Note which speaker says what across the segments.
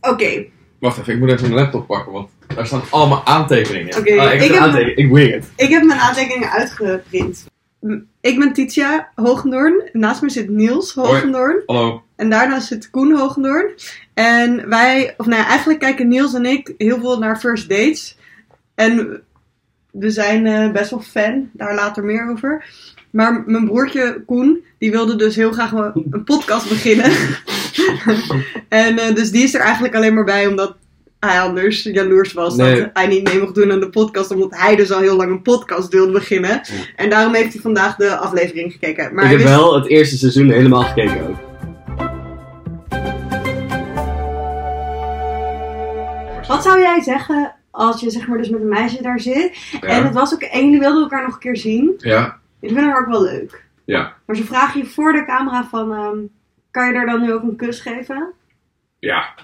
Speaker 1: Oké,
Speaker 2: Wacht even, ik moet even mijn laptop pakken, want daar staan allemaal aantekeningen. in.
Speaker 1: Oké,
Speaker 2: Ah,
Speaker 1: ik
Speaker 2: ik, heb
Speaker 1: heb-
Speaker 2: aantekeningen. ik wing het.
Speaker 1: ik heb mijn aantekeningen uitgeprint. M- Ik ben Titia Hoogendoorn. Naast me zit Niels
Speaker 2: Hoi.
Speaker 1: Hoogendoorn.
Speaker 2: Hallo.
Speaker 1: En daarna zit Koen Hoogendoorn. En wij, of nou ja, eigenlijk kijken Niels en ik heel veel naar first dates. En we zijn eh, best wel fan, daar later meer over. Maar m- mijn broertje Koen, die wilde dus heel graag wel een podcast beginnen. en eh, dus die is er eigenlijk alleen maar bij omdat hij anders jaloers was.
Speaker 2: Nee.
Speaker 1: Dat hij niet mee mocht doen aan de podcast, omdat hij dus al heel lang een podcast wilde beginnen. En daarom heeft hij vandaag de aflevering gekeken. Maar
Speaker 3: ik
Speaker 1: hij
Speaker 3: heb
Speaker 1: wist-
Speaker 3: wel het eerste seizoen helemaal gekeken ook.
Speaker 1: Wat zou jij zeggen als je zeg maar dus met een meisje daar zit? En het was ook, en jullie wilden elkaar nog een keer zien.
Speaker 2: Ja.
Speaker 1: Jullie vinden haar ook wel leuk.
Speaker 2: Ja.
Speaker 1: Maar ze vragen je voor de camera van, ehm, kan je daar dan nu ook een kus geven?
Speaker 2: Ja.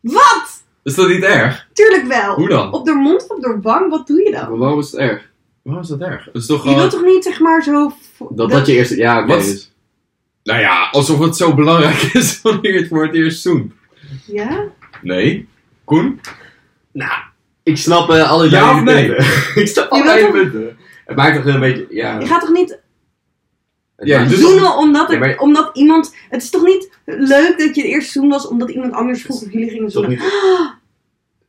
Speaker 1: Wat?
Speaker 2: Is dat niet erg?
Speaker 1: Tuurlijk wel.
Speaker 2: Hoe dan?
Speaker 1: Op de mond of op de wang, wat doe je dan?
Speaker 2: Waarom is het erg? Waarom is dat erg? Het is toch
Speaker 1: Je
Speaker 2: gewoon...
Speaker 1: wilt toch niet zeg maar zo... vo-
Speaker 3: Dat dat je eerste... Ja, oké.
Speaker 2: Wat?
Speaker 3: dus-
Speaker 2: Nou ja, alsof het zo belangrijk is wanneer je het voor het eerst zoent.
Speaker 1: Ja?
Speaker 2: Nee. Koen?
Speaker 3: Nou, ik snap eh alle
Speaker 2: Ja
Speaker 3: je
Speaker 2: of nee?
Speaker 3: punten. ik snap
Speaker 1: Je
Speaker 3: alle
Speaker 1: wilt
Speaker 3: je punten. Het maakt toch een beetje... Ja.
Speaker 1: Je gaat toch niet
Speaker 3: het
Speaker 2: Ja,
Speaker 3: maakt-
Speaker 2: dus-
Speaker 1: zoenen omdat, het-
Speaker 3: Ja, maar-
Speaker 1: omdat iemand... Het is toch niet leuk dat je het eerst zoen was omdat iemand anders vroeg of jullie gingen
Speaker 3: Toch
Speaker 1: zoenen?
Speaker 3: niet-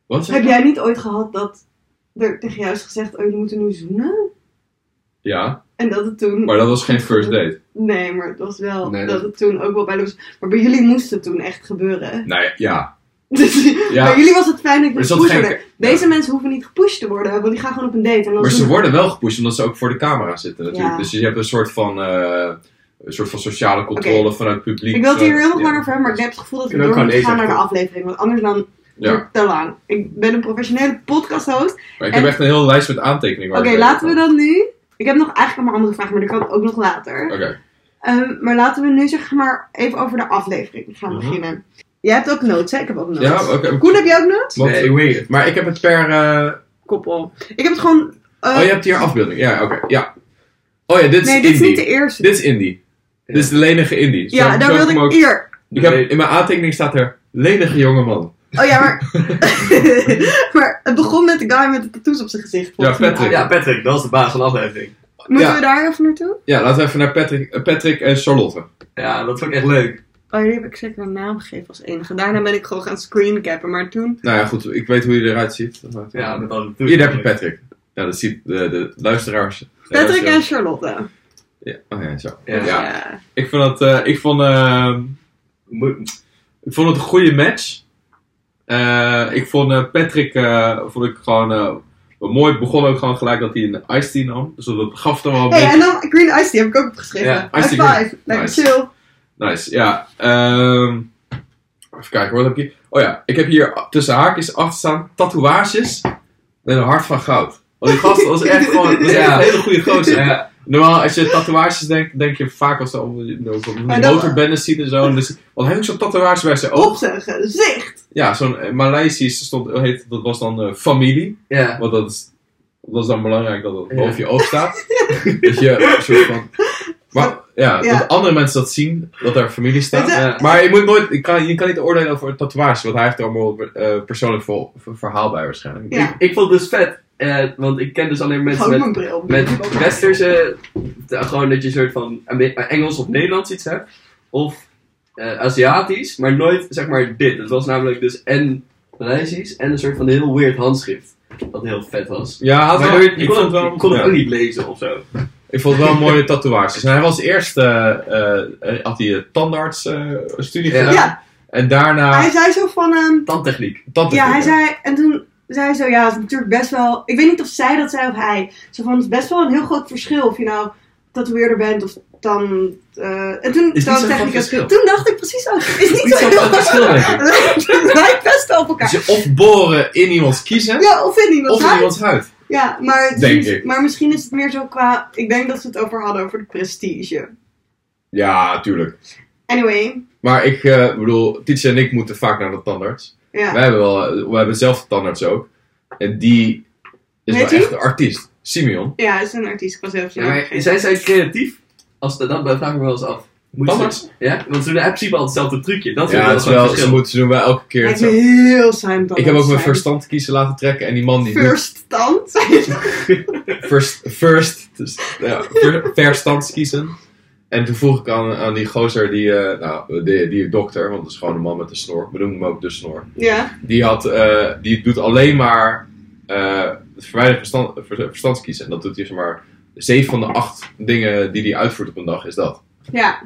Speaker 2: Wat zeg
Speaker 1: Heb
Speaker 2: je?
Speaker 1: jij niet ooit gehad dat er tegen jou is gezegd, oh jullie moeten nu zoenen?
Speaker 2: Ja,
Speaker 1: En dat het toen...
Speaker 2: maar dat was geen first date.
Speaker 1: Nee, maar het was wel
Speaker 3: Nee,
Speaker 1: dat...
Speaker 3: dat-
Speaker 1: het toen ook wel bij was. Maar bij jullie moest het toen echt gebeuren.
Speaker 2: Nee, ja.
Speaker 1: Dus bij
Speaker 2: Ja,
Speaker 1: jullie was het fijn dat
Speaker 2: Maar
Speaker 1: je
Speaker 2: is dat
Speaker 1: gepusht
Speaker 2: geen-
Speaker 1: werd. Deze mensen hoeven niet gepusht te worden, want die gaan gewoon op een date. En dan
Speaker 2: maar ze
Speaker 1: doen-
Speaker 2: worden wel gepusht omdat ze ook voor de camera zitten natuurlijk.
Speaker 1: Ja.
Speaker 2: Dus je hebt een soort van, eh, een soort van sociale controle vanuit het publiek. eh,
Speaker 1: Ik wil het hier heel nog
Speaker 2: Ja.
Speaker 1: lang over hebben, maar ik heb het gevoel dat we
Speaker 3: Kunnen
Speaker 1: door
Speaker 3: we
Speaker 1: moeten
Speaker 3: gewoon
Speaker 1: gaan naar
Speaker 3: deze
Speaker 1: de aflevering. Want anders dan
Speaker 2: Ja.
Speaker 1: wordt het te lang. Ik ben een professionele podcasthost.
Speaker 2: Maar ik heb
Speaker 1: En-
Speaker 2: echt een hele lijst met aantekeningen.
Speaker 1: Oké,
Speaker 2: waar ik-
Speaker 1: laten we dan nu... Ik heb nog eigenlijk allemaal andere vragen, maar die kan ook nog later.
Speaker 2: Oké.
Speaker 1: Ehm, maar laten we nu zeg maar even over de aflevering gaan
Speaker 3: Mhm.
Speaker 1: beginnen. Jij hebt ook notes, hè? Ik heb ook notes.
Speaker 2: Ja, oké.
Speaker 1: Koen, heb jij ook notes?
Speaker 2: Want-
Speaker 3: Nee, ik weet het.
Speaker 2: Maar ik heb het per... eh,
Speaker 1: koppel. Ik heb het gewoon. eh,
Speaker 2: Oh, je hebt hier afbeelding. Ja, oké. Ja. Oh ja, dit is
Speaker 1: nee, dit
Speaker 2: indie.
Speaker 1: is niet de eerste.
Speaker 2: Dit is indie.
Speaker 3: Ja.
Speaker 2: Dit is de lenige indie. Zo-
Speaker 1: ja,
Speaker 2: zo
Speaker 1: daar wilde
Speaker 2: heb
Speaker 1: ik.
Speaker 2: hem ook-
Speaker 1: Hier.
Speaker 2: Ik heb, in mijn aantekening staat er lenige jongeman.
Speaker 1: Oh ja, maar. maar het begon met de guy met de tattoos op zijn gezicht. volgens mij.
Speaker 2: Patrick.
Speaker 3: Ja, Patrick, dat is de baas van de aflevering.
Speaker 1: Moeten
Speaker 2: Ja.
Speaker 1: we daar even naartoe?
Speaker 2: Ja, laten we even naar Patrick, eh, Patrick en Charlotte.
Speaker 3: Ja, dat vond ik echt leuk.
Speaker 1: Oh, die heb ik zeker een naam gegeven als enige. Daarna ben ik gewoon gaan screencappen, maar toen.
Speaker 2: Nou ja, goed. Ik weet hoe je eruit ziet. Dat maakt-
Speaker 3: Ja, met alle
Speaker 2: Hier daar heb je Patrick. Ja, dat ziet de, de luisteraars. Nee,
Speaker 1: Patrick en
Speaker 2: luisteraars.
Speaker 1: Charlotte.
Speaker 2: Ja, oh ja, zo.
Speaker 3: Ja.
Speaker 2: Ja. Ik vond dat... eh, ik vond... eh,
Speaker 3: Moet-
Speaker 2: Ik vond het een goede match. Eh, ik vond eh, Patrick eh, vond ik gewoon eh, wel mooi. Het begon ook gewoon gelijk dat hij een iced tea nam. Dus dat gaf dan wel een
Speaker 1: Hey,
Speaker 2: beetje-
Speaker 1: en dan Green Ice, die heb ik ook opgeschreven.
Speaker 3: Ja,
Speaker 1: High
Speaker 2: Ice Tea
Speaker 1: five. Lekker
Speaker 2: Nice.
Speaker 1: chill.
Speaker 2: Nice, ja. Ehm, even kijken, wat heb ik hier? Oh ja, ik heb hier tussen haakjes achter staan tatoeages met een hart van goud. Want die gast was echt gewoon dat is echt
Speaker 3: Ja.
Speaker 2: een hele goede gozer.
Speaker 3: Ja,
Speaker 2: Normaal, als je tatoeages denkt, denk je vaak als ze om die- om
Speaker 1: Maar
Speaker 2: die
Speaker 1: dat-
Speaker 2: motorbendes zien en zo. En dus, want hij heeft ook zo'n tatoeage bij zijn
Speaker 1: Op
Speaker 2: oog.
Speaker 1: zijn gezicht.
Speaker 2: Ja, zo'n eh, Maleisisch stond, heet, dat was dan eh, familie.
Speaker 3: ja.
Speaker 2: Want dat is, dat is dan belangrijk dat het
Speaker 3: Ja.
Speaker 2: boven je oog staat. dat je een soort van. Maar, ja,
Speaker 1: Ja.
Speaker 2: dat andere mensen dat zien, dat daar familie staat.
Speaker 1: Weet je-
Speaker 3: ja.
Speaker 2: Maar je, moet nooit, je, kan, je kan niet oordelen over een tatoeage, want hij heeft er allemaal eh, persoonlijk voor, voor- verhaal bij waarschijnlijk.
Speaker 1: Ja.
Speaker 3: Ik vond het dus vet, eh, want ik ken dus alleen mensen
Speaker 1: Gewoon
Speaker 3: met
Speaker 1: mijn bril.
Speaker 3: Met westerse, de- gewoon dat je een soort van Ame- Engels of Nederlands iets hebt. Of eh, Aziatisch, maar nooit zeg maar dit. Het was namelijk dus en Maleisisch en een soort van heel weird handschrift. Wat heel vet was.
Speaker 2: Ja, hij had
Speaker 3: Maar
Speaker 2: wel-
Speaker 3: je- je
Speaker 2: Ah, ik
Speaker 3: kon,
Speaker 2: vond
Speaker 3: het,
Speaker 2: het wel,
Speaker 3: je kon het
Speaker 2: ja.
Speaker 3: ook niet lezen of zo.
Speaker 2: ik vond het wel een mooie tatoeages. En hij was eerst, eh, eh, eh, had hij een tandarts eh, studie
Speaker 3: Ja.
Speaker 2: gedaan.
Speaker 1: Ja,
Speaker 2: En daarna,
Speaker 1: hij zei zo van. ehm,
Speaker 3: Tandtechniek.
Speaker 2: tandheelkunde.
Speaker 1: Ja, hij zei, en toen zei hij zo, ja, het is natuurlijk best wel, ik weet niet of zij dat zei of hij, zo van, het is best wel een heel groot verschil of je nou tatoeëerder bent of dan, eh en toen,
Speaker 3: niet zo'n
Speaker 1: dan
Speaker 3: groot verschil.
Speaker 1: toen dacht ik precies zo, is niet,
Speaker 2: Niet
Speaker 1: zo
Speaker 2: zo'n
Speaker 1: heel
Speaker 2: groot verschil, denk ik.
Speaker 1: Het lijkt- lijkt best wel op
Speaker 2: Dus
Speaker 1: elkaar.
Speaker 2: je of boren in iemands kiezen,
Speaker 1: Ja, of in iemand.
Speaker 2: of in
Speaker 1: Maar-
Speaker 2: iemands huid.
Speaker 1: Ja, maar, het
Speaker 2: Denk
Speaker 1: is-
Speaker 2: ik.
Speaker 1: maar misschien is het meer zo qua, ik denk dat we het over hadden over de prestige.
Speaker 2: Ja, tuurlijk.
Speaker 1: Anyway,
Speaker 2: Maar ik eh, bedoel, Tietje en ik moeten vaak naar de tandarts.
Speaker 1: ja.
Speaker 2: Wij hebben wel, eh, we hebben zelf een tandarts ook. En die is
Speaker 1: Heet
Speaker 2: wel
Speaker 1: die?
Speaker 2: echt een artiest. Simeon.
Speaker 1: Ja, hij is een artiest, ik was heel
Speaker 3: Ja, maar
Speaker 1: snel.
Speaker 3: zijn zij creatief? Als, dat, dat vraag ik me wel eens af. Moet
Speaker 2: Tandarts?
Speaker 3: ze- Ja, want ze doen in principe altijd hetzelfde trucje. Dat is
Speaker 2: ja,
Speaker 3: wel
Speaker 2: het is
Speaker 3: gewoon
Speaker 2: wel,
Speaker 3: het
Speaker 2: ze,
Speaker 3: verschil.
Speaker 2: moeten, ze doen wel elke keer
Speaker 1: Lijkt me
Speaker 2: hetzelfde.
Speaker 1: heel saai om
Speaker 2: Ik heb ook mijn
Speaker 1: first
Speaker 2: verstand kiezen laten trekken en die man niet.
Speaker 1: Verstand?
Speaker 2: First, first, dus, ja, ver- verstandskiezen. En toen vroeg ik aan, aan die gozer, die, eh, nou, die, die dokter, want dat is gewoon een man met een snor, we noemen hem ook de snor.
Speaker 1: ja.
Speaker 2: Die, had, eh, die doet alleen maar eh het verwijderen verstand, ver- verstandskiezen. En dat doet hij zeg maar, zeven van de acht dingen die hij uitvoert op een dag, is dat. Dus
Speaker 1: Ja.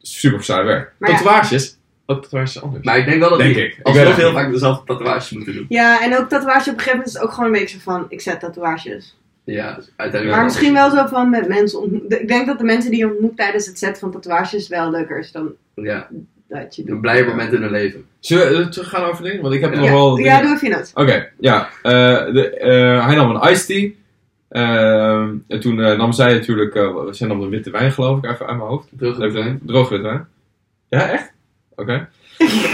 Speaker 2: Super saai werk.
Speaker 1: Maar ja.
Speaker 2: Tatoeages? Wat tatoeages is anders?
Speaker 3: Maar ik denk wel dat
Speaker 2: Denk
Speaker 3: die
Speaker 2: ik. Ik weet
Speaker 3: alsnog
Speaker 2: het
Speaker 3: heel
Speaker 2: niet.
Speaker 3: vaak dezelfde tatoeages moeten doen.
Speaker 1: ja, en ook tatoeage op een gegeven moment is het ook gewoon een beetje zo van, ik zet tatoeages.
Speaker 3: Ja, dus uiteindelijk
Speaker 1: Maar
Speaker 3: wel.
Speaker 1: misschien wel zo van met mensen ontmoet. Ik denk dat de mensen die je ontmoet tijdens het zetten van tatoeages wel leuker is dan
Speaker 3: Ja,
Speaker 1: dat je doet.
Speaker 3: een blij moment in hun leven.
Speaker 2: Zullen we eh, terug gaan over dingen? Want ik heb nog
Speaker 1: Ja,
Speaker 2: wel...
Speaker 1: ja
Speaker 2: dingen-
Speaker 1: doe even dat.
Speaker 2: Oké, ja. Eh, de, eh, hij nam een iced tea. Ehm, en toen eh, nam zij natuurlijk... eh, wat- zij nam de witte wijn geloof ik, even uit mijn hoofd.
Speaker 3: Terug op
Speaker 2: Even- Droge witte wijn. Ja, echt? Oké.
Speaker 3: Ja,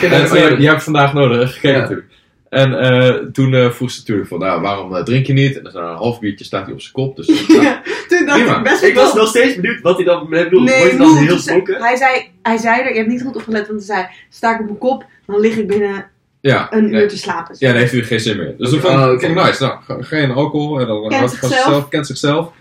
Speaker 2: En,
Speaker 3: dat
Speaker 2: oh ja,
Speaker 1: eh,
Speaker 3: is-
Speaker 2: die heb ik vandaag nodig, gekeken
Speaker 3: Ja.
Speaker 2: natuurlijk. En eh, toen eh, vroeg ze natuurlijk van, nou, waarom eh, drink je niet? En dan een half biertje staat hij op zijn kop. Dus, nou,
Speaker 1: Ja, toen dacht
Speaker 2: Prima.
Speaker 1: ik best
Speaker 3: Ik was
Speaker 1: wel-
Speaker 3: nog steeds benieuwd wat hij dan bedoelt.
Speaker 1: Nee,
Speaker 3: Wordt hij dan
Speaker 1: moe,
Speaker 3: heel
Speaker 1: toen zei-
Speaker 3: stonken?
Speaker 1: Hij zei, hij zei er, je hebt niet goed opgelet, want hij zei, sta ik op mijn kop, dan lig ik binnen
Speaker 2: ja,
Speaker 1: een
Speaker 2: nee.
Speaker 1: uur te slapen.
Speaker 2: ja, daar heeft hij geen zin meer. in. Dus dat
Speaker 3: Oké.
Speaker 2: vond ik-
Speaker 3: Oh, oké.
Speaker 2: vond ik nice. Nou, ge- geen alcohol. En dan houdt hij van
Speaker 1: zichzelf.
Speaker 2: zichzelf, kent zichzelf.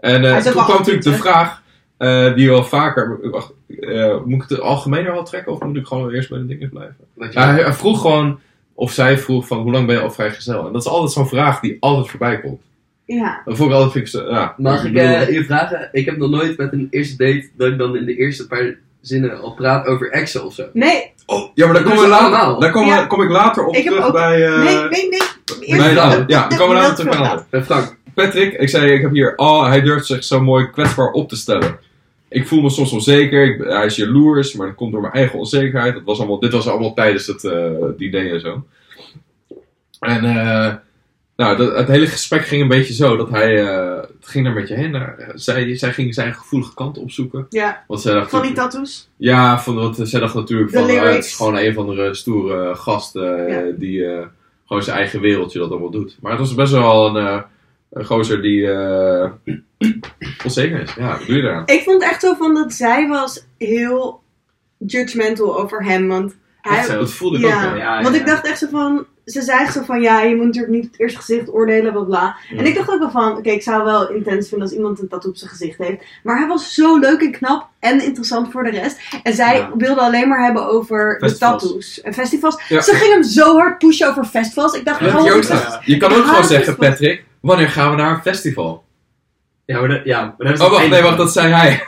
Speaker 2: En eh,
Speaker 1: Hij is
Speaker 2: toen
Speaker 1: ook wel
Speaker 2: kwam natuurlijk de
Speaker 1: actief,
Speaker 2: vraag, eh, die wel vaker... Wacht, eh, moet ik het algemener al trekken of moet ik gewoon eerst bij de dingen blijven?
Speaker 3: Wat je-
Speaker 2: Ja, hij hij vroeg gewoon, of zij vroeg van, hoe lang ben je al vrijgezel? En dat is altijd zo'n vraag die altijd voorbij komt.
Speaker 1: Ja.
Speaker 2: Dat vond ik altijd, vind ik, zo- ja,
Speaker 3: Mag ik
Speaker 2: bedoel-
Speaker 3: eh, je vragen? Ik heb nog nooit met een eerste date dat ik dan in de eerste paar zinnen al praat over exen of zo.
Speaker 1: Nee,
Speaker 2: Oh, ja, maar daar
Speaker 3: Dat
Speaker 2: kom,
Speaker 3: doen
Speaker 2: ik
Speaker 3: ze
Speaker 2: later,
Speaker 3: allemaal.
Speaker 2: daar kom,
Speaker 1: Ja.
Speaker 2: kom ik later op
Speaker 1: Ik heb
Speaker 2: terug
Speaker 1: ook-
Speaker 2: bij... eh,
Speaker 1: nee, nee, nee. Eerst
Speaker 2: bij de
Speaker 3: dat.
Speaker 2: ander. Ja, daar komen we later
Speaker 1: Dat
Speaker 2: terug bij de
Speaker 1: wel.
Speaker 2: ander.
Speaker 3: Bij Eh, Frank.
Speaker 2: Patrick, ik zei, ik heb hier... Oh, hij durft zich zo mooi kwetsbaar op te stellen. Ik voel me soms onzeker, ik, hij is jaloers, maar dat komt door mijn eigen onzekerheid. Dat was allemaal, dit was allemaal tijdens het eh diner en zo. En eh, nou, dat, het hele gesprek ging een beetje zo, dat hij... eh, het ging er een beetje heen. eh, zij, zij ging zijn gevoelige kant opzoeken.
Speaker 1: Ja,
Speaker 2: Want zij dacht,
Speaker 1: van die tattoos.
Speaker 2: ja, van, want zij dacht natuurlijk
Speaker 1: De
Speaker 2: van, eh, het
Speaker 1: lyrics.
Speaker 2: is gewoon een van de stoere gasten eh, die eh, gewoon zijn eigen wereldje dat allemaal doet. Maar het was best wel een, eh, een gozer die eh, onzeker is. Ja, wat doe je daaraan?
Speaker 1: Ik vond echt zo van dat zij was heel judgmental over hem, want hij...
Speaker 2: Dat, zei- dat voelde ik ook
Speaker 1: ja,
Speaker 2: wel.
Speaker 3: ja,
Speaker 1: want
Speaker 3: ja.
Speaker 1: ik dacht echt zo van... Ze zei echt zo van, ja, je moet natuurlijk niet op het eerste gezicht oordelen, bla bla. En ik dacht ook wel van, oké, ik zou wel intens vinden als iemand een tattoo op zijn gezicht heeft. Maar hij was zo leuk en knap en interessant voor de rest. En zij
Speaker 3: Ja.
Speaker 1: wilde alleen maar hebben over
Speaker 2: Festivals.
Speaker 1: de tattoos en festivals.
Speaker 2: Ja.
Speaker 1: Ze ging hem zo hard pushen over festivals. Ik dacht,
Speaker 3: Ja, eh,
Speaker 2: Dat
Speaker 1: gewoon,
Speaker 2: heb je, ook
Speaker 3: Ja.
Speaker 2: gezegd. je kan ook
Speaker 1: Ja,
Speaker 2: gewoon
Speaker 1: dat
Speaker 2: zeggen,
Speaker 1: is wel-
Speaker 2: Patrick, wanneer gaan we naar een festival?
Speaker 3: Ja, maar dat, ja, maar dat
Speaker 2: Oh,
Speaker 3: is het
Speaker 2: wacht, nee,
Speaker 3: enige.
Speaker 2: wacht, dat zei hij.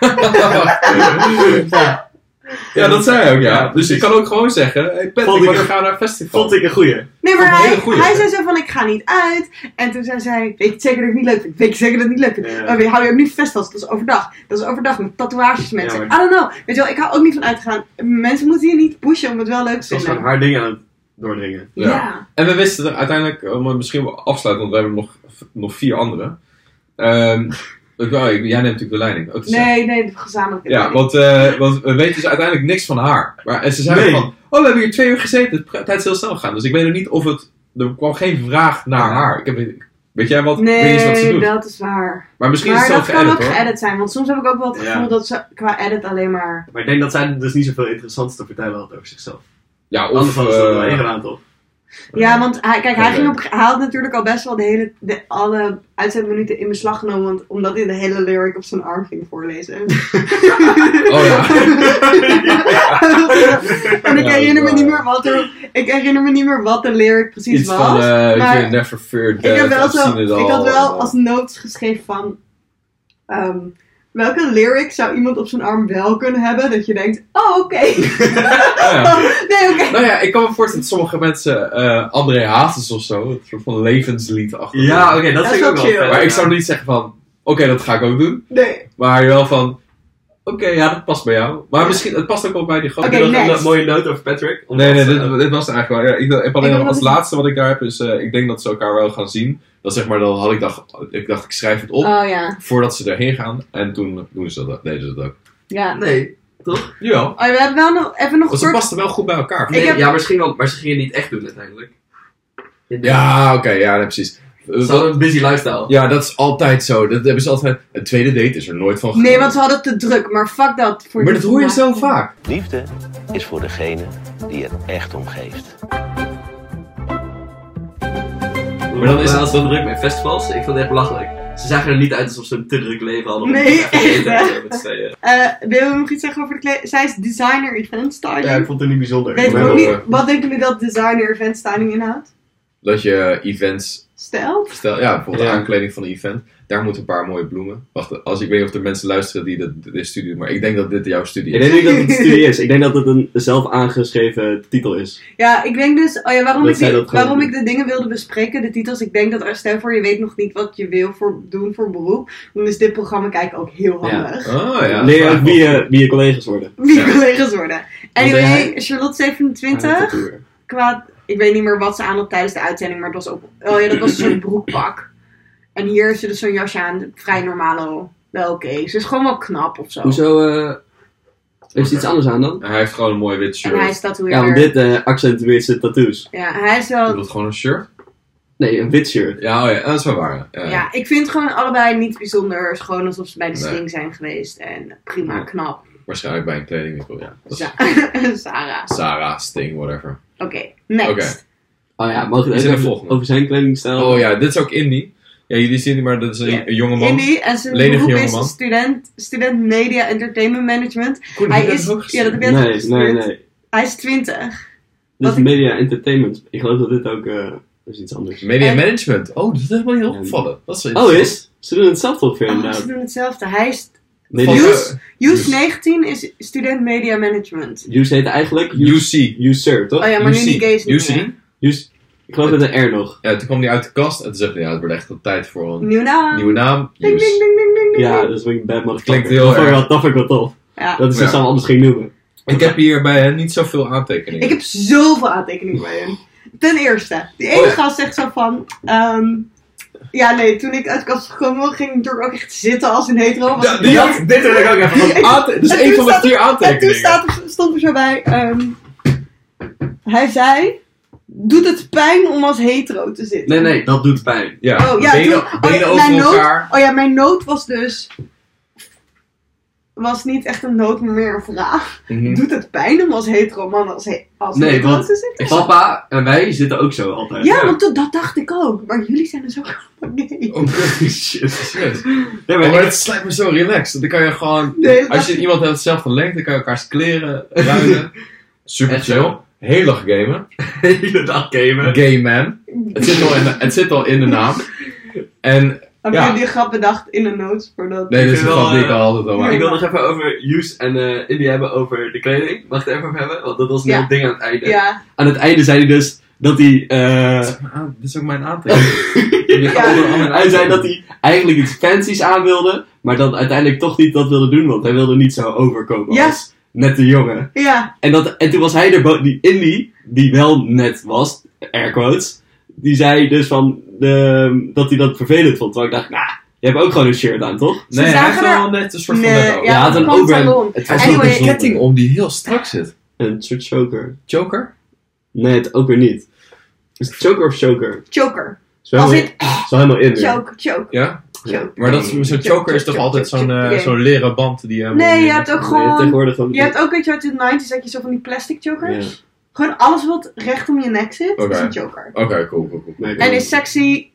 Speaker 3: Ja,
Speaker 2: ja, dat zei hij ook, ja.
Speaker 3: Ja,
Speaker 2: Dus je
Speaker 3: precies.
Speaker 2: kan ook gewoon zeggen, hey,
Speaker 3: Vond
Speaker 2: Patrick,
Speaker 3: ik
Speaker 2: wanneer
Speaker 3: een-
Speaker 2: gaan we naar een festival?
Speaker 3: vond ik een goeie.
Speaker 1: nee, maar
Speaker 2: Vond ik een
Speaker 1: hij,
Speaker 2: hele goeie.
Speaker 1: hij zei zo van, ik ga niet uit. En toen zei zij, weet je zeker dat ik het niet leuk vind? Weet je zeker dat ik het niet leuk vind?
Speaker 3: Ja.
Speaker 1: Oh, je hou je ook niet van festivals, dat is overdag. Dat is overdag met tatoeages mensen.
Speaker 3: Ja, maar-
Speaker 1: I don't know. Weet je wel, ik hou ook niet van uitgaan. Mensen moeten hier niet pushen om het wel leuk te
Speaker 3: Ze was
Speaker 1: vinden.
Speaker 3: gewoon haar ding aan het doordringen.
Speaker 2: Ja.
Speaker 1: ja.
Speaker 2: En we wisten er uiteindelijk, eh, om het misschien wel afsluiten, want we hebben nog, nog vier andere. Ehm, ik wou- ik- jij neemt natuurlijk de leiding. Oh, het is-
Speaker 1: Nee, nee, gezamenlijk.
Speaker 2: Ja, want, eh, want we weten dus uiteindelijk niks van haar. Maar, en ze zei
Speaker 3: Nee.
Speaker 2: van, oh we hebben hier twee uur gezeten, het pra- tijd is heel snel gegaan. Dus ik weet ook niet of het, er kwam geen vraag naar haar. Ik heb, weet jij wat, weet je eens wat ze
Speaker 1: Nee,
Speaker 2: doet?
Speaker 1: dat is waar.
Speaker 2: Maar misschien
Speaker 1: maar
Speaker 2: is het
Speaker 1: dat
Speaker 2: zo
Speaker 1: kan
Speaker 2: geëdit
Speaker 1: ook
Speaker 2: hoor.
Speaker 1: geëdit zijn, want soms heb ik ook wel het
Speaker 3: Ja.
Speaker 1: gevoel dat ze qua edit alleen maar.
Speaker 3: Maar ik denk dat zij dus niet zoveel interessants te vertellen had over zichzelf.
Speaker 2: Ja,
Speaker 3: Anders
Speaker 2: of...
Speaker 3: hadden ze dat wel
Speaker 2: eh,
Speaker 3: even aan, toch?
Speaker 1: Ja, want hij, kijk, hij,
Speaker 2: Oké.
Speaker 1: ging op, hij had natuurlijk al best wel de hele, de, alle uitzendminuten in beslag genomen, want, omdat hij de hele lyric op zijn arm ging voorlezen.
Speaker 2: oh ja.
Speaker 1: en ik
Speaker 2: Ja,
Speaker 1: herinner me
Speaker 2: waar.
Speaker 1: niet meer wat er, ik herinner me niet meer wat de lyric precies
Speaker 2: Iets
Speaker 1: was.
Speaker 2: van, eh,
Speaker 1: maar-
Speaker 2: je never fear
Speaker 1: Ik,
Speaker 2: death,
Speaker 1: heb wel
Speaker 2: I've
Speaker 1: zo,
Speaker 2: seen it all.
Speaker 1: ik had wel als notes geschreven van... ehm, welke lyric zou iemand op zijn arm wel kunnen hebben? Dat je denkt, oh, oké.
Speaker 2: Oh, ja.
Speaker 1: nee, oké.
Speaker 2: Nou ja, ik kan me voorstellen dat sommige mensen eh, André Hazes of zo, een soort van levenslied achter.
Speaker 3: Ja, oké, dat,
Speaker 1: is
Speaker 3: vind ik
Speaker 1: wel
Speaker 3: ook wel
Speaker 1: chill.
Speaker 3: vet,
Speaker 2: Maar ik
Speaker 3: ja.
Speaker 2: zou niet zeggen van, oké, dat ga ik ook doen.
Speaker 1: Nee.
Speaker 2: Maar wel van, oké, ja, dat past bij jou. Maar misschien, het past ook wel bij die gast.
Speaker 1: Oké,
Speaker 3: Heb je nog
Speaker 1: next.
Speaker 3: een mooie noot over Patrick?
Speaker 2: Nee, nee,
Speaker 3: Omdat,
Speaker 2: dit,
Speaker 3: eh,
Speaker 2: dit was het eigenlijk wel. Ja, ik, dacht- ik heb
Speaker 1: Ik
Speaker 2: alleen
Speaker 1: denk
Speaker 2: als
Speaker 1: dat ik-
Speaker 2: laatste wat ik daar heb is, eh, ik denk dat ze elkaar wel gaan zien. Dat zeg maar, dan had ik dacht, ik dacht, ik schrijf het op
Speaker 1: Oh ja. voordat
Speaker 2: voordat ze erheen gaan. En toen doen ze dat, deden ze dat ook.
Speaker 1: ja.
Speaker 3: Nee, toch?
Speaker 2: Jawel.
Speaker 1: Oh, we hebben wel nog, even nog
Speaker 2: Want ze
Speaker 1: kort...
Speaker 2: pasten Dus wel goed bij elkaar.
Speaker 1: Ik
Speaker 3: Nee,
Speaker 1: heb-
Speaker 3: Ja, misschien wel, maar ze gingen het niet echt doen uiteindelijk.
Speaker 2: Ja, oké, ja, nee, precies. eh,
Speaker 3: Ze hadden Dus een busy lifestyle.
Speaker 2: Ja, dat is altijd zo. Dat hebben ze altijd. Een tweede date is er nooit van
Speaker 1: Nee,
Speaker 2: gekomen.
Speaker 1: want ze hadden het te druk, maar fuck dat. Voor
Speaker 2: Oh, Maar
Speaker 1: die
Speaker 2: dat hoor je zo
Speaker 1: volmaakte-
Speaker 2: vaak.
Speaker 4: Liefde is voor degene die er echt om geeft.
Speaker 3: Maar dan is het zo druk met festivals. Ik vond het echt belachelijk. Ze zagen er niet uit alsof ze een te druk leven hadden. om
Speaker 1: Nee,
Speaker 3: te gaan eten
Speaker 1: echt,
Speaker 3: en
Speaker 1: hè?
Speaker 3: zo met z'n tweeën.
Speaker 1: Eh, wil je nog iets zeggen over de kleding? Zij is designer event styling.
Speaker 3: Ja, ik vond het niet bijzonder.
Speaker 1: Weet ik
Speaker 2: Maar
Speaker 1: ook
Speaker 2: wel,
Speaker 1: niet,
Speaker 2: eh,
Speaker 1: wat denken jullie dat designer event styling inhoudt?
Speaker 2: Dat je events.
Speaker 1: Stelt?
Speaker 2: Stel, ja, bijvoorbeeld
Speaker 3: Ja.
Speaker 2: de aankleding van een event. Daar moeten een paar mooie bloemen. Wacht, als ik weet niet of er mensen luisteren die dit, dit studie doen, maar ik denk dat dit jouw studie
Speaker 3: Ik
Speaker 2: is.
Speaker 3: denk niet dat het een studie is. Ik denk dat het een zelf aangeschreven titel is.
Speaker 1: Ja, ik denk dus, oh ja, waarom,
Speaker 3: Dat
Speaker 1: ik, die-
Speaker 3: zij dat gewoon
Speaker 1: waarom
Speaker 3: doen.
Speaker 1: ik de dingen wilde bespreken, de titels, ik denk dat als stel voor je weet nog niet wat je wil voor, doen voor beroep, dan is dit programma kijken ook heel
Speaker 3: Ja.
Speaker 1: handig.
Speaker 2: Oh ja.
Speaker 3: Leer ook
Speaker 2: Vraag
Speaker 3: wie eh,
Speaker 2: wel.
Speaker 3: je, wie je collega's worden.
Speaker 1: Wie
Speaker 2: Ja.
Speaker 1: collega's worden. Anyway,
Speaker 3: zei
Speaker 2: eh,
Speaker 3: hij?
Speaker 1: Charlotte
Speaker 3: Ja,
Speaker 1: 27,
Speaker 3: dat doe je.
Speaker 1: qua, ik weet niet meer wat ze aan had tijdens de uitzending, maar het was op, oh ja, dat was een soort broekpak. En hier heeft ze dus zo'n jasje aan, vrij normalo, wel oké. Ze is gewoon wel knap of zo.
Speaker 3: Hoezo eh heeft ze iets anders aan dan?
Speaker 2: Hij heeft gewoon een mooi wit shirt.
Speaker 1: En hij is tatoeëerder.
Speaker 3: Ja, want dit eh accentueert zijn tattoos.
Speaker 1: Ja, hij is wel
Speaker 2: Je wilt gewoon een shirt?
Speaker 3: Nee, een wit shirt.
Speaker 2: Ja, oh ja, dat is wel waar. Ja.
Speaker 1: Ja, ik vind gewoon allebei niet bijzonder. Het is gewoon alsof ze bij de
Speaker 2: Nee.
Speaker 1: sting zijn geweest. En prima,
Speaker 2: Ja.
Speaker 1: knap.
Speaker 2: Waarschijnlijk bij een kledingwinkel, ja. Dat is
Speaker 1: Sa- Sarah.
Speaker 2: Sarah, Sting, whatever.
Speaker 1: Oké, next.
Speaker 2: Oké.
Speaker 3: Oh ja, mogen we
Speaker 2: Is
Speaker 3: het
Speaker 2: er een
Speaker 3: even
Speaker 2: volgende?
Speaker 3: over zijn kledingstijl?
Speaker 2: Oh ja, dit is ook Indie. Ja, jullie zien die, maar dat is een,
Speaker 1: Ja.
Speaker 2: een jonge man.
Speaker 1: Indy, en zijn
Speaker 2: Lenig
Speaker 1: beroep
Speaker 2: jonge
Speaker 1: is
Speaker 2: man.
Speaker 1: student, student media entertainment management.
Speaker 2: Goed,
Speaker 1: Hij
Speaker 2: heb je
Speaker 1: is-
Speaker 2: dat ook
Speaker 1: ja, dat heb
Speaker 2: gezien?
Speaker 1: je-
Speaker 3: Nee, nee, nee.
Speaker 1: Hij is 20.
Speaker 3: Dit is
Speaker 1: ik-
Speaker 3: media entertainment. Ik geloof dat dit ook eh, dat is iets anders.
Speaker 2: Media
Speaker 1: En-
Speaker 2: management. Oh, dat is helemaal niet opgevallen. Dat is
Speaker 3: Oh,
Speaker 2: interessant.
Speaker 3: is? Ze doen hetzelfde ongeveer
Speaker 1: Oh, ze
Speaker 2: eh,
Speaker 3: inderdaad.
Speaker 1: doen hetzelfde. Hij is.
Speaker 2: Van,
Speaker 3: Media.
Speaker 1: Use-
Speaker 2: eh,
Speaker 1: Youth
Speaker 2: Dus-
Speaker 1: 19 is student media management.
Speaker 3: Use heet
Speaker 2: eh,
Speaker 3: eigenlijk Use,
Speaker 2: UC.
Speaker 3: Usurp, toch?
Speaker 1: Oh ja, maar nu
Speaker 2: UC.
Speaker 1: die gays niet
Speaker 2: UC?
Speaker 1: meer.
Speaker 3: Use, ik geloof dat een R nog.
Speaker 2: Ja, toen kwam hij uit de kast en toen zegt hij, ja, het wordt echt wel tijd voor een
Speaker 1: Nieuw naam.
Speaker 2: nieuwe naam.
Speaker 1: Ding, ding,
Speaker 2: Use.
Speaker 1: ding, ding, ding, ding.
Speaker 3: Ja, dat is een bad motherfucker.
Speaker 2: Klinkt heel
Speaker 3: dat vond ik
Speaker 2: erg.
Speaker 3: wel- Dat vind ik wel tof.
Speaker 1: Ja.
Speaker 3: Dat is
Speaker 2: Ja.
Speaker 3: wat ze hem anders ging noemen.
Speaker 2: Ik heb hier bij hen niet zoveel aantekeningen.
Speaker 1: Ik heb zoveel aantekeningen bij hem. Ten eerste, die ene
Speaker 2: Oh ja.
Speaker 1: gast zegt zo van... ehm, ja, nee, toen ik uit de kast was gekomen ging ik er ook echt zitten als een hetero. Was
Speaker 2: Ja,
Speaker 1: ik
Speaker 2: die
Speaker 1: heel-
Speaker 2: had- dit heb ik ook even. want aante- Dus
Speaker 1: En
Speaker 2: één
Speaker 1: toen
Speaker 2: van de
Speaker 1: staat-
Speaker 2: vier
Speaker 1: en toen
Speaker 2: aantekeningen.
Speaker 1: staat er, stond er zo bij... ehm, hij zei... Doet het pijn om als hetero te zitten?
Speaker 3: Nee, nee, dat doet pijn.
Speaker 2: Ja,
Speaker 1: Oh, ja,
Speaker 2: benen,
Speaker 1: toen- oh,
Speaker 2: benen
Speaker 1: mijn
Speaker 2: over
Speaker 1: noot-
Speaker 2: elkaar.
Speaker 1: Oh ja, mijn nood was dus... Was niet echt een nood, maar meer een vraag.
Speaker 2: Mhm.
Speaker 1: Doet het pijn om als hetero man als, he- als
Speaker 3: Nee,
Speaker 1: hetero
Speaker 3: want-
Speaker 1: te zitten?
Speaker 3: Papa en wij zitten ook zo altijd.
Speaker 1: Ja, want dat, dat dacht ik ook. Maar jullie zijn dus ook allemaal gay.
Speaker 2: Oh, shit. shit.
Speaker 3: Nee,
Speaker 2: Oh,
Speaker 3: maar
Speaker 2: maar
Speaker 3: ik-
Speaker 2: het lijkt me zo relaxed. Dan kan je gewoon...
Speaker 1: Nee, dat
Speaker 2: Als je
Speaker 1: dacht-
Speaker 2: iemand hebt hetzelfde lengte, dan kan je elkaars kleren ruilen. Super
Speaker 3: Echt
Speaker 2: chill.
Speaker 3: zo.
Speaker 2: Heel erg gamen.
Speaker 3: de hele dag gamen.
Speaker 2: Gay man. Het zit al in de, het zit al in de naam. En
Speaker 1: Heb
Speaker 2: Ja.
Speaker 1: je die grap bedacht in een notes voor dat?
Speaker 2: Nee,
Speaker 3: Ik
Speaker 2: dit is een
Speaker 3: vind
Speaker 2: grap
Speaker 3: wel,
Speaker 2: die ik
Speaker 3: eh,
Speaker 2: al altijd al
Speaker 3: Maar ik
Speaker 2: maak.
Speaker 3: wil nog even over Use en eh Indy hebben over de kleding. Mag ik het even over hebben? Want dat was een
Speaker 1: Ja.
Speaker 3: heel ding aan het einde.
Speaker 1: Ja,
Speaker 3: Aan het einde zei hij dus dat hij... eh,
Speaker 2: Dit is ook mijn aantekening. Je gaat onder andere
Speaker 3: Hij zei dat hij eigenlijk iets fancies aan wilde, maar dan uiteindelijk toch niet dat wilde doen, want hij wilde niet zo overkomen
Speaker 1: Ja.
Speaker 3: als net de jongen.
Speaker 1: ja.
Speaker 3: En, dat, en toen was hij er, bo- die Indy, die wel net was, air quotes, die zei dus van de, dat hij dat vervelend vond. Terwijl ik dacht, nou, je hebt ook gewoon een shirt aan, toch?
Speaker 1: Ze
Speaker 2: Nee, hij heeft
Speaker 1: zagen er-
Speaker 2: wel net een soort van...
Speaker 1: Nee,
Speaker 2: net-
Speaker 1: ja.
Speaker 3: hij had
Speaker 1: dat
Speaker 3: een
Speaker 1: kwam
Speaker 3: overhemd.
Speaker 1: salon.
Speaker 3: Het
Speaker 2: Hij
Speaker 3: was
Speaker 2: heeft
Speaker 3: ook
Speaker 2: ook een
Speaker 1: Anyway,
Speaker 2: ketting om die heel strak zit.
Speaker 3: Een soort choker.
Speaker 2: Joker?
Speaker 3: Nee, het ook weer niet. Is het choker of choker?
Speaker 1: Choker.
Speaker 3: Is wel
Speaker 1: Als
Speaker 3: helemaal,
Speaker 1: in
Speaker 3: is wel helemaal in. weer.
Speaker 1: choke, choke,
Speaker 2: Ja.
Speaker 1: choke.
Speaker 2: Maar dat is- zo'n choker is toch altijd zo'n eh, zo'n leren band die... eh,
Speaker 1: Nee, je hebt ook
Speaker 3: Maar je hebt
Speaker 1: gewoon...
Speaker 3: tegenwoordig dan-
Speaker 1: Je hebt ook, weet je, uit de 90s had je zo van die plastic
Speaker 3: Ja.
Speaker 1: chokers. Gewoon alles wat recht om je nek zit,
Speaker 2: Oké.
Speaker 1: is een choker.
Speaker 2: Oké, cool, cool, cool.
Speaker 3: Nee, ik
Speaker 1: En is sexy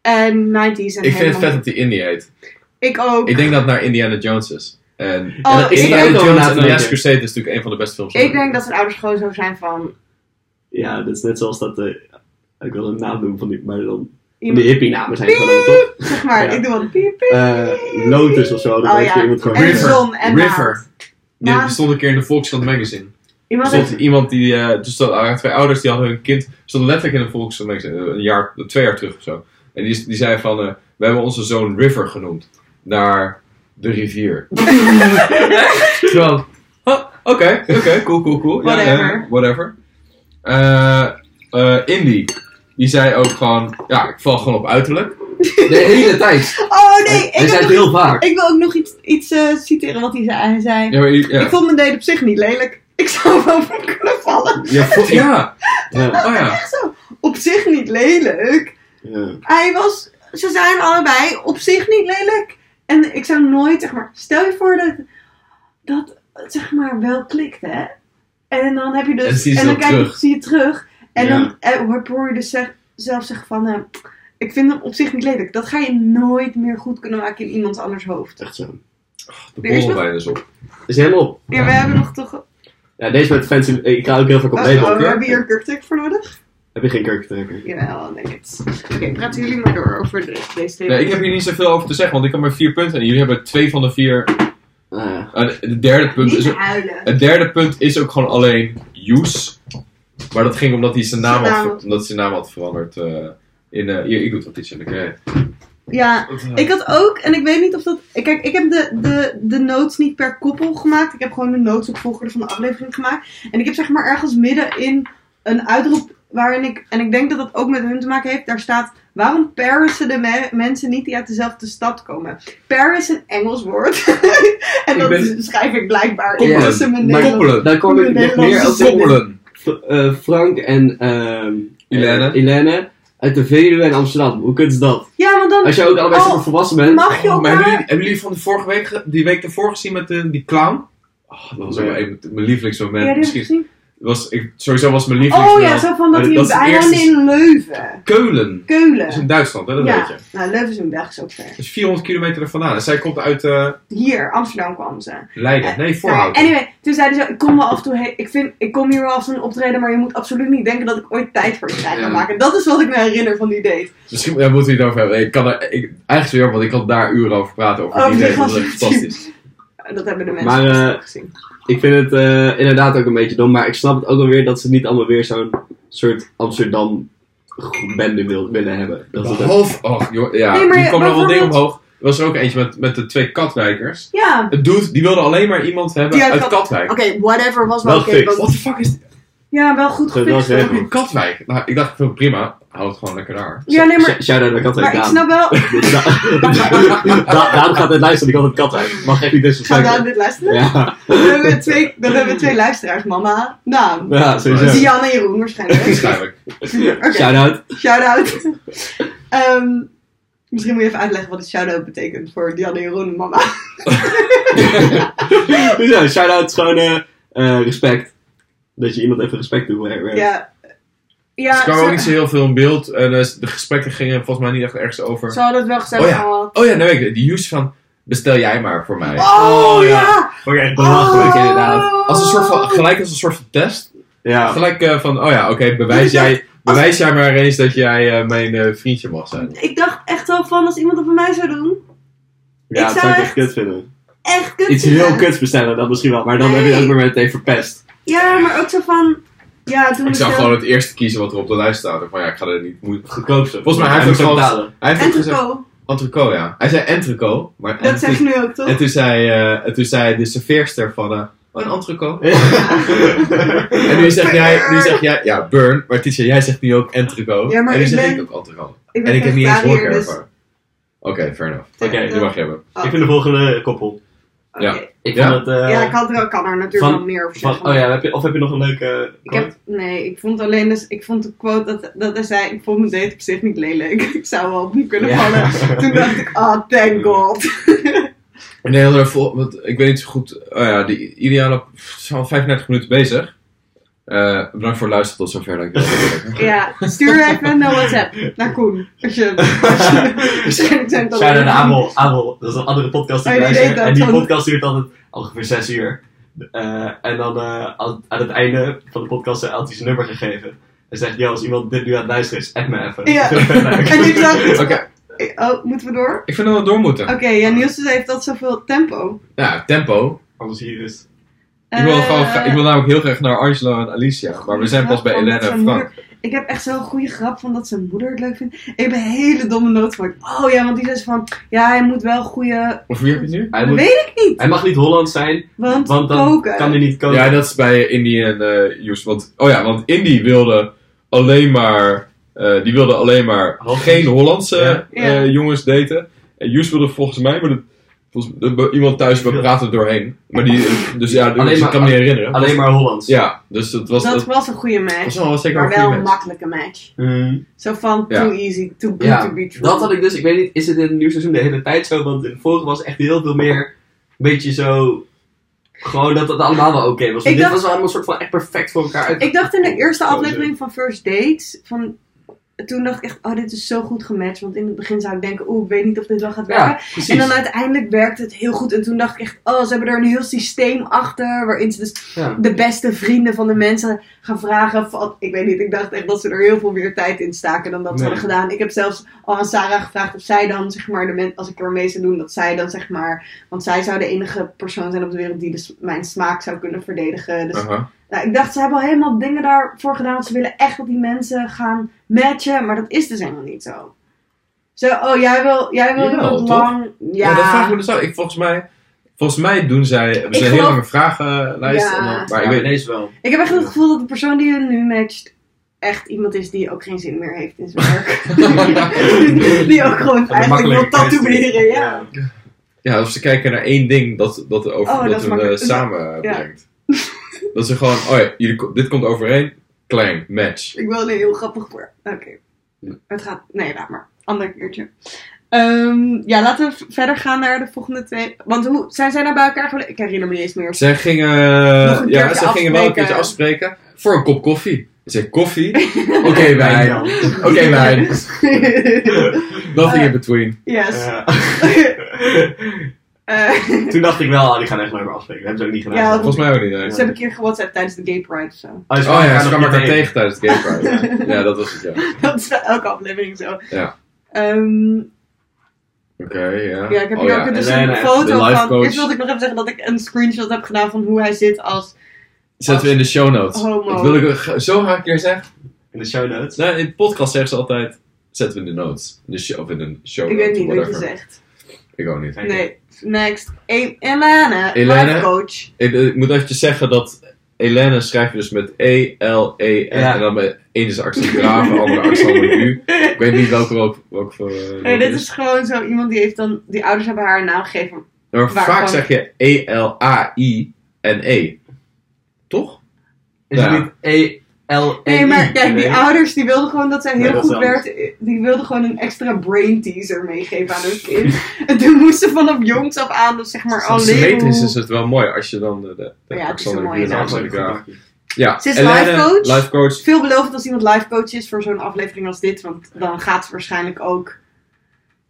Speaker 1: en 90s en
Speaker 2: Ik vind het
Speaker 1: helemaal-
Speaker 2: vet dat hij Indie heet.
Speaker 1: Ik ook.
Speaker 2: Ik denk dat het naar Indiana Jones is. En
Speaker 1: Oh,
Speaker 2: Ja,
Speaker 1: ik
Speaker 2: Indiana
Speaker 1: denk-
Speaker 2: Jones en
Speaker 3: ook-
Speaker 2: The Last Crusade is natuurlijk een van de beste films.
Speaker 1: Ik denk dat zijn ouders gewoon zo zijn van...
Speaker 3: Ja, dat is net zoals dat. eh, ik wil een naam noemen van die, maar dan. van Die
Speaker 1: Iemand,
Speaker 3: hippie namen zijn gewoon toch?
Speaker 1: zeg maar,
Speaker 3: Ja.
Speaker 1: ik doe wat piep, piep.
Speaker 3: Eh Lotus of zo, dat
Speaker 1: Oh
Speaker 3: heeft
Speaker 1: ja.
Speaker 3: iemand gewoon.
Speaker 1: En
Speaker 2: River.
Speaker 1: zon en
Speaker 2: River.
Speaker 1: maand.
Speaker 2: Die
Speaker 1: Maand.
Speaker 2: die stond een keer in de Volkskrant magazine. Er
Speaker 1: Iemand heeft
Speaker 2: stond iemand die, eh dus dat waren twee ouders, die hadden hun kind, stond letterlijk in de Volkskrant magazine, eh, een jaar, twee jaar terug of zo. En die, die zei van, eh, we hebben onze zoon River genoemd, naar de rivier. Terwijl, huh, oké, oké, cool, cool, cool. Ja,
Speaker 1: Whatever.
Speaker 2: eh, whatever. Eh, eh, Indy, die zei ook gewoon, ja, ik val gewoon op uiterlijk.
Speaker 3: De hele tijd.
Speaker 1: Oh nee, ik,
Speaker 3: Hij
Speaker 1: heb
Speaker 3: zei het
Speaker 1: nog-
Speaker 3: heel vaak.
Speaker 1: ik wil ook nog iets, iets eh, citeren wat hij zei. Hij zei
Speaker 2: Ja, maar, ja.
Speaker 1: Ik vond mijn date op zich niet lelijk. Ik zou wel van kunnen vallen.
Speaker 2: ja, vo- ja.
Speaker 3: Ja.
Speaker 2: oh ja.
Speaker 1: Echt zo. Op zich niet lelijk.
Speaker 2: Ja.
Speaker 1: Hij was, ze zijn allebei op zich niet lelijk. En ik zou nooit, zeg maar, stel je voor dat dat, zeg maar, wel klikt, hè. En dan heb je dus,
Speaker 2: En zie je
Speaker 1: en
Speaker 2: ze
Speaker 1: dan
Speaker 2: ook
Speaker 1: kijk je-
Speaker 2: terug.
Speaker 1: zie je het terug. En
Speaker 2: Ja.
Speaker 1: dan eh, hoor hoor je dus zeg- zelf zeggen van, eh, ik vind hem op zich niet lelijk. Dat ga je nooit meer goed kunnen maken in iemand anders hoofd.
Speaker 3: Echt zo.
Speaker 2: De
Speaker 1: Er is nog-
Speaker 2: borrelwijn is op.
Speaker 3: Is helemaal op.
Speaker 1: Ja, we hebben nog toch,
Speaker 3: Ja, deze met fancy. Ik ga ook heel vaak op
Speaker 1: oh, oh, we
Speaker 3: label.
Speaker 1: hebben hier een kurktuk voor nodig.
Speaker 3: Heb je geen kurktrekker?
Speaker 1: Jawel, denk het. Oké, praten jullie maar door over de, deze twee.
Speaker 2: Nee, ik heb hier niet zoveel over te zeggen, want ik heb maar vier punten. En jullie hebben twee van de vier.
Speaker 3: Nou ja.
Speaker 2: Eh, de- de derde punt Dus- is
Speaker 1: Niet
Speaker 2: ook,
Speaker 1: huilen.
Speaker 2: het derde punt is ook gewoon alleen Joes. Maar dat ging omdat hij zijn naam,
Speaker 1: Zijn naam.
Speaker 2: Had, ver- omdat hij zijn naam had veranderd. eh, in, eh, hier, ik doe het wat iets in de krijg.
Speaker 1: Ja, Ik had ook, en ik weet niet of dat. Kijk, ik heb de, de, de notes niet per koppel gemaakt. Ik heb gewoon de notes op volgorde van de aflevering gemaakt. En ik heb zeg maar ergens middenin een uitroep waarin ik. En ik denk dat dat ook met hun te maken heeft. Daar staat. Waarom Parisen de me- mensen niet die uit dezelfde stad komen? Paris is een Engels woord. en
Speaker 2: Ik
Speaker 1: dat
Speaker 2: ben-
Speaker 1: schrijf ik blijkbaar in
Speaker 2: Koppelen.
Speaker 1: tussen mijn
Speaker 3: Maar-
Speaker 1: Nederlands.
Speaker 2: Koppelen.
Speaker 3: Daar kwam ik nog meer op de-
Speaker 2: Koppelen.
Speaker 3: F- eh, Frank en ehm
Speaker 2: Ilene.
Speaker 3: eh, Ilene uit de Veluwe en Amsterdam. Hoe kunt ze dat?
Speaker 1: Ja, want dan.
Speaker 3: Als je ook allebei
Speaker 1: Oh,
Speaker 3: super volwassen bent.
Speaker 1: mag je
Speaker 2: Oh, maar hebben
Speaker 1: elkaar.
Speaker 2: jullie, hebben jullie van de vorige week, ge- die week ervoor gezien met eh, die clown? Oh, dat was ook wel
Speaker 3: Nee.
Speaker 2: een, mijn lievelingsmoment.
Speaker 1: Ja, die heb ik
Speaker 2: Misschien
Speaker 1: gezien.
Speaker 2: was, ik, sowieso was mijn
Speaker 1: Oh
Speaker 2: lievelingsmoment.
Speaker 1: ja, zo van dat
Speaker 2: Maar
Speaker 1: hij
Speaker 2: dat
Speaker 1: op
Speaker 2: is
Speaker 1: de
Speaker 2: het
Speaker 1: eilanden
Speaker 2: eerste-
Speaker 1: in Leuven.
Speaker 2: Keulen.
Speaker 1: Keulen.
Speaker 2: Dat is in Duitsland, hè, dat
Speaker 1: ja,
Speaker 2: weet je.
Speaker 1: nou, Leuven is een weg, is ook ver.
Speaker 2: Dat is 400 kilometer ervandaan. En zij komt uit eh,
Speaker 1: hier, Amsterdam kwam ze.
Speaker 2: Leiden. Nee,
Speaker 1: Maar
Speaker 2: Voorhout.
Speaker 1: anyway, toen zei hij zo, ik kom wel af en toe heen. Ik, vind, ik kom hier wel af en toe optreden, maar je moet absoluut niet denken dat ik ooit tijd voor je ga
Speaker 3: Ja.
Speaker 1: maken. Dat is wat ik me herinner van die date.
Speaker 2: Misschien ja, moeten we het over hebben. Ik kan er, ik, eigenlijk zo jammer, want ik kan daar uren over praten. Over
Speaker 1: Oh,
Speaker 2: die
Speaker 1: die
Speaker 2: idee. Dat is
Speaker 1: gast.
Speaker 2: echt fantastisch.
Speaker 1: Dat hebben de mensen
Speaker 3: Maar, eh,
Speaker 1: gezien.
Speaker 3: Ik vind het eh, inderdaad ook een beetje dom, maar ik snap het ook wel weer dat ze niet allemaal weer zo'n soort Amsterdam bende wil, willen hebben. Dat is het ook.
Speaker 2: Behalve, oh, joh, ja,
Speaker 1: Nee, maar
Speaker 2: toen kwam er wel dingen
Speaker 1: bijvoorbeeld-
Speaker 2: omhoog. Er was er ook eentje met, met de twee katwijkers.
Speaker 1: Ja,
Speaker 2: Het dude, die wilde alleen maar iemand hebben
Speaker 1: Die uit
Speaker 2: uit
Speaker 1: Kat-
Speaker 2: Katwijk.
Speaker 1: oké, whatever was wel
Speaker 3: Wel
Speaker 1: oké.
Speaker 3: gefixt.
Speaker 1: want-
Speaker 2: What the fuck is dit?
Speaker 1: Ja, wel goed
Speaker 3: Goed, wel
Speaker 1: gefixt.
Speaker 3: geregeld.
Speaker 1: hoor.
Speaker 2: Katwijk? Nou, ik dacht, veel prima. Hou het gewoon lekker daar.
Speaker 1: Ja, nee, maar,
Speaker 3: Sh- Shout-out naar Katwijk
Speaker 1: maar ik
Speaker 3: Daan.
Speaker 1: snap wel...
Speaker 3: Da- Daan gaat het luisteren, die had het Katwijk. Mag echt niet
Speaker 1: Gaan we aan
Speaker 3: disrespecten.
Speaker 1: dit luisteren?
Speaker 3: Ja.
Speaker 1: Dan hebben we twee, dan hebben we twee luisteraars, mama. Nou,
Speaker 3: ja, sowieso.
Speaker 2: Ja.
Speaker 1: Diane en Jeroen waarschijnlijk.
Speaker 2: Waarschijnlijk.
Speaker 1: Oké.
Speaker 3: Shout-out.
Speaker 1: Shout-out. Ehm, misschien moet je even uitleggen wat het shout-out betekent voor Diane en Jeroen en mama.
Speaker 3: Ja, shout-out is gewoon eh, eh, respect. Dat je iemand even respect doet. waar- waar-
Speaker 1: Ja. Ja,
Speaker 2: Ze kwamen ook niet
Speaker 1: ze,
Speaker 2: zo heel veel in beeld. En eh, de gesprekken gingen volgens mij niet echt ergens over.
Speaker 1: ze hadden het wel gezegd
Speaker 2: Oh ja.
Speaker 1: gehad.
Speaker 2: Oh ja, nou weet ik het. Die Joes van, bestel jij maar voor mij.
Speaker 1: Oh,
Speaker 3: Oh, ja.
Speaker 1: ja!
Speaker 3: Vond ik echt
Speaker 1: Oh.
Speaker 3: belachelijk, inderdaad.
Speaker 2: Als een soort van, gelijk als een soort van test.
Speaker 3: Ja.
Speaker 2: Gelijk eh, van, oh ja, oké, bewijs,
Speaker 1: Ja,
Speaker 2: jij, bewijs jij maar eens dat jij eh, mijn eh, vriendje mag zijn.
Speaker 1: Ik dacht echt wel van, als iemand dat bij mij zou doen,
Speaker 3: Ja,
Speaker 1: Ik
Speaker 3: dat
Speaker 1: zou
Speaker 3: zou ik
Speaker 1: echt-
Speaker 3: echt kut vinden.
Speaker 1: echt kut.
Speaker 3: Iets
Speaker 1: vinden.
Speaker 3: heel kuts bestellen, dat misschien wel. Maar dan heb je het ook weer meteen verpest.
Speaker 1: Ja, maar ook zo van... Ja, toen
Speaker 2: Ik zou
Speaker 1: bestelde-
Speaker 2: gewoon het eerste kiezen wat er op de lijst staat. Van ja, ik ga er niet moeite...
Speaker 3: Goedkoop zo.
Speaker 2: Volgens mij hij heeft
Speaker 3: En
Speaker 2: ook
Speaker 3: moet
Speaker 2: gewoon-
Speaker 3: betalen.
Speaker 2: Hij heeft
Speaker 1: En
Speaker 2: ook gezegd...
Speaker 1: Tricot.
Speaker 2: Entreco, ja. Hij zei entreco, maar...
Speaker 1: Dat zeg je nu ook,
Speaker 2: En
Speaker 1: toch?
Speaker 2: toen zei, eh, en toen zei de serveerster van... eh, oh, een entreco. En nu zeg jij, nu zeg jij, ja, burn. Maar Tisha, jij zegt nu ook entreco.
Speaker 1: Ja, maar
Speaker 2: en nu
Speaker 1: ik
Speaker 2: zeg
Speaker 1: ben-
Speaker 2: ik ook entreco.
Speaker 1: Ik ben
Speaker 2: En ik heb niet eens
Speaker 1: vegetariër,
Speaker 2: hoorkerf.
Speaker 1: dus-
Speaker 2: Oké, fair enough.
Speaker 1: Oké,
Speaker 3: Oké,
Speaker 2: Die mag je hebben.
Speaker 1: Oh,
Speaker 3: Ik vind de volgende koppel.
Speaker 1: oké.
Speaker 2: ja.
Speaker 3: Ik
Speaker 2: Ja?
Speaker 3: vond het... eh,
Speaker 1: Ja, ik had er, kan er natuurlijk
Speaker 3: Van-
Speaker 1: wel meer over
Speaker 3: van-
Speaker 1: zeggen.
Speaker 3: oh ja, heb je, of heb je nog een leuke...
Speaker 1: Ik heb, nee, ik vond alleen dus, ik vond de quote dat, dat hij zei, ik vond mijn date op zich niet lelijk. Ik zou wel op me kunnen
Speaker 3: Ja.
Speaker 1: vallen. Toen dacht ik, ah, thank god.
Speaker 2: En heel erg vol, want ik weet niet zo goed. Oh ja, die ideale. pff, We zijn al 35 minuten bezig. Eh, bedankt voor het luisteren tot zover. Dank je wel.
Speaker 1: Ja, Nou, stuur even naar WhatsApp, naar Koen. Als je, als je- waarschijnlijk zijn het
Speaker 3: Shout-out naar
Speaker 1: allemaal-
Speaker 3: Amel. Amel, dat is een andere podcast die
Speaker 1: Oh,
Speaker 3: ik
Speaker 1: die
Speaker 3: luister.
Speaker 1: deed dat
Speaker 3: En die
Speaker 1: van-
Speaker 3: podcast duurt altijd ongeveer 6 uur. Eh, en dan eh, aan, aan het einde van de podcast eh, had hij zijn nummer gegeven. En zegt, joh, als iemand dit nu aan het luisteren is, app me even.
Speaker 1: Ja.
Speaker 3: Ik vind het vet leuk.
Speaker 1: En ik dacht,
Speaker 2: Oké,
Speaker 1: oh, moeten we door?
Speaker 2: ik vind dat we door moeten.
Speaker 1: Oké, ja, Niels dus heeft dat zoveel tempo.
Speaker 2: Ja, tempo.
Speaker 3: Anders hier is...
Speaker 2: Ik wil,
Speaker 1: Eh,
Speaker 2: gewoon, gra- ik wil namelijk heel graag naar Angelo en Alicia. Maar we zijn pas bij
Speaker 1: Van
Speaker 2: Elena
Speaker 1: dat
Speaker 2: en
Speaker 1: zijn
Speaker 2: Frank.
Speaker 1: moeder- Ik heb echt zo'n goede grap van dat zijn moeder het leuk vindt. Ik heb een hele domme noot van, oh ja, want die zei zo van, ja, hij moet wel goede,
Speaker 2: Of wie heb je het nu?
Speaker 3: Hij,
Speaker 1: dat
Speaker 3: moet,
Speaker 1: weet ik niet.
Speaker 3: hij mag niet Holland zijn,
Speaker 1: Want,
Speaker 3: want dan
Speaker 1: koken.
Speaker 3: kan hij niet koken.
Speaker 2: Ja, dat is bij Indy en eh Joes. Want, oh ja, want Indy wilde alleen maar. eh, die wilde alleen maar
Speaker 3: Hollands.
Speaker 2: geen Hollandse
Speaker 3: Ja.
Speaker 2: eh,
Speaker 1: Ja.
Speaker 2: jongens daten. En Joes wilde volgens mij. Maar dat Volgens, de- iemand thuis bepraat het doorheen. Maar die, dus ja, dus
Speaker 3: Alleen
Speaker 2: ik
Speaker 3: maar-
Speaker 2: kan me niet herinneren.
Speaker 3: Alleen maar Hollands.
Speaker 2: Ja, dus dat was,
Speaker 1: Dat
Speaker 2: dat
Speaker 1: was een goede
Speaker 2: was
Speaker 1: match.
Speaker 2: wel zeker
Speaker 1: Maar
Speaker 2: een
Speaker 1: wel
Speaker 2: goede
Speaker 1: een
Speaker 2: match.
Speaker 1: makkelijke match.
Speaker 3: Mm.
Speaker 1: Zo van
Speaker 2: Ja.
Speaker 1: too easy, too good
Speaker 3: Ja,
Speaker 1: to be true.
Speaker 3: Dat had ik dus, ik weet niet, is het in het nieuwe seizoen de hele tijd zo? Want in het vorige was echt heel veel meer, een beetje zo, gewoon dat het allemaal wel oké was. Want
Speaker 1: Ik
Speaker 3: dit
Speaker 1: dacht-
Speaker 3: was wel allemaal soort van echt perfect voor elkaar. uit-
Speaker 1: Ik dacht in de eerste
Speaker 3: Oh, nee.
Speaker 1: aflevering van First Dates, van, toen dacht ik echt, oh dit is zo goed gematcht. Want in het begin zou ik denken, oeh, ik weet niet of dit wel gaat werken.
Speaker 3: ja, precies.
Speaker 1: En dan uiteindelijk werkte het heel goed. En toen dacht ik echt, oh, ze hebben er een heel systeem achter. Waarin ze dus
Speaker 3: Ja.
Speaker 1: de beste vrienden van de mensen gaan vragen. Van, ik weet niet, ik dacht echt dat ze er heel veel meer tijd in staken dan dat ze
Speaker 3: Nee.
Speaker 1: hadden gedaan. Ik heb zelfs al aan Sarah gevraagd of zij dan, zeg maar, de men, als ik er mee zou doen, dat zij dan, zeg maar. Want zij zou de enige persoon zijn op de wereld die dus mijn smaak zou kunnen verdedigen. Dus
Speaker 2: Aha.
Speaker 1: nou, ik dacht, ze hebben al helemaal dingen daarvoor gedaan. Want ze willen echt dat die mensen gaan matchen. Maar dat is dus helemaal niet zo. Zo, oh, jij wil, jij wil
Speaker 2: Jawel,
Speaker 1: iemand
Speaker 2: toch?
Speaker 1: lang. Ja.
Speaker 2: Ja. dat vraag ik me dus af. Ik, volgens, mij, volgens mij doen zij hebben ze een
Speaker 1: geloof-
Speaker 2: hele lange vragenlijst.
Speaker 1: Ja.
Speaker 2: en dan-
Speaker 3: maar
Speaker 2: maar ik weet niet.
Speaker 3: ineens wel.
Speaker 1: Ik heb echt het gevoel dat de persoon die hun nu matcht. echt iemand is die ook geen zin meer heeft in zijn werk. die ook gewoon eigenlijk wil
Speaker 2: makkelijke
Speaker 1: tatoeëren. Ja.
Speaker 2: Ja, of ze kijken naar één ding dat, dat, over,
Speaker 1: Oh, dat
Speaker 2: dat,
Speaker 1: is
Speaker 2: hun
Speaker 1: makkelijk.
Speaker 2: eh, samenbrengt. dat ze gewoon, oh ja, jullie, ko- dit komt overeen. Klein, match.
Speaker 1: Ik wilde heel grappig voor. Oké.
Speaker 3: Ja.
Speaker 1: Het gaat. Nee, laat maar. Ander keertje. Ehm, ja, laten we v- verder gaan naar de volgende twee. Want hoe zijn zij nou bij elkaar gelegd? Ik herinner me niet eens meer.
Speaker 2: Zij gingen,
Speaker 1: Nog een
Speaker 2: ja,
Speaker 1: keertje
Speaker 2: zij gingen wel een
Speaker 1: afspreken.
Speaker 2: keertje afspreken voor een kop koffie. Ze zei, koffie? Oké, wijn.
Speaker 3: Ja, ja.
Speaker 2: Oké, wijn. Nothing in between.
Speaker 1: yes. Eh,
Speaker 3: Toen dacht ik wel, ah, die gaan echt leuk afspreken. Dat hebben ze ook niet gedaan.
Speaker 1: Ja, want-
Speaker 2: Volgens mij ook niet. nee.
Speaker 1: Ze hebben een keer gewhatsappt tijdens de Gay Pride of zo.
Speaker 3: Oh,
Speaker 2: Oh ja, ze kwamen elkaar tegen tijdens het Game Pride. Ja, dat was het, ja.
Speaker 1: Dat is bij elke aflevering zo.
Speaker 2: Ja.
Speaker 1: Ehm,
Speaker 2: Oké, ja.
Speaker 1: ja, ik heb
Speaker 2: Oh
Speaker 1: hier
Speaker 2: ja.
Speaker 1: ook dus
Speaker 3: Nee,
Speaker 1: een
Speaker 3: nee,
Speaker 2: de
Speaker 1: foto
Speaker 2: life
Speaker 1: van.
Speaker 2: coach.
Speaker 1: Eerst wilde ik nog even zeggen dat ik een screenshot heb gedaan van hoe hij zit als...
Speaker 2: Zetten we in de show notes.
Speaker 1: Homo.
Speaker 2: Dat wil ik g- zo graag een keer zeggen.
Speaker 3: In de show notes.
Speaker 2: Nou, in de podcast zeggen ze altijd, zetten we in de notes. In de show, of in de show
Speaker 1: Ik
Speaker 2: notes,
Speaker 1: weet niet wat je
Speaker 2: whatever.
Speaker 1: zegt.
Speaker 2: Ik ook niet.
Speaker 3: eh,
Speaker 1: Nee. Next. E- Elana.
Speaker 2: Elana?
Speaker 1: Life coach.
Speaker 2: Ik, eh, ik moet eventjes zeggen dat Elena schrijf je dus met E-L-E-N.
Speaker 3: Ja.
Speaker 2: En dan met één is de accent graven, andere accent met U. Ik weet niet welke welke, welke voor, eh,
Speaker 1: Nee,
Speaker 2: welke
Speaker 1: dit is gewoon zo iemand die heeft dan... Die ouders hebben haar een naam gegeven.
Speaker 2: Maar
Speaker 1: waar
Speaker 2: vaak
Speaker 1: gewoon-
Speaker 2: zeg je E E-L-A-I-N-E. E. Toch?
Speaker 3: Is
Speaker 2: Ja.
Speaker 3: het niet E E-L-E?
Speaker 1: Nee, maar kijk, die ouders die wilden gewoon dat zij heel
Speaker 3: Nee, dat is
Speaker 1: goed werd. Die wilden gewoon een extra brain teaser meegeven aan hun kind. en toen moesten ze vanaf jongs af aan, dus zeg maar, al leren
Speaker 2: Symmetrisch
Speaker 1: hoe-
Speaker 2: is het wel mooi als je dan de, de, de
Speaker 1: Ja, het is
Speaker 2: accent
Speaker 1: een
Speaker 2: met
Speaker 1: mooie
Speaker 2: U en de
Speaker 1: naam.
Speaker 2: accent graven. Ja,
Speaker 1: Ze is
Speaker 2: Elena,
Speaker 1: lifecoach.
Speaker 2: life coach.
Speaker 1: veelbelovend als iemand lifecoach is voor zo'n aflevering als dit. Want dan gaat ze waarschijnlijk ook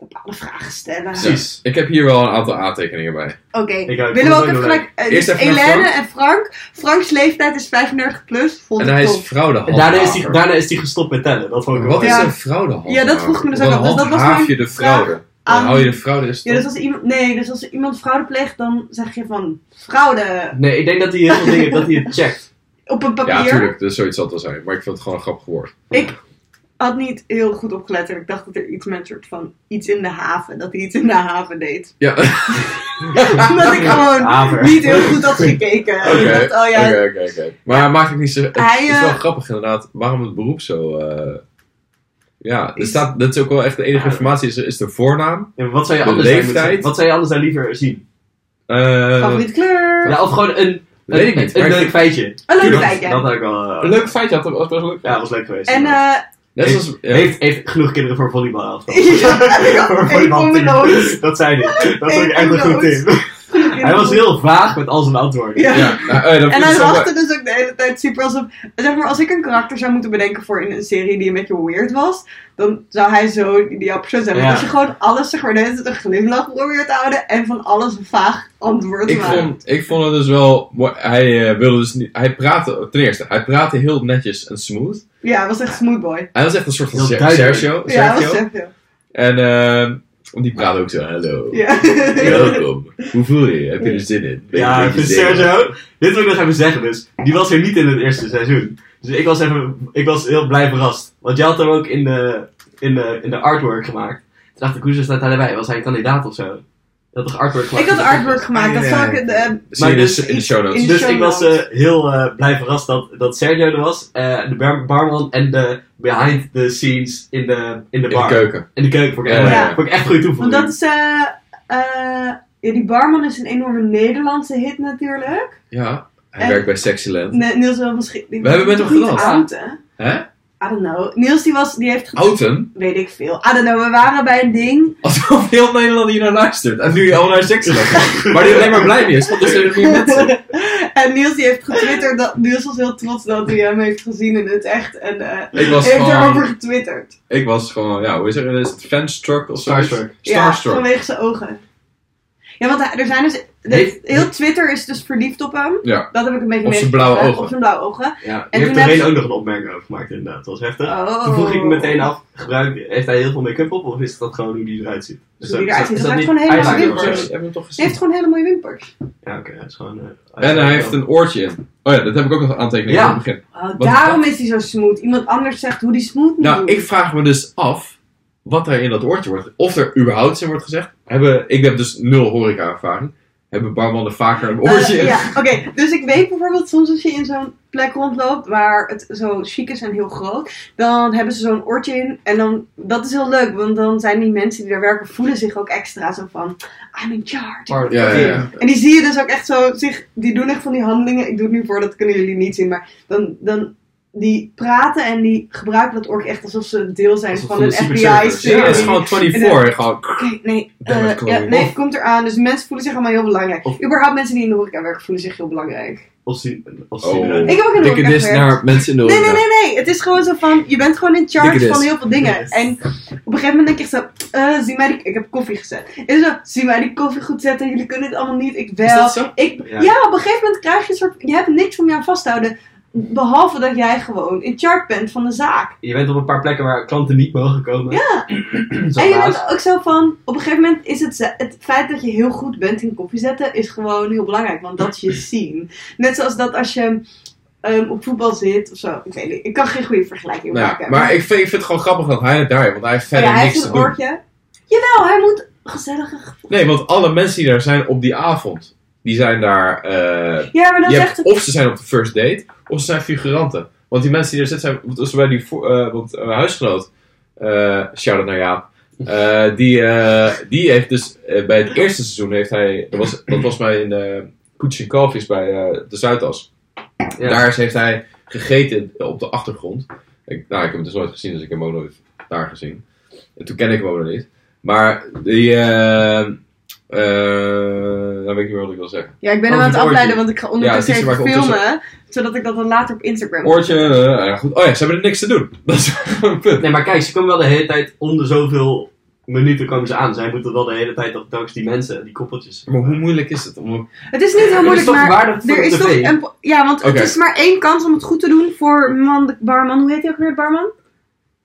Speaker 1: bepaalde vragen stellen.
Speaker 2: Precies. Ik heb hier wel een aantal aantekeningen bij.
Speaker 1: Oké,
Speaker 3: Ik
Speaker 1: willen
Speaker 3: ook.
Speaker 1: we ook
Speaker 3: Ik vond het ook
Speaker 1: even
Speaker 3: wel
Speaker 1: gelijk... eh,
Speaker 2: Eerst
Speaker 1: dus
Speaker 2: even naar
Speaker 1: Elene en Frank. Franks leeftijd is 35 plus. Vond
Speaker 2: En
Speaker 1: ik
Speaker 2: hij is
Speaker 1: top.
Speaker 2: fraudehandhaver.
Speaker 3: Daarna is, die, daarna is die gestopt met tellen. Dat vond ik wel.
Speaker 2: Wat
Speaker 1: Ja.
Speaker 2: is een fraudehandhaver?
Speaker 1: Ja, dat vroeg ik me dus
Speaker 2: Dan
Speaker 1: ook af. Dus dat was
Speaker 2: handhaaf
Speaker 1: mijn
Speaker 2: je de
Speaker 1: vraag
Speaker 2: fraude. Dan
Speaker 1: aan-
Speaker 2: hou je de fraude in
Speaker 1: Ja,
Speaker 2: stand.
Speaker 1: dus als iemand, nee, dus als iemand fraude pleegt, dan zeg je van fraude
Speaker 3: Nee, ik denk dat hij heel veel dingen dat hij het checkt.
Speaker 1: op een
Speaker 2: Ja,
Speaker 1: papier.
Speaker 2: tuurlijk. Dus zoiets zal het wel zijn. Maar ik vind het gewoon een grappig woord.
Speaker 1: Ik had niet heel goed opgelet en ik dacht dat er iets met een soort van iets in de haven, dat hij iets in de haven deed.
Speaker 2: Ja. Oké,
Speaker 1: Omdat ik gewoon
Speaker 3: Haver.
Speaker 1: niet heel goed had gekeken. Ik
Speaker 2: oké,
Speaker 1: dacht, oh ja,
Speaker 2: oké, oké. Maar maakt het niet zo... Het
Speaker 1: Hij,
Speaker 2: is wel
Speaker 1: eh,
Speaker 2: grappig inderdaad waarom het beroep zo... eh, Ja, er
Speaker 1: Is-
Speaker 2: staat, dat is ook wel echt de enige informatie, is, is de voornaam.
Speaker 3: Ja, wat zou je
Speaker 2: De
Speaker 3: anders dan
Speaker 2: leeftijd.
Speaker 3: moeten- Wat zou je anders dan liever zien?
Speaker 2: Eh
Speaker 1: favoriete kleur.
Speaker 3: Ja, of gewoon een,
Speaker 2: weet ik
Speaker 3: een,
Speaker 2: niet.
Speaker 3: een
Speaker 2: maar ik
Speaker 3: leuk
Speaker 2: vind-
Speaker 3: feitje.
Speaker 1: Een leuk
Speaker 2: tuurlijk,
Speaker 1: kijkje.
Speaker 3: Dat had ik wel. eh,
Speaker 2: Een leuk feitje had hem was wel leuk.
Speaker 3: Ja, dat was leuk geweest.
Speaker 1: En
Speaker 3: Ja.
Speaker 1: eh
Speaker 2: Net
Speaker 3: heeft,
Speaker 2: zoals... ja.
Speaker 3: heeft, heeft genoeg kinderen voor volleybal elftal.
Speaker 1: Ja, heb ik al.
Speaker 3: Voor
Speaker 1: Eén
Speaker 3: volleybalteam.
Speaker 1: onbeloond.
Speaker 3: Dat zei hij. Dat vond ik
Speaker 1: Eén
Speaker 3: echt een goed
Speaker 1: onbeloond.
Speaker 3: tip. Hij was heel vaag met al zijn antwoorden.
Speaker 1: Ja.
Speaker 2: Ja, nou, eh, dat vind
Speaker 1: En
Speaker 2: ik
Speaker 1: hij
Speaker 2: zo mooi.
Speaker 1: lachte dus ook de hele tijd super alsof... Zeg maar, als ik een karakter zou moeten bedenken voor in een serie die een beetje weird was... Dan zou hij zo een ideaal persoon zijn. Want
Speaker 3: Ja.
Speaker 1: als je gewoon alles, zeg maar, de hele tijd een glimlach probeert te houden... En van alles een vaag antwoord
Speaker 2: Ik
Speaker 1: maakt.
Speaker 2: vond, ik vond het dus wel mooi. Hij eh, wilde dus niet. Hij praatte, ten eerste, hij praatte heel netjes en smooth.
Speaker 1: Ja, hij was echt smooth boy.
Speaker 2: Hij was echt een soort van
Speaker 3: Heel
Speaker 2: Ser-
Speaker 3: duidelijk.
Speaker 2: Sergio.
Speaker 1: Ja, hij was
Speaker 2: Sergio.
Speaker 1: Sergio.
Speaker 2: En eh, die praatte ook zo: Hallo.
Speaker 1: Ja.
Speaker 2: Welkom. Hoe voel je je? Heb je er zin in? Ben je een
Speaker 3: Ja, ik
Speaker 2: beetje
Speaker 3: vind
Speaker 2: zenuwachtig?"
Speaker 3: Sergio. Dit wil ik nog even zeggen, dus. Die was er niet in het eerste seizoen. Dus ik was, even, ik was heel blij verrast. Want jij had hem ook in de, in de, in de artwork gemaakt. Toen dacht ik, hoezo staat hij erbij? nou Was hij een kandidaat of zo? Je had toch artwork gemaakt?
Speaker 1: Ik had artwork gemaakt. Dat
Speaker 2: Ja.
Speaker 1: zou ik... eh,
Speaker 2: Zie je
Speaker 3: Maar
Speaker 2: dus
Speaker 3: dus
Speaker 2: in de show notes.
Speaker 1: in de
Speaker 3: Dus
Speaker 1: show
Speaker 3: ik was
Speaker 1: notes.
Speaker 3: eh, heel eh, blij verrast dat, dat Sergio er was. eh, de bar- barman en de behind the scenes in de, in de
Speaker 2: In de
Speaker 3: bar.
Speaker 2: keuken.
Speaker 3: In de keuken vond ik echt,
Speaker 2: Ja,
Speaker 1: ja.
Speaker 3: vond ik echt goed
Speaker 1: want
Speaker 3: toevoeging.
Speaker 1: dat is... eh eh Ja, die barman is een enorme Nederlandse hit natuurlijk.
Speaker 2: Ja, hij
Speaker 1: En-
Speaker 2: werkt bij Sexyland.
Speaker 1: Nee, Niels wil misschien...
Speaker 2: We hebben met hem gelast.
Speaker 1: Outen.
Speaker 2: Hè?
Speaker 1: I don't know. Niels die, was, die heeft... ge-
Speaker 2: Outen?
Speaker 1: Weet ik veel. I don't know, we waren bij een ding.
Speaker 2: Alsof heel Nederland hier naar luistert. En nu al naar Sexyland. gaat. maar die alleen maar blij mee is, want er zijn er meer mensen.
Speaker 1: en Niels die heeft getwitterd. Dat, Niels was heel trots dat hij hem heeft gezien in het echt. En eh,
Speaker 2: Ik was
Speaker 1: heeft erover
Speaker 2: gewoon,
Speaker 1: getwitterd.
Speaker 2: ik was gewoon, ja, hoe is er, is het fanstruck of zo?
Speaker 3: Starstruck.
Speaker 1: Ja,
Speaker 2: Starstruck.
Speaker 1: vanwege zijn ogen. Ja, want hij- er zijn dus...
Speaker 3: Heeft-
Speaker 1: Heel Twitter is dus verliefd op hem.
Speaker 2: Ja.
Speaker 1: Dat heb ik een beetje
Speaker 2: Op zijn
Speaker 1: meegekregen.
Speaker 2: blauwe ogen.
Speaker 1: Op zijn blauwe ogen.
Speaker 3: Ja.
Speaker 1: En
Speaker 3: Je heeft
Speaker 1: toen
Speaker 3: er
Speaker 1: heb-
Speaker 3: geen ook nog een opmerking over gemaakt, inderdaad. Dat was heftig.
Speaker 1: Oh.
Speaker 3: Toen vroeg ik me meteen af, gebruik, heeft hij heel veel make-up op of is dat gewoon hoe die eruit ziet? Is
Speaker 1: Dus Hoe die
Speaker 3: dat-
Speaker 1: eruit ziet,
Speaker 3: is is
Speaker 1: dat
Speaker 3: niet
Speaker 1: maakt gewoon helemaal
Speaker 3: eyeliner
Speaker 1: niet
Speaker 3: of zo?
Speaker 1: uit.
Speaker 2: hebben we toch gezien.
Speaker 1: Hij heeft gewoon hele mooie wimpers.
Speaker 3: Ja, oké, dat is gewoon... eh,
Speaker 2: En nou, hij heeft een oortje in. Oh ja, dat heb ik ook nog aantekeningen
Speaker 3: Ja.
Speaker 2: aan het begin.
Speaker 1: Oh,
Speaker 2: Wat-
Speaker 1: daarom is hij zo smooth. Iemand anders zegt hoe die smooth moet
Speaker 2: Nou,
Speaker 1: doen.
Speaker 2: ik vraag me dus af wat er in dat oortje wordt. Of er überhaupt in wordt gezegd. Hebben, ik heb dus nul horeca-ervaring. Hebben barmannen vaker een
Speaker 1: Eh,
Speaker 2: oortje in?
Speaker 1: ja, oké. Dus ik weet bijvoorbeeld soms als je in zo'n plek rondloopt waar het zo chic is en heel groot, dan hebben ze zo'n oortje in. En dan, dat is heel leuk, want dan zijn die mensen die daar werken, voelen zich ook extra zo van, I'm in charge.
Speaker 3: Part-
Speaker 2: Ja, ja, ja.
Speaker 1: En die zie je dus ook echt zo, zich, die doen echt van die handelingen. Ik doe het nu voor, dat kunnen jullie niet zien, maar dan, dan die praten en die gebruiken dat oortje echt alsof ze deel zijn
Speaker 3: Alsof
Speaker 1: van
Speaker 3: van
Speaker 1: een
Speaker 3: de Secret Service.
Speaker 1: FBI-serie.
Speaker 2: Ja, het is gewoon
Speaker 1: eh,
Speaker 2: 24. Gewoon,
Speaker 1: Oké, nee.
Speaker 2: Damn it,
Speaker 1: eh, ja,
Speaker 2: Chloe.
Speaker 1: nee,
Speaker 2: Of-
Speaker 1: komt eraan. Dus mensen voelen zich allemaal heel belangrijk.
Speaker 3: Of-
Speaker 1: Überhaupt mensen die in de horeca werken voelen zich heel belangrijk.
Speaker 3: Of zien... Of
Speaker 2: Oh.
Speaker 3: zien eruit.
Speaker 1: Ik heb ook in de
Speaker 2: dikke
Speaker 1: horeca
Speaker 2: dis
Speaker 1: gewerkt.
Speaker 2: naar mensen in de
Speaker 1: Nee, nee,
Speaker 2: horeca.
Speaker 1: nee, nee. Het is gewoon zo van, je bent gewoon in
Speaker 2: Dikke
Speaker 1: charge
Speaker 2: dis.
Speaker 1: van heel veel dingen.
Speaker 3: Yes.
Speaker 1: En op een gegeven moment denk je echt zo, eh, zie mij die... Ik heb koffie gezet. En zo, zie mij die koffie goed zetten. Jullie kunnen het allemaal niet. Ik wel.
Speaker 2: Is dat zo?
Speaker 1: Ik,
Speaker 3: Ja.
Speaker 1: ja. op een gegeven moment krijg je een soort... Je hebt niks om je aan vast te houden. Behalve dat jij gewoon in charge bent van de zaak.
Speaker 3: Je bent op een paar plekken waar klanten niet mogen komen.
Speaker 1: Ja.
Speaker 3: Zoals
Speaker 1: En je
Speaker 3: laatst.
Speaker 1: bent ook zo van, op een gegeven moment is het, ze- het feit dat je heel goed bent in koffie zetten, is gewoon heel belangrijk, want dat is je zien. Net zoals dat als je ehm, op voetbal zit of zo. Ik weet niet, ik kan geen goede vergelijking
Speaker 2: Nou ja,
Speaker 1: maken.
Speaker 2: maar ik vind, ik vind het gewoon grappig dat hij het daar heeft, want hij heeft verder
Speaker 1: Ja, hij
Speaker 2: niks
Speaker 1: heeft
Speaker 2: te
Speaker 1: een
Speaker 2: doen.
Speaker 1: oortje. Jawel, hij moet gezellige...
Speaker 2: Nee, want alle mensen die daar zijn op die avond, die zijn daar. eh,
Speaker 1: Ja, maar dan
Speaker 2: je
Speaker 1: zegt
Speaker 2: hebt,
Speaker 1: het...
Speaker 2: of ze zijn op de first date, of ze zijn figuranten. Want die mensen die daar zitten zijn. Want als we bij die vo- eh, want, eh, huisgenoot, eh shout out naar Jaap. eh, die, eh, die heeft dus eh, bij het eerste seizoen heeft hij. Dat was, dat was mij in eh Koets en Kalfjes bij eh, de Zuidas.
Speaker 3: Ja.
Speaker 2: Daar is- heeft hij gegeten op de achtergrond. Ik, nou, ik heb hem dus nooit gezien, dus ik heb hem ook nooit daar gezien. En toen ken ik hem ook nog niet. Maar die. eh eh, dan weet ik niet meer wat ik wil zeggen.
Speaker 1: Ja, ik ben hem aan
Speaker 2: over
Speaker 1: het
Speaker 2: het oortje.
Speaker 1: afleiden, want ik ga ondertussen
Speaker 2: Ja, het is
Speaker 1: even
Speaker 2: waar ik
Speaker 1: filmen, zodat ik dat dan later op Instagram...
Speaker 2: Oortje, eh, ja, goed. Oh ja, ze hebben er niks te doen. Dat is een punt.
Speaker 3: Nee, maar kijk, ze komen wel de hele tijd om de zoveel minuten komen ze aan. Zij moeten wel de hele tijd op telkens die mensen, die koppeltjes.
Speaker 2: Maar hoe moeilijk is het om...
Speaker 1: Het is niet heel
Speaker 3: is
Speaker 1: moeilijk,
Speaker 3: toch
Speaker 1: maar
Speaker 3: waardig voor
Speaker 1: er
Speaker 3: op
Speaker 1: is
Speaker 3: tv?
Speaker 1: toch een... po- Ja, want
Speaker 2: Oké.
Speaker 1: het is maar één kans om het goed te doen voor man, de barman. Hoe heet hij ook weer, barman?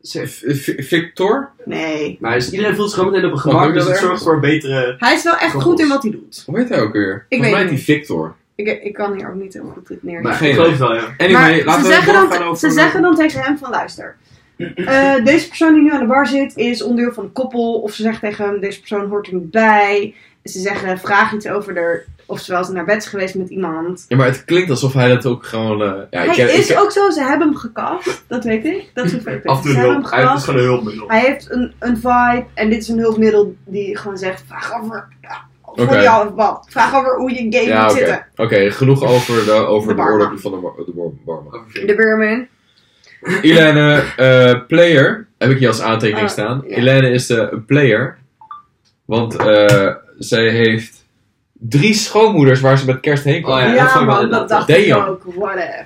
Speaker 2: V- v- Victor?
Speaker 1: Nee.
Speaker 3: Maar dus iedereen voelt zich gewoon meteen op een
Speaker 2: Maar
Speaker 3: gemak,
Speaker 2: hoe is
Speaker 3: dus het
Speaker 2: dat
Speaker 3: zorgt voor een betere...
Speaker 1: Hij is wel echt
Speaker 3: Koppels.
Speaker 1: goed in wat hij doet.
Speaker 2: Hoe heet hij ook weer?
Speaker 1: Ik weet
Speaker 2: Volgens mij
Speaker 1: het
Speaker 2: heet hij Victor.
Speaker 1: Ik, ik kan hier ook niet heel goed neer.
Speaker 3: Maar
Speaker 2: Geen
Speaker 3: ik geloof het wel, ja.
Speaker 2: Anyway,
Speaker 1: Maar
Speaker 2: laten
Speaker 1: ze,
Speaker 2: we
Speaker 1: zeggen
Speaker 2: doorgaan
Speaker 1: dan,
Speaker 2: over-
Speaker 1: ze zeggen dan tegen hem van luister. eh, deze persoon die nu aan de bar zit is onderdeel van een koppel. Of ze zegt tegen hem, deze persoon hoort er niet bij. En ze zeggen, vraag iets over haar, of ze wel eens naar bed is geweest met iemand.
Speaker 2: Ja, maar het klinkt alsof hij dat ook gewoon... eh, ja, ik
Speaker 1: hij
Speaker 2: heb- ik
Speaker 1: is
Speaker 2: heb-
Speaker 1: ook zo, ze hebben hem gekast. Dat weet ik. Dat is een feit.
Speaker 3: Af en toe
Speaker 1: Ze
Speaker 3: een
Speaker 1: hebben hem
Speaker 3: hulp. Hij heeft dus
Speaker 1: gekast.
Speaker 3: gewoon een hulpmiddel.
Speaker 1: Hij heeft een, een vibe en dit is een hulpmiddel die gewoon zegt, vraag over, ja, over
Speaker 2: Oké.
Speaker 1: jou of wat. Vraag over hoe je game
Speaker 2: Ja,
Speaker 1: moet
Speaker 2: oké.
Speaker 1: zitten.
Speaker 2: Oké, genoeg over de, over
Speaker 1: De
Speaker 2: de,
Speaker 1: barman.
Speaker 2: oorlog van de, bar- de bar- barman.
Speaker 1: De barman.
Speaker 2: Ilene, eh, player, heb ik hier als aantekening
Speaker 1: Oh,
Speaker 2: staan.
Speaker 1: ja.
Speaker 2: Ilene is eh, een player, want eh, zij heeft drie schoonmoeders waar ze met kerst heen kwam.
Speaker 3: Oh Ja,
Speaker 1: Ja,
Speaker 3: dat vond ik wel
Speaker 1: man,
Speaker 3: inderdaad.
Speaker 1: dat dacht ik
Speaker 2: Damn.
Speaker 1: ook. What if?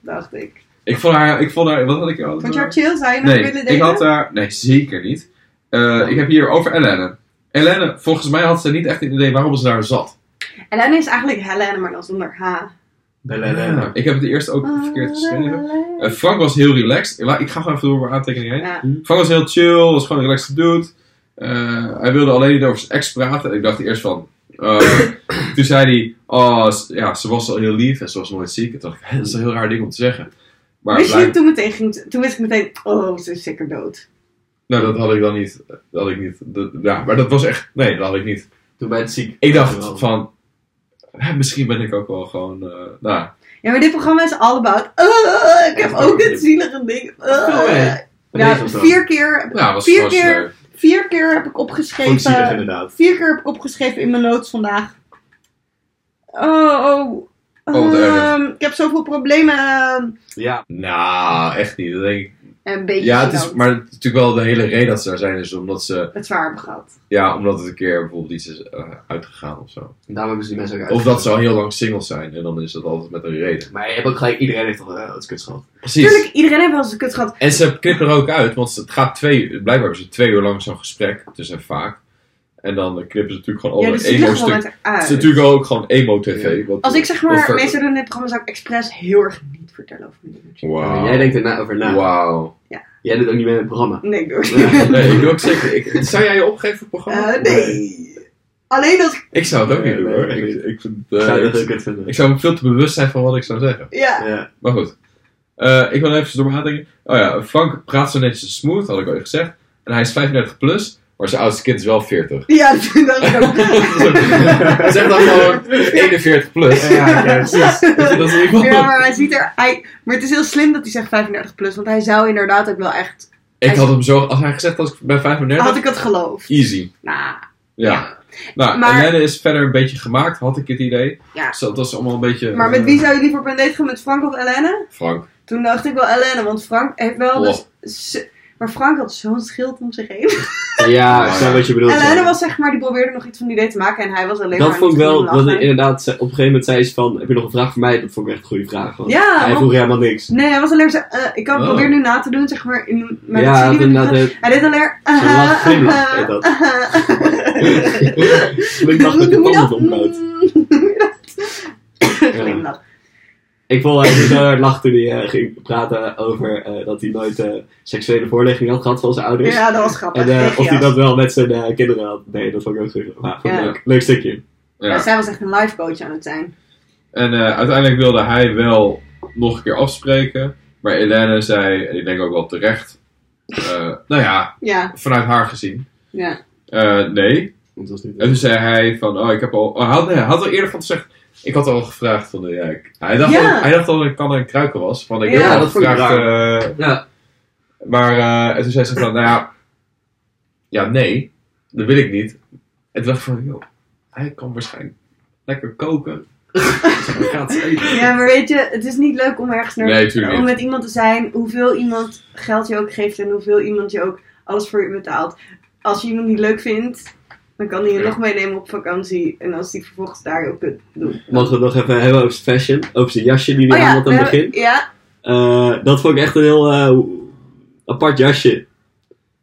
Speaker 1: Dacht ik.
Speaker 2: Ik vond haar, ik vond haar, wat had ik al?
Speaker 1: Vond je haar chill? Zou je nog
Speaker 2: Nee,
Speaker 1: willen
Speaker 2: ik
Speaker 1: denken?
Speaker 2: had eh, daar, nee zeker niet. Eh, ik heb hier over Elene. Elene, volgens mij had ze niet echt een idee waarom ze daar zat.
Speaker 1: Helene is eigenlijk Helene, maar dan zonder H.
Speaker 3: Belelena.
Speaker 2: Ah, Ik heb het eerst ook
Speaker 1: Ah,
Speaker 2: verkeerd geschreven. Eh, Frank was heel relaxed. La- Ik ga gewoon even door mijn aantekeningen heen.
Speaker 1: Ja.
Speaker 2: Frank was heel chill, was gewoon een relaxed dude. Eh, hij wilde alleen niet over zijn ex praten. En ik dacht eerst van... eh, toen zei hij... Oh, s- ja, ze was al heel lief en ze was nooit ziek. En toen dacht ik, dat is een heel raar ding om te zeggen. Maar
Speaker 1: Wist je
Speaker 2: blijk-
Speaker 1: toen meteen ging, toen wist ik meteen, oh, ze is zeker dood.
Speaker 2: Nou, dat had ik dan niet. Dat had ik niet. Dat- ja, maar dat was echt... Nee, dat had ik niet.
Speaker 3: Toen ben het ziek.
Speaker 2: Ik
Speaker 3: Wel.
Speaker 2: dacht van, hè, misschien ben ik ook wel gewoon, eh, nou,
Speaker 1: Ja, maar dit programma is all about, eh, ik heb
Speaker 3: Ja,
Speaker 1: ook
Speaker 3: maar-
Speaker 1: dit zielige ding. eh.
Speaker 3: Veel mee.
Speaker 1: ja,
Speaker 3: Lees ons dan.
Speaker 1: vier keer,
Speaker 2: ja, was
Speaker 1: vier
Speaker 2: gewoon
Speaker 1: keer,
Speaker 2: sneu.
Speaker 1: vier keer heb ik
Speaker 5: Vond ik zielig
Speaker 1: opgeschreven.
Speaker 5: inderdaad.
Speaker 1: Vier keer heb ik opgeschreven in mijn notes vandaag. Oh, oh.
Speaker 2: Oh, wat erg.
Speaker 1: Ehm, ik heb zoveel problemen. ehm,
Speaker 3: Ja.
Speaker 2: Nou, echt niet. Dat denk ik.
Speaker 1: en een beetje.
Speaker 2: Ja, het is,
Speaker 1: gênant.
Speaker 2: maar het is natuurlijk wel de hele reden dat ze daar zijn, is omdat ze,
Speaker 1: Het zwaar hebben gehad.
Speaker 2: ja, omdat het een keer bijvoorbeeld iets is eh, uitgegaan of zo.
Speaker 3: En daarom hebben ze die mensen ook uit.
Speaker 2: Of dat ze al heel lang singles zijn en dan is dat altijd met een reden.
Speaker 3: Maar je hebt ook gelijk, iedereen heeft toch wel eh, het kut gehad.
Speaker 2: Precies.
Speaker 1: Tuurlijk, iedereen heeft wel eens een kut gehad.
Speaker 2: En ze knippen er ook uit, want het gaat twee uur, blijkbaar hebben ze twee uur lang zo'n gesprek, dus en vaak. En dan eh, knippen ze natuurlijk gewoon
Speaker 1: Ja,
Speaker 2: allemaal
Speaker 1: dus
Speaker 2: een
Speaker 1: het ligt wel
Speaker 2: emo-stuk.
Speaker 1: met
Speaker 2: Het is
Speaker 1: eruit.
Speaker 2: natuurlijk ook gewoon emo-tv. wat-
Speaker 1: Als ik zeg
Speaker 2: wat
Speaker 1: maar
Speaker 2: ver-
Speaker 1: meester doen in dit programma, zou ik expres heel erg niet vertellen over mijn nummer.
Speaker 2: Wauw.
Speaker 3: Maar Jij denkt er na over
Speaker 2: Nou.
Speaker 3: na.
Speaker 2: Wauw.
Speaker 3: Jij doet ook niet mee met het programma.
Speaker 1: Nee, ik doe het niet.
Speaker 2: Nee, ik doe ook zeker. Ik, zou jij je opgeven voor het programma?
Speaker 1: Eh, nee. Alleen als ik...
Speaker 2: Ik zou het ook niet
Speaker 5: Nee,
Speaker 2: doen
Speaker 5: nee,
Speaker 2: hoor.
Speaker 5: nee.
Speaker 2: Ik, ik, vind,
Speaker 3: Ik
Speaker 2: eh,
Speaker 3: zou dat heel
Speaker 2: ik,
Speaker 3: kut vinden.
Speaker 2: ik zou me veel te bewust zijn van wat ik zou zeggen.
Speaker 1: Ja.
Speaker 5: Ja.
Speaker 2: Maar goed. Eh, ik wil even door nadenken. Oh ja, Frank praat zo netjes en smooth, had ik al gezegd. En hij is 35 plus, maar zijn oudste kind is wel 40.
Speaker 1: Ja, dat vind ik ook.
Speaker 2: zeg dan gewoon 41 plus.
Speaker 5: Ja, ja, precies.
Speaker 2: Dat is iemand.
Speaker 1: Ja, maar hij ziet er... Hij, maar het is heel slim dat hij zegt 35 plus, want hij zou inderdaad ook wel echt...
Speaker 2: Ik had hem zo, als hij gezegd had, ik ben 35,
Speaker 1: Had ik het geloofd.
Speaker 2: easy.
Speaker 1: Nou,
Speaker 2: Ja. Nou,
Speaker 1: Maar-
Speaker 2: maar... is verder een beetje gemaakt, had ik het idee.
Speaker 1: Ja.
Speaker 2: Dus dat was allemaal een beetje...
Speaker 1: maar met
Speaker 2: eh,
Speaker 1: wie zou je liever op een date gaan? Met Frank of Elena?
Speaker 2: Frank.
Speaker 1: Toen dacht ik wel Elena, want Frank heeft wel...
Speaker 2: Oh.
Speaker 1: Dus, z- maar Frank had zo'n schild om zich heen.
Speaker 3: Oh, Ja,
Speaker 2: Maar-
Speaker 3: ik snap wat je bedoelt.
Speaker 1: Elena was zeg maar, die probeerde nog iets van die idee te maken en hij was alleen maar
Speaker 3: Dat
Speaker 1: aan
Speaker 3: vond ik
Speaker 1: het
Speaker 3: wel,
Speaker 1: glimlachen.
Speaker 3: dat hij inderdaad ze- op een gegeven moment zei ze van, heb je nog een vraag voor mij? Dat vond ik echt een goede vraag. Want
Speaker 1: Ja,
Speaker 3: hij
Speaker 1: want-
Speaker 3: vroeg helemaal niks.
Speaker 1: Nee, hij was alleen zo... eh, ik kan
Speaker 2: Oh.
Speaker 1: probeer nu na te doen, zeg maar. In, maar dat
Speaker 3: ja,
Speaker 1: zie je
Speaker 3: dat
Speaker 1: niet.
Speaker 3: inderdaad heeft-
Speaker 1: Hij deed alleen... eh,
Speaker 3: zo'n
Speaker 1: aha,
Speaker 3: lach glimlach
Speaker 1: aha,
Speaker 3: heet dat.
Speaker 1: aha.
Speaker 3: Ik dacht dat de
Speaker 1: eh. Noem je
Speaker 3: pan
Speaker 1: dat?
Speaker 3: omloopt.
Speaker 1: Noem je dat? Glimlach.
Speaker 3: Ik vond hij heel erg lachen toen hij eh, ging praten over eh, dat hij nooit eh, seksuele voorligging had gehad van zijn ouders.
Speaker 1: Ja, dat was
Speaker 3: En
Speaker 1: grappig.
Speaker 3: eh,
Speaker 1: Tegen
Speaker 3: of hij
Speaker 1: jou.
Speaker 3: dat wel met zijn eh, kinderen had. Nee, dat vond ik ook goed. Maar, vond ik
Speaker 1: Ja.
Speaker 3: leuk. leuk stukje.
Speaker 1: Ja,
Speaker 2: Ja.
Speaker 1: zij was echt een lifecoach aan het zijn.
Speaker 2: En eh, uiteindelijk wilde hij wel nog een keer afspreken. Maar Elena zei, en ik denk ook wel terecht, eh, nou ja,
Speaker 1: Ja,
Speaker 2: vanuit haar gezien,
Speaker 1: ja.
Speaker 2: eh, nee.
Speaker 3: Want het was niet-
Speaker 2: En toen zei hij van, oh, ik heb al, oh, hij, had, nee, hij had al eerder van gezegd, ik had al gevraagd van, de, ja, ik- hij, dacht
Speaker 1: Ja.
Speaker 2: al, hij dacht al dat ik kan en kruiken was. Van, ik
Speaker 1: Ja,
Speaker 2: heb al
Speaker 3: dat vond ik
Speaker 2: gevraagd, eh,
Speaker 3: Ja,
Speaker 2: maar, eh, en toen zei ze van, nou ja, ja, nee, dat wil ik niet. En toen dacht ik van, joh, hij kan waarschijnlijk lekker koken. Hij gaat ze eten.
Speaker 1: Ja, maar weet je, het is niet leuk om ergens naar...
Speaker 2: Nee, tuurlijk
Speaker 1: om
Speaker 2: niet.
Speaker 1: met iemand te zijn, hoeveel iemand geld je ook geeft en hoeveel iemand je ook alles voor je betaalt. Als je iemand niet leuk vindt, dan kan hij je
Speaker 2: Ja.
Speaker 1: nog meenemen op vakantie. En als die vervolgens daar heel kut doet.
Speaker 3: mogen we het nog even hebben over zijn fashion. Over zijn jasje die hij aan had
Speaker 1: Oh
Speaker 3: aan
Speaker 1: we
Speaker 3: het begin.
Speaker 1: hebben- ja,
Speaker 3: Eh, dat vond ik echt een heel eh, apart jasje.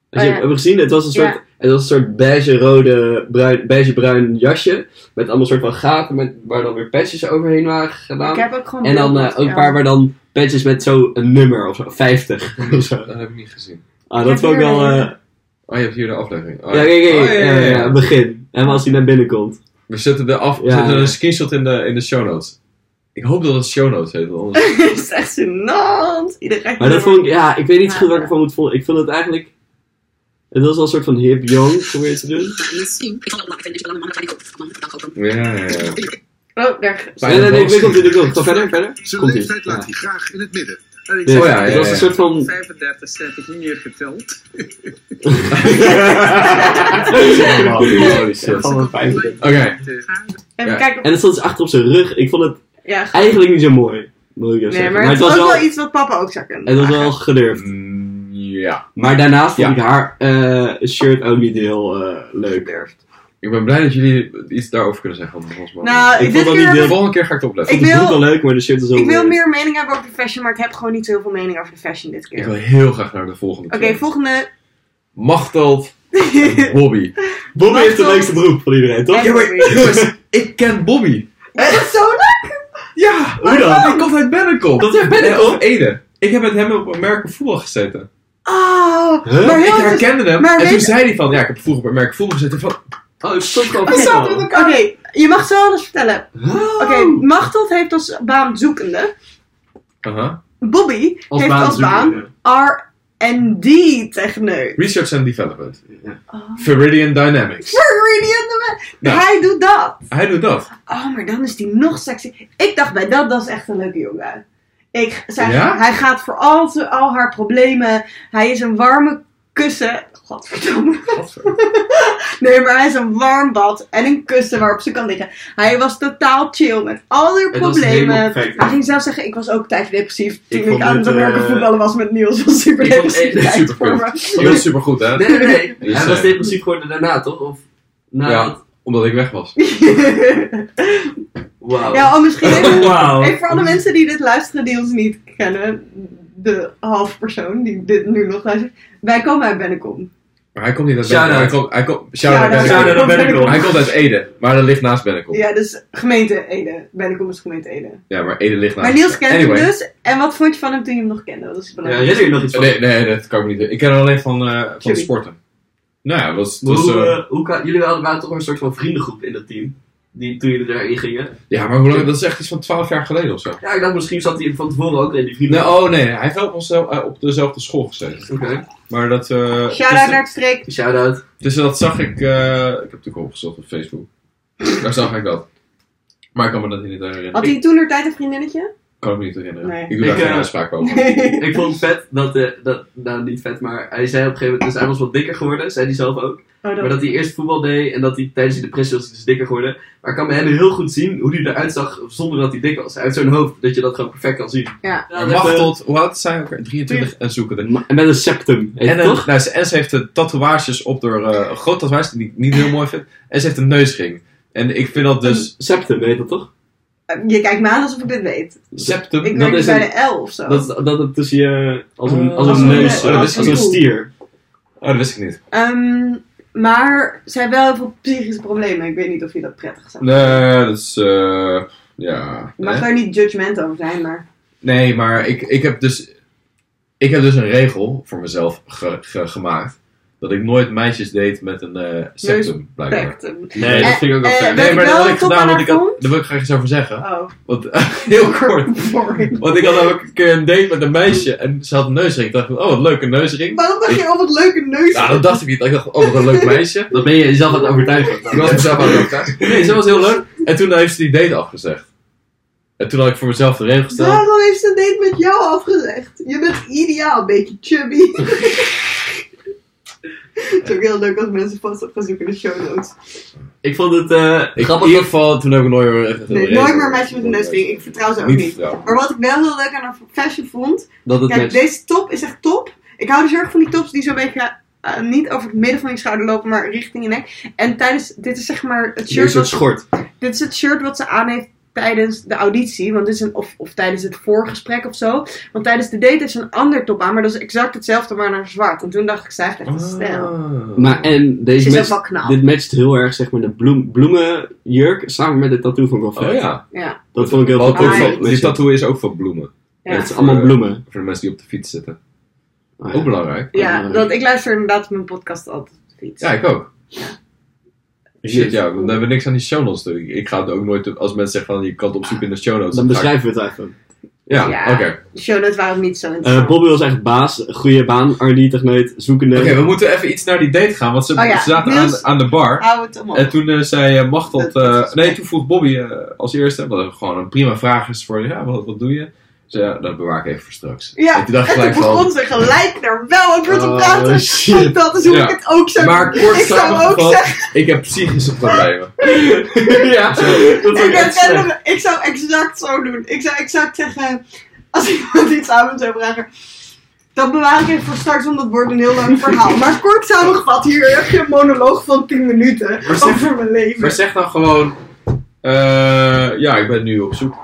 Speaker 3: Als
Speaker 1: Oh,
Speaker 3: je
Speaker 1: ja.
Speaker 3: hebt hebt gezien, het was een soort,
Speaker 1: Ja.
Speaker 3: het was een soort beige-rode, bruin, beige-bruin jasje. Met allemaal soort van gaten met, waar dan weer patches overheen waren gedaan.
Speaker 1: ik heb ook gewoon...
Speaker 3: en dan eh,
Speaker 1: beelden,
Speaker 3: ook
Speaker 1: ja.
Speaker 3: een paar waar dan patches met zo'n nummer of zo, 50 of zo.
Speaker 2: Dat heb ik niet gezien.
Speaker 3: Ah,
Speaker 1: Ik heb
Speaker 3: dat vond ik
Speaker 1: hier
Speaker 3: wel.
Speaker 1: een-
Speaker 3: eh,
Speaker 2: Oh, je hebt hier de aflevering. Oh,
Speaker 3: ja, kijk, kijk,
Speaker 2: Oh, ja, ja, ja.
Speaker 3: ja, begin. En als hij naar binnen komt.
Speaker 2: We zetten, de af, we
Speaker 3: Ja,
Speaker 2: zetten
Speaker 3: ja.
Speaker 2: een screenshot in de, in de show notes. Ik hoop dat het show notes heet. want anders-
Speaker 1: Het is echt gênant. Iedereen krijgt
Speaker 3: Maar dat
Speaker 1: nummer.
Speaker 3: vond ik, ja, ik weet niet
Speaker 1: Ja.
Speaker 3: goed wat ik ervan moet volgen. Ik vond het eigenlijk. Het was wel een soort van hip young probeer te doen.
Speaker 2: ja, ja, ja.
Speaker 1: Oh, daar...
Speaker 3: Nee, nee, nee, ik weet niet of
Speaker 2: Bijna
Speaker 3: dit ook wil. Ga verder, verder.
Speaker 6: Zijn
Speaker 3: Komt
Speaker 6: leeftijd
Speaker 3: ie.
Speaker 6: laat hij graag in het midden. En ik
Speaker 3: Ja,
Speaker 2: Oh ja,
Speaker 3: het
Speaker 2: ja,
Speaker 3: was
Speaker 2: ja.
Speaker 3: een soort van.
Speaker 7: 35 heb ik niet meer geteld.
Speaker 2: Holy shit. Oké,
Speaker 3: Van een vijfde.
Speaker 1: Even
Speaker 2: Ja.
Speaker 1: kijken of...
Speaker 3: En het stond dus achter op zijn rug. Ik vond het
Speaker 1: Ja, ga-
Speaker 3: eigenlijk niet zo mooi. Moet ik even
Speaker 1: Nee,
Speaker 3: zeggen.
Speaker 1: maar het
Speaker 3: was
Speaker 1: was
Speaker 3: wel,
Speaker 1: wel iets wat papa ook zou kunnen
Speaker 3: het was wel
Speaker 1: dragen.
Speaker 3: gedurfd.
Speaker 2: Mm, ja.
Speaker 3: Maar daarnaast
Speaker 2: Ja.
Speaker 3: vond ik haar eh, shirt ook niet heel eh, leuk.
Speaker 2: Ik ben blij dat jullie iets daarover kunnen zeggen. want volgens mij-
Speaker 1: Nou,
Speaker 3: Ik
Speaker 1: dit
Speaker 3: vond dat
Speaker 1: keer
Speaker 3: niet
Speaker 1: heb
Speaker 2: de
Speaker 1: ik-
Speaker 2: volgende keer ga ik het opletten.
Speaker 3: Ik
Speaker 1: Ik
Speaker 3: vond het
Speaker 1: wil-
Speaker 3: broek wel leuk, maar de shirt is ook
Speaker 1: Ik wil
Speaker 3: weird.
Speaker 1: meer mening hebben over de fashion, maar ik heb gewoon niet zoveel mening over de fashion dit
Speaker 2: Ik
Speaker 1: keer.
Speaker 2: wil
Speaker 1: Oké,
Speaker 2: heel graag naar de volgende keer.
Speaker 1: volgende.
Speaker 2: Machteld en Bobby.
Speaker 3: Bobby heeft de
Speaker 1: Wacht,
Speaker 3: leukste broek van iedereen, toch?
Speaker 1: En Bobby.
Speaker 2: Jongens, ik ken Bobby.
Speaker 1: Is dat zo
Speaker 2: Ja,
Speaker 3: Hoe dan?
Speaker 2: ik kom uit Bennekom.
Speaker 3: Komt uit Bennekom?
Speaker 2: Nee, of Ede. Ik heb met hem op Amerika voetbal gezeten.
Speaker 1: Oh, maar
Speaker 3: Huh?
Speaker 2: ik
Speaker 1: heel interessant.
Speaker 2: herkende hem.
Speaker 1: maar
Speaker 2: en
Speaker 1: weet
Speaker 2: toen
Speaker 1: je-
Speaker 2: zei hij van, ja, ik heb vroeger bij merk voetbal gezeten. Van,
Speaker 3: Oh, het Oh. stond al
Speaker 1: Oké,
Speaker 3: al.
Speaker 1: Oké, je mag zo alles vertellen. Oké, Machteld heeft als baan zoekende.
Speaker 2: aha,
Speaker 1: Bobby
Speaker 3: Als
Speaker 1: heeft
Speaker 3: baan
Speaker 1: als
Speaker 3: zoeken,
Speaker 1: baan R&D techneut.
Speaker 2: Research and Development.
Speaker 3: Ja.
Speaker 2: Viridian Dynamics.
Speaker 1: Really on the man.
Speaker 2: Nou.
Speaker 1: Hij doet dat.
Speaker 2: Hij doet dat.
Speaker 1: Oh, maar dan is die nog sexy. Ik dacht bij dat, dat is echt een leuke jongen. Ik, zij,
Speaker 2: Ja?
Speaker 1: Hij gaat voor al, te- al haar problemen. Hij is een warme kussen. Godverdomme. Nee, maar hij is een warm bad en een kussen waarop ze kan liggen. Hij was totaal chill met al haar
Speaker 3: Het was helemaal
Speaker 1: problemen.
Speaker 3: perfect.
Speaker 1: Hij ging zelf zeggen, ik was ook een tijdje depressief toen ik,
Speaker 5: vond
Speaker 1: aan het
Speaker 5: het, eh,
Speaker 1: Amerika voetballen was met Niels. was super
Speaker 3: ik vond het
Speaker 1: depressief
Speaker 3: echt
Speaker 1: tijd
Speaker 2: super
Speaker 1: voor
Speaker 2: kut.
Speaker 1: me.
Speaker 2: Je bent supergoed, hè?
Speaker 3: Nee, nee, nee.
Speaker 2: Dus,
Speaker 3: hij was
Speaker 2: eh,
Speaker 3: depressief geworden daarna, toch? Of na
Speaker 2: Ja.
Speaker 3: dat-
Speaker 2: Omdat ik weg was.
Speaker 3: Wauw.
Speaker 1: ja, oh, misschien even,
Speaker 3: Wauw.
Speaker 5: Oh.
Speaker 1: even voor alle mensen die dit luisteren die ons niet kennen. De half persoon die dit nu nog luistert. Wij komen uit Bennekom.
Speaker 2: Maar hij komt niet uit
Speaker 3: Shout-out.
Speaker 2: Bennekom. Hij komt, hij komt, shout
Speaker 1: Ja,
Speaker 2: out
Speaker 1: daar-
Speaker 3: Shout-out naar Bennekom.
Speaker 2: Hij komt uit Ede, maar dat ligt naast Bennekom.
Speaker 1: Ja, dus gemeente Ede. Bennekom is gemeente Ede.
Speaker 2: Ja, maar Ede ligt naast
Speaker 1: Maar Niels kent
Speaker 2: Anyway.
Speaker 1: hem dus. En wat vond je van hem toen je hem nog kende? Dat is
Speaker 3: Ja,
Speaker 1: belangrijk.
Speaker 3: herinner je nog iets van?
Speaker 2: Nee, nee, dat kan ik me niet. Ik ken hem alleen van, eh, van de
Speaker 1: Jullie.
Speaker 2: sporten. Nou ja, dat is...
Speaker 3: Maar
Speaker 2: dat is,
Speaker 3: hoe,
Speaker 2: eh,
Speaker 3: eh, hoe kan, jullie hadden- waren toch een soort van vriendengroep in dat team? Die, toen jullie daarin gingen.
Speaker 2: ja, maar hoe lang, dat is echt iets van 12 jaar geleden of zo.
Speaker 3: Ja, ik dacht misschien zat hij van tevoren ook in die
Speaker 2: Nee,
Speaker 3: vriendengroep.
Speaker 2: oh nee, hij heeft wel op, ons, eh, op dezelfde school gezeten.
Speaker 3: Oké.
Speaker 2: Maar dat... eh,
Speaker 1: Shout-out
Speaker 2: dus-
Speaker 1: naar het streek.
Speaker 3: Shout-out.
Speaker 2: Dus dat zag ik. eh, ik heb natuurlijk opgezocht op Facebook. Daar zag ik dat. Maar ik kan me dat niet herinneren.
Speaker 1: Had hij toen er tijd een vriendinnetje? Oh,
Speaker 2: kan ik me niet herinneren.
Speaker 1: Nee. Nou,
Speaker 2: Ik doe
Speaker 3: Ik,
Speaker 2: daar geen
Speaker 3: eh,
Speaker 2: uitspraak over.
Speaker 3: Ik vond het vet dat, eh, dat, nou niet vet, maar hij zei op een gegeven moment, dus hij was wat dikker geworden, zei hij zelf ook.
Speaker 1: Oh,
Speaker 3: Maar dat hij eerst voetbal deed en dat hij tijdens die depressie was hij dus dikker geworden. Maar ik kan bij hem heel goed zien hoe hij eruit zag zonder dat hij dik was. Hij heeft zo'n hoofd dat je dat gewoon perfect kan zien.
Speaker 1: Ja.
Speaker 3: dat
Speaker 2: Wacht
Speaker 3: is, eh,
Speaker 2: tot, hoe oud zijn we? elkaar? 23 en zoeken er.
Speaker 3: En met een septum, heet
Speaker 2: En
Speaker 3: het
Speaker 2: een,
Speaker 3: toch?
Speaker 2: nou, ze- en ze heeft de tatoeages op haar. eh, een groot tatoeage die ik niet heel mooi vind. En ze heeft een neusring. En ik vind dat dus.
Speaker 3: Septum, heet dat toch?
Speaker 1: Je kijkt me aan alsof ik dit weet.
Speaker 2: Septum.
Speaker 1: Ik
Speaker 3: dat
Speaker 1: werk niet
Speaker 3: is
Speaker 1: bij
Speaker 3: een-
Speaker 1: de L of zo.
Speaker 3: Dat, dat het tussen je, als een,
Speaker 2: Eh,
Speaker 3: als een
Speaker 1: als een
Speaker 3: neus,
Speaker 1: neus,
Speaker 3: eh,
Speaker 1: als
Speaker 3: als
Speaker 1: een
Speaker 3: een
Speaker 1: stoel.
Speaker 3: stier.
Speaker 2: Oh, dat wist ik niet.
Speaker 1: Ehm, maar zij heeft wel heel veel psychische problemen. Ik weet niet of je dat prettig zou
Speaker 2: Nee, dat is. eh, ja.
Speaker 1: Je mag
Speaker 2: hè?
Speaker 1: daar niet judgment over zijn, maar...
Speaker 2: Nee, maar ik, ik heb dus. Ik heb dus een regel voor mezelf ge- ge- gemaakt. Dat ik nooit meisjes deed met een eh septum, blijkbaar.
Speaker 1: Fact. Nee,
Speaker 2: Nee,
Speaker 1: Eh,
Speaker 2: dat vind ik ook wel
Speaker 1: eh,
Speaker 2: fijn.
Speaker 1: weet
Speaker 2: Nee,
Speaker 1: ik
Speaker 2: maar
Speaker 1: wel
Speaker 2: dat had
Speaker 1: wat
Speaker 2: ik
Speaker 1: op
Speaker 2: gedaan,
Speaker 1: aan
Speaker 2: want ik
Speaker 1: haar
Speaker 2: had...
Speaker 1: komt?
Speaker 2: Daar wil ik graag iets over zeggen.
Speaker 1: Oh,
Speaker 2: Want, heel kort.
Speaker 1: boring.
Speaker 2: Want ik had ook een keer een date met een meisje en ze had een neusring. Ik dacht van, oh wat leuke neusring.
Speaker 1: Waarom dacht je al wat leuke neus?
Speaker 2: Nou, dat dacht ik niet. Ik dacht, oh wat een leuk meisje.
Speaker 3: Dan ben je jezelf aan het overtuigen.
Speaker 2: Ik was mezelf aan het overtuigen. Nee, ze was heel leuk. En toen heeft ze die date afgezegd. En toen had ik voor mezelf de regel gesteld.
Speaker 1: Waarom heeft ze een date met jou afgezegd? Je bent ideaal, een beetje chubby. Het is ook heel leuk als mensen vast op gaan zoeken in de show notes.
Speaker 3: Ik vond het eh
Speaker 2: Ik, in
Speaker 3: grappig
Speaker 2: ieder
Speaker 3: dat...
Speaker 2: geval, toen heb ik nooit meer... echt een
Speaker 1: Nee,
Speaker 2: regel.
Speaker 1: nooit meer meisjes met een neusring. Ik vertrouw ze ook
Speaker 2: Niet
Speaker 1: niet.
Speaker 2: vertrouwen.
Speaker 1: Maar wat ik wel heel leuk aan haar fashion vond.
Speaker 3: dat het
Speaker 1: Kijk,
Speaker 3: met...
Speaker 1: deze top is echt top. Ik hou dus heel erg van die tops die zo'n beetje eh, niet over het midden van je schouder lopen, maar richting je nek. En tijdens, dit is zeg maar het
Speaker 3: Een
Speaker 1: shirt,
Speaker 3: soort
Speaker 1: wat,
Speaker 3: schort.
Speaker 1: dit is het shirt wat ze aan heeft tijdens de auditie. Want dit is een, of, of tijdens het voorgesprek of zo. Want tijdens de date is een ander top aan, maar dat is exact hetzelfde, maar naar zwart. En toen dacht ik, zij heeft echt een stijl.
Speaker 2: Ah.
Speaker 3: Maar en deze
Speaker 1: Ze is ook
Speaker 3: matcht-
Speaker 1: wel knap.
Speaker 3: dit matcht heel erg zeg maar de bloem, bloemenjurk samen met het tattoo van Goffin.
Speaker 2: Oh ja.
Speaker 1: Ja.
Speaker 3: Dat vond ik heel
Speaker 2: Want
Speaker 3: goed.
Speaker 2: ook
Speaker 1: Ah,
Speaker 2: van-
Speaker 1: ja.
Speaker 2: die tattoo is ook van bloemen.
Speaker 1: Ja.
Speaker 3: Het is allemaal bloemen.
Speaker 2: Voor de mensen die op de fiets zitten.
Speaker 3: Ah, ja.
Speaker 2: Ook belangrijk.
Speaker 1: Ja, want ik luister inderdaad op mijn podcast altijd op de fiets.
Speaker 2: Oh. Ja, ik ook. Shit,
Speaker 3: Shit.
Speaker 2: ja, want dan hebben we niks aan die show notes. natuurlijk. Ik ga het ook nooit, als mensen zeggen van je kan het opzoeken in de show notes.
Speaker 3: Dan
Speaker 2: ga ik-
Speaker 3: beschrijven we het even.
Speaker 2: Ja,
Speaker 1: Ja.
Speaker 2: oké.
Speaker 1: De show notes waren niet zo
Speaker 3: Eh
Speaker 1: interessant.
Speaker 3: Bobby was echt baas, goede baan, R&D-techneut, zoekende.
Speaker 2: Oké, we moeten even iets naar die date gaan, want ze,
Speaker 1: Oh ja,
Speaker 2: ze zaten
Speaker 1: Niels-
Speaker 2: aan, aan de bar.
Speaker 1: Hou het omhoog.
Speaker 2: En toen eh, zei eh, Machteld,
Speaker 1: Dat- dat
Speaker 2: eh
Speaker 1: is-
Speaker 2: nee, toen vroeg Bobby eh, als eerste, wat gewoon een prima vraag is voor je, ja, wat, wat doe je? Ze zei, ja, dat bewaar ik even voor straks.
Speaker 1: Ja,
Speaker 2: en toen dacht ik
Speaker 1: en toen
Speaker 2: gelijk
Speaker 1: begon
Speaker 2: van,
Speaker 1: ze gelijk daar wel over te
Speaker 3: Oh,
Speaker 1: praten.
Speaker 3: shit.
Speaker 1: Want Dat is hoe
Speaker 2: Ja.
Speaker 1: ik het ook zou
Speaker 2: maar
Speaker 1: doen.
Speaker 2: kort
Speaker 1: ik zou ook
Speaker 2: samengevat,
Speaker 1: zeggen,
Speaker 2: ik heb psychische problemen.
Speaker 3: ja, dat
Speaker 1: ik,
Speaker 3: vond ik echt
Speaker 1: herken
Speaker 3: slecht.
Speaker 1: hem. ik zou exact zo doen. Ik zou exact zeggen, als iemand iets aan me zou vragen, dat bewaar ik even voor straks, want dat wordt een heel lang verhaal. Maar kort samengevat, hier heb je een monoloog van 10 minuten
Speaker 2: Maar zeg-
Speaker 1: over mijn
Speaker 2: Maar
Speaker 1: leven.
Speaker 2: zeg dan gewoon, eh, ja, ik ben nu op zoek.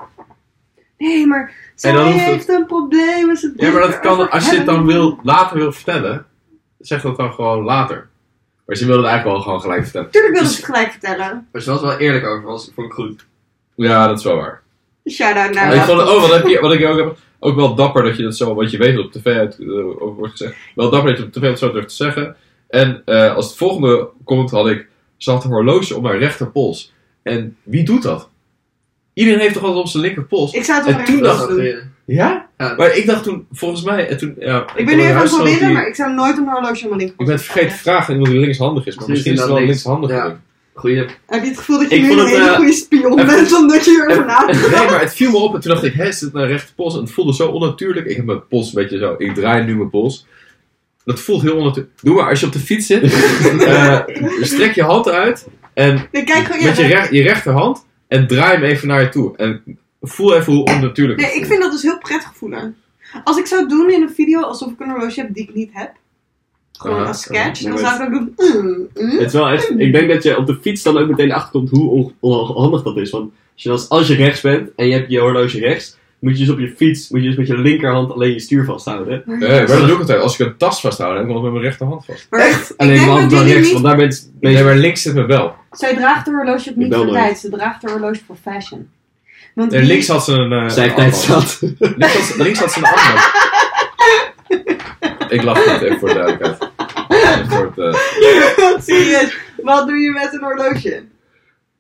Speaker 1: Nee, maar zij
Speaker 2: En dan hoeft het-
Speaker 1: heeft een probleem. en ze
Speaker 2: Ja, maar dat
Speaker 1: denkt erover
Speaker 2: kan, als je het dan
Speaker 1: hebben.
Speaker 2: wil, later wil vertellen, zeg dat dan gewoon later. Maar ze wilde het eigenlijk wel gewoon gelijk vertellen.
Speaker 1: Tuurlijk wil ze het gelijk vertellen.
Speaker 3: Maar ze was wel eerlijk over, was, vond ik goed.
Speaker 2: Ja, dat is wel waar.
Speaker 1: Shout-out naar
Speaker 2: ik
Speaker 1: haar.
Speaker 2: vond het- oh, wat, heb je, wat ik ook heb, ook wel dapper dat je dat zo, wat je weet dat op tv uit, eh, over wordt gezegd, wel dapper dat je op tv dat zo durft te zeggen. En eh, als het volgende komt, had ik, ze had een horloge om haar rechterpols. En wie doet dat? Iedereen heeft toch wat op zijn linkerpols?
Speaker 1: Ik zou het
Speaker 2: En
Speaker 1: op mijn
Speaker 2: toen
Speaker 1: rechterpols
Speaker 2: dacht
Speaker 1: doen.
Speaker 2: Ja?
Speaker 3: Ja.
Speaker 2: Maar ik dacht toen, volgens mij, en toen, ja,
Speaker 1: Ik ben nu even aan het
Speaker 2: huis van
Speaker 1: proberen,
Speaker 2: die-
Speaker 1: maar ik zou nooit een horloge om mijn
Speaker 2: Ik
Speaker 1: linkerpols
Speaker 2: ben het vergeten te vragen aan iemand die linkshandig is, maar
Speaker 3: Dus
Speaker 2: misschien is het wel
Speaker 3: inderdaad
Speaker 2: een
Speaker 3: links.
Speaker 2: linkshandige.
Speaker 3: Ja. Goeie.
Speaker 1: Heb je het gevoel dat je
Speaker 3: Ik
Speaker 1: nu een
Speaker 3: vond het,
Speaker 1: hele
Speaker 3: eh,
Speaker 1: goede spion
Speaker 2: even-
Speaker 1: bent, omdat je
Speaker 2: even-
Speaker 1: hierover nadenkt?
Speaker 2: Nee, maar het viel me op en toen dacht ik, hè, is dit een rechte pols? En het voelde zo onnatuurlijk. Ik heb mijn pols een beetje zo, ik draai nu mijn pols. Dat voelt heel onnatuurlijk. Doe maar als je op de fiets zit. eh, strek je hand uit. En
Speaker 1: Nee, kijk gewoon... ja,
Speaker 2: met je,
Speaker 1: maar-
Speaker 2: rech- je rechterhand. En draai hem even naar je toe. En voel even hoe onnatuurlijk het
Speaker 1: Nee, ik
Speaker 2: voelt.
Speaker 1: vind dat dus heel prettig voelen. Als ik zou doen in een video alsof ik een horloge heb die ik niet heb. Gewoon
Speaker 2: Aha,
Speaker 1: als sketch.
Speaker 3: ja,
Speaker 1: dan
Speaker 3: maar
Speaker 1: zou ik ook doen... mm, mm.
Speaker 3: Het is wel echt, ik denk dat je op de fiets dan ook meteen achterkomt hoe on- onhandig dat is. Want als je, als, als je rechts bent en je hebt je horloge rechts, moet je dus op je fiets, moet je dus met je linkerhand alleen je stuur vasthouden.
Speaker 2: Nee, Eh, maar dat doe ik altijd. Als ik een tas vasthoud, dan heb ik nog met mijn rechterhand vast.
Speaker 1: Maar ik
Speaker 3: Alleen
Speaker 1: denk
Speaker 3: man
Speaker 1: dat
Speaker 3: dan
Speaker 1: jullie
Speaker 3: rechts,
Speaker 1: niet-
Speaker 3: want daar bent
Speaker 2: Nee,
Speaker 3: meestal...
Speaker 2: maar links zit mijn bel.
Speaker 1: Zij draagt haar horloge op niet
Speaker 3: bel
Speaker 1: voor
Speaker 3: nooit.
Speaker 1: tijd. Ze draagt haar horloge voor fashion. Want
Speaker 2: En
Speaker 1: die-
Speaker 2: links had ze een... eh,
Speaker 3: Zij
Speaker 2: een
Speaker 3: tijd
Speaker 2: armband.
Speaker 3: zat.
Speaker 2: Links had, ze- links had ze een armband. ik lach niet, even voor de duidelijkheid. Een soort, eh,
Speaker 1: Serieus, wat doe je met een horloge?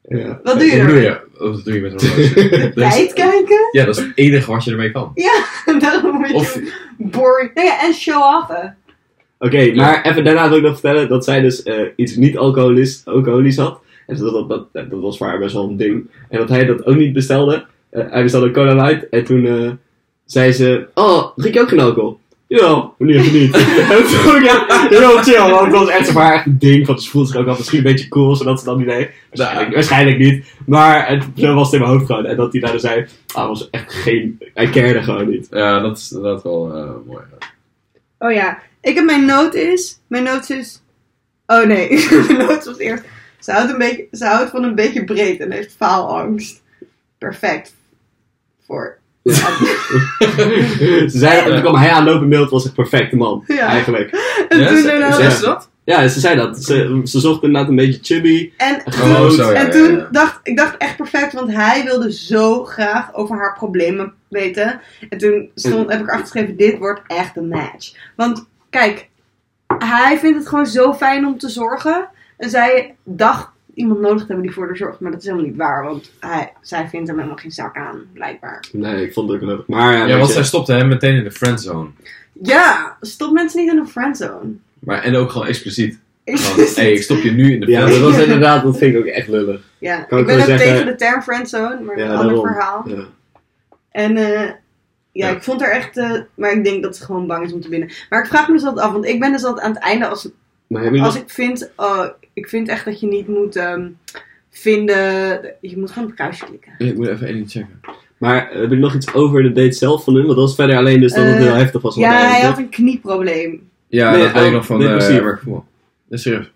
Speaker 3: Ja.
Speaker 1: Wat doe je
Speaker 2: Hoe doe
Speaker 1: er?
Speaker 2: je? Wat doe je met een horloge? Dat
Speaker 1: Tijd
Speaker 2: is-
Speaker 1: kijken?
Speaker 2: Ja, dat is het enige wat je ermee kan.
Speaker 1: Ja, daarom moet je
Speaker 2: Of-
Speaker 1: boring... Nee, en show-offen.
Speaker 3: Oké, maar even daarna wil ik nog vertellen dat zij dus eh, iets niet alcoholisch, alcoholisch had. En dat, dat, dat, dat was voor haar best wel een ding. En dat hij dat ook niet bestelde. Eh, hij bestelde Cola Light en toen eh, zei ze... Oh, drink je ook geen alcohol? Jawel, wanneer even niet. en toen vond ik echt heel chill, want dat was echt voor haar echt een ding. Want ze voelde zich ook al misschien een beetje cool, zodat ze dat niet deed. Waarschijnlijk, waarschijnlijk niet. Maar het, zo was het in mijn hoofd gewoon. En dat hij daar dus zei... Ah, was echt geen... Hij keerde gewoon niet.
Speaker 2: Ja, dat is inderdaad wel eh, mooi.
Speaker 1: Oh ja, ik heb mijn noot is... Mijn noot is... Oh nee, mijn noot was eerst... Ze houdt, een beetje, ze houdt van een beetje breed en heeft faalangst. Perfect. Voor...
Speaker 3: Ze zei, en toen kwam hij aanlopen in beeld, was echt perfecte man.
Speaker 1: Ja.
Speaker 3: Eigenlijk.
Speaker 1: En
Speaker 2: Ja,
Speaker 1: toen
Speaker 2: ze-
Speaker 1: daarna-
Speaker 2: zei ze dat?
Speaker 3: Ja, ze zei dat. Ze, ze zocht inderdaad een beetje chubby.
Speaker 1: En toen,
Speaker 2: Oh, zo, ja,
Speaker 1: en
Speaker 2: ja,
Speaker 1: toen
Speaker 2: ja.
Speaker 1: dacht ik dacht echt perfect, want hij wilde zo graag over haar problemen weten. En toen stond, heb ik achtergeschreven, dit wordt echt een match. Want kijk, hij vindt het gewoon zo fijn om te zorgen. En zij dacht iemand nodig te hebben die voor haar zorgt. Maar dat is helemaal niet waar, want hij, zij vindt hem helemaal geen zak aan, blijkbaar.
Speaker 3: Nee, ik vond het ook leuk. Maar ja,
Speaker 2: Ja,
Speaker 3: weet
Speaker 2: want
Speaker 3: je,
Speaker 2: zij stopte hem meteen in de friendzone.
Speaker 1: Ja, stop mensen niet in een friendzone.
Speaker 2: Maar, en ook gewoon expliciet.
Speaker 1: Ik-
Speaker 2: Van, Oh, hey, ik stop je nu in de
Speaker 3: ja,
Speaker 2: friendzone.
Speaker 3: dat was inderdaad, dat vind ik ook echt lullig.
Speaker 1: ja,
Speaker 3: Kan
Speaker 1: ik ben
Speaker 3: ik wel
Speaker 1: ook
Speaker 3: zeggen-
Speaker 1: tegen de term friendzone, maar
Speaker 3: Ja,
Speaker 1: een ander
Speaker 3: daarom.
Speaker 1: verhaal.
Speaker 3: Ja.
Speaker 1: En eh, ja,
Speaker 2: Ja.
Speaker 1: ik vond haar echt. eh, maar ik denk dat ze gewoon bang is om te binnen. Maar ik vraag me dus altijd af, want ik ben dus altijd aan het einde als,
Speaker 3: Maar hebben
Speaker 1: als
Speaker 3: jullie
Speaker 1: ik vind. eh, ik vind echt dat je niet moet ehm, vinden. Je moet gewoon op een kruisje klikken.
Speaker 2: Ik moet even één ding checken.
Speaker 3: nog, maar hebben jullie nog iets over de date zelf van hun? Want dat was verder alleen dus dat het
Speaker 1: Eh,
Speaker 3: heel heftig was. om
Speaker 1: ja,
Speaker 3: te
Speaker 1: hij
Speaker 3: eten.
Speaker 1: had een knieprobleem.
Speaker 2: Ja,
Speaker 3: Nee,
Speaker 2: dat weet ik
Speaker 3: oh,
Speaker 2: nog van
Speaker 3: nee,
Speaker 2: eh,
Speaker 3: precies.
Speaker 2: waar ik voel. Dat is serieus.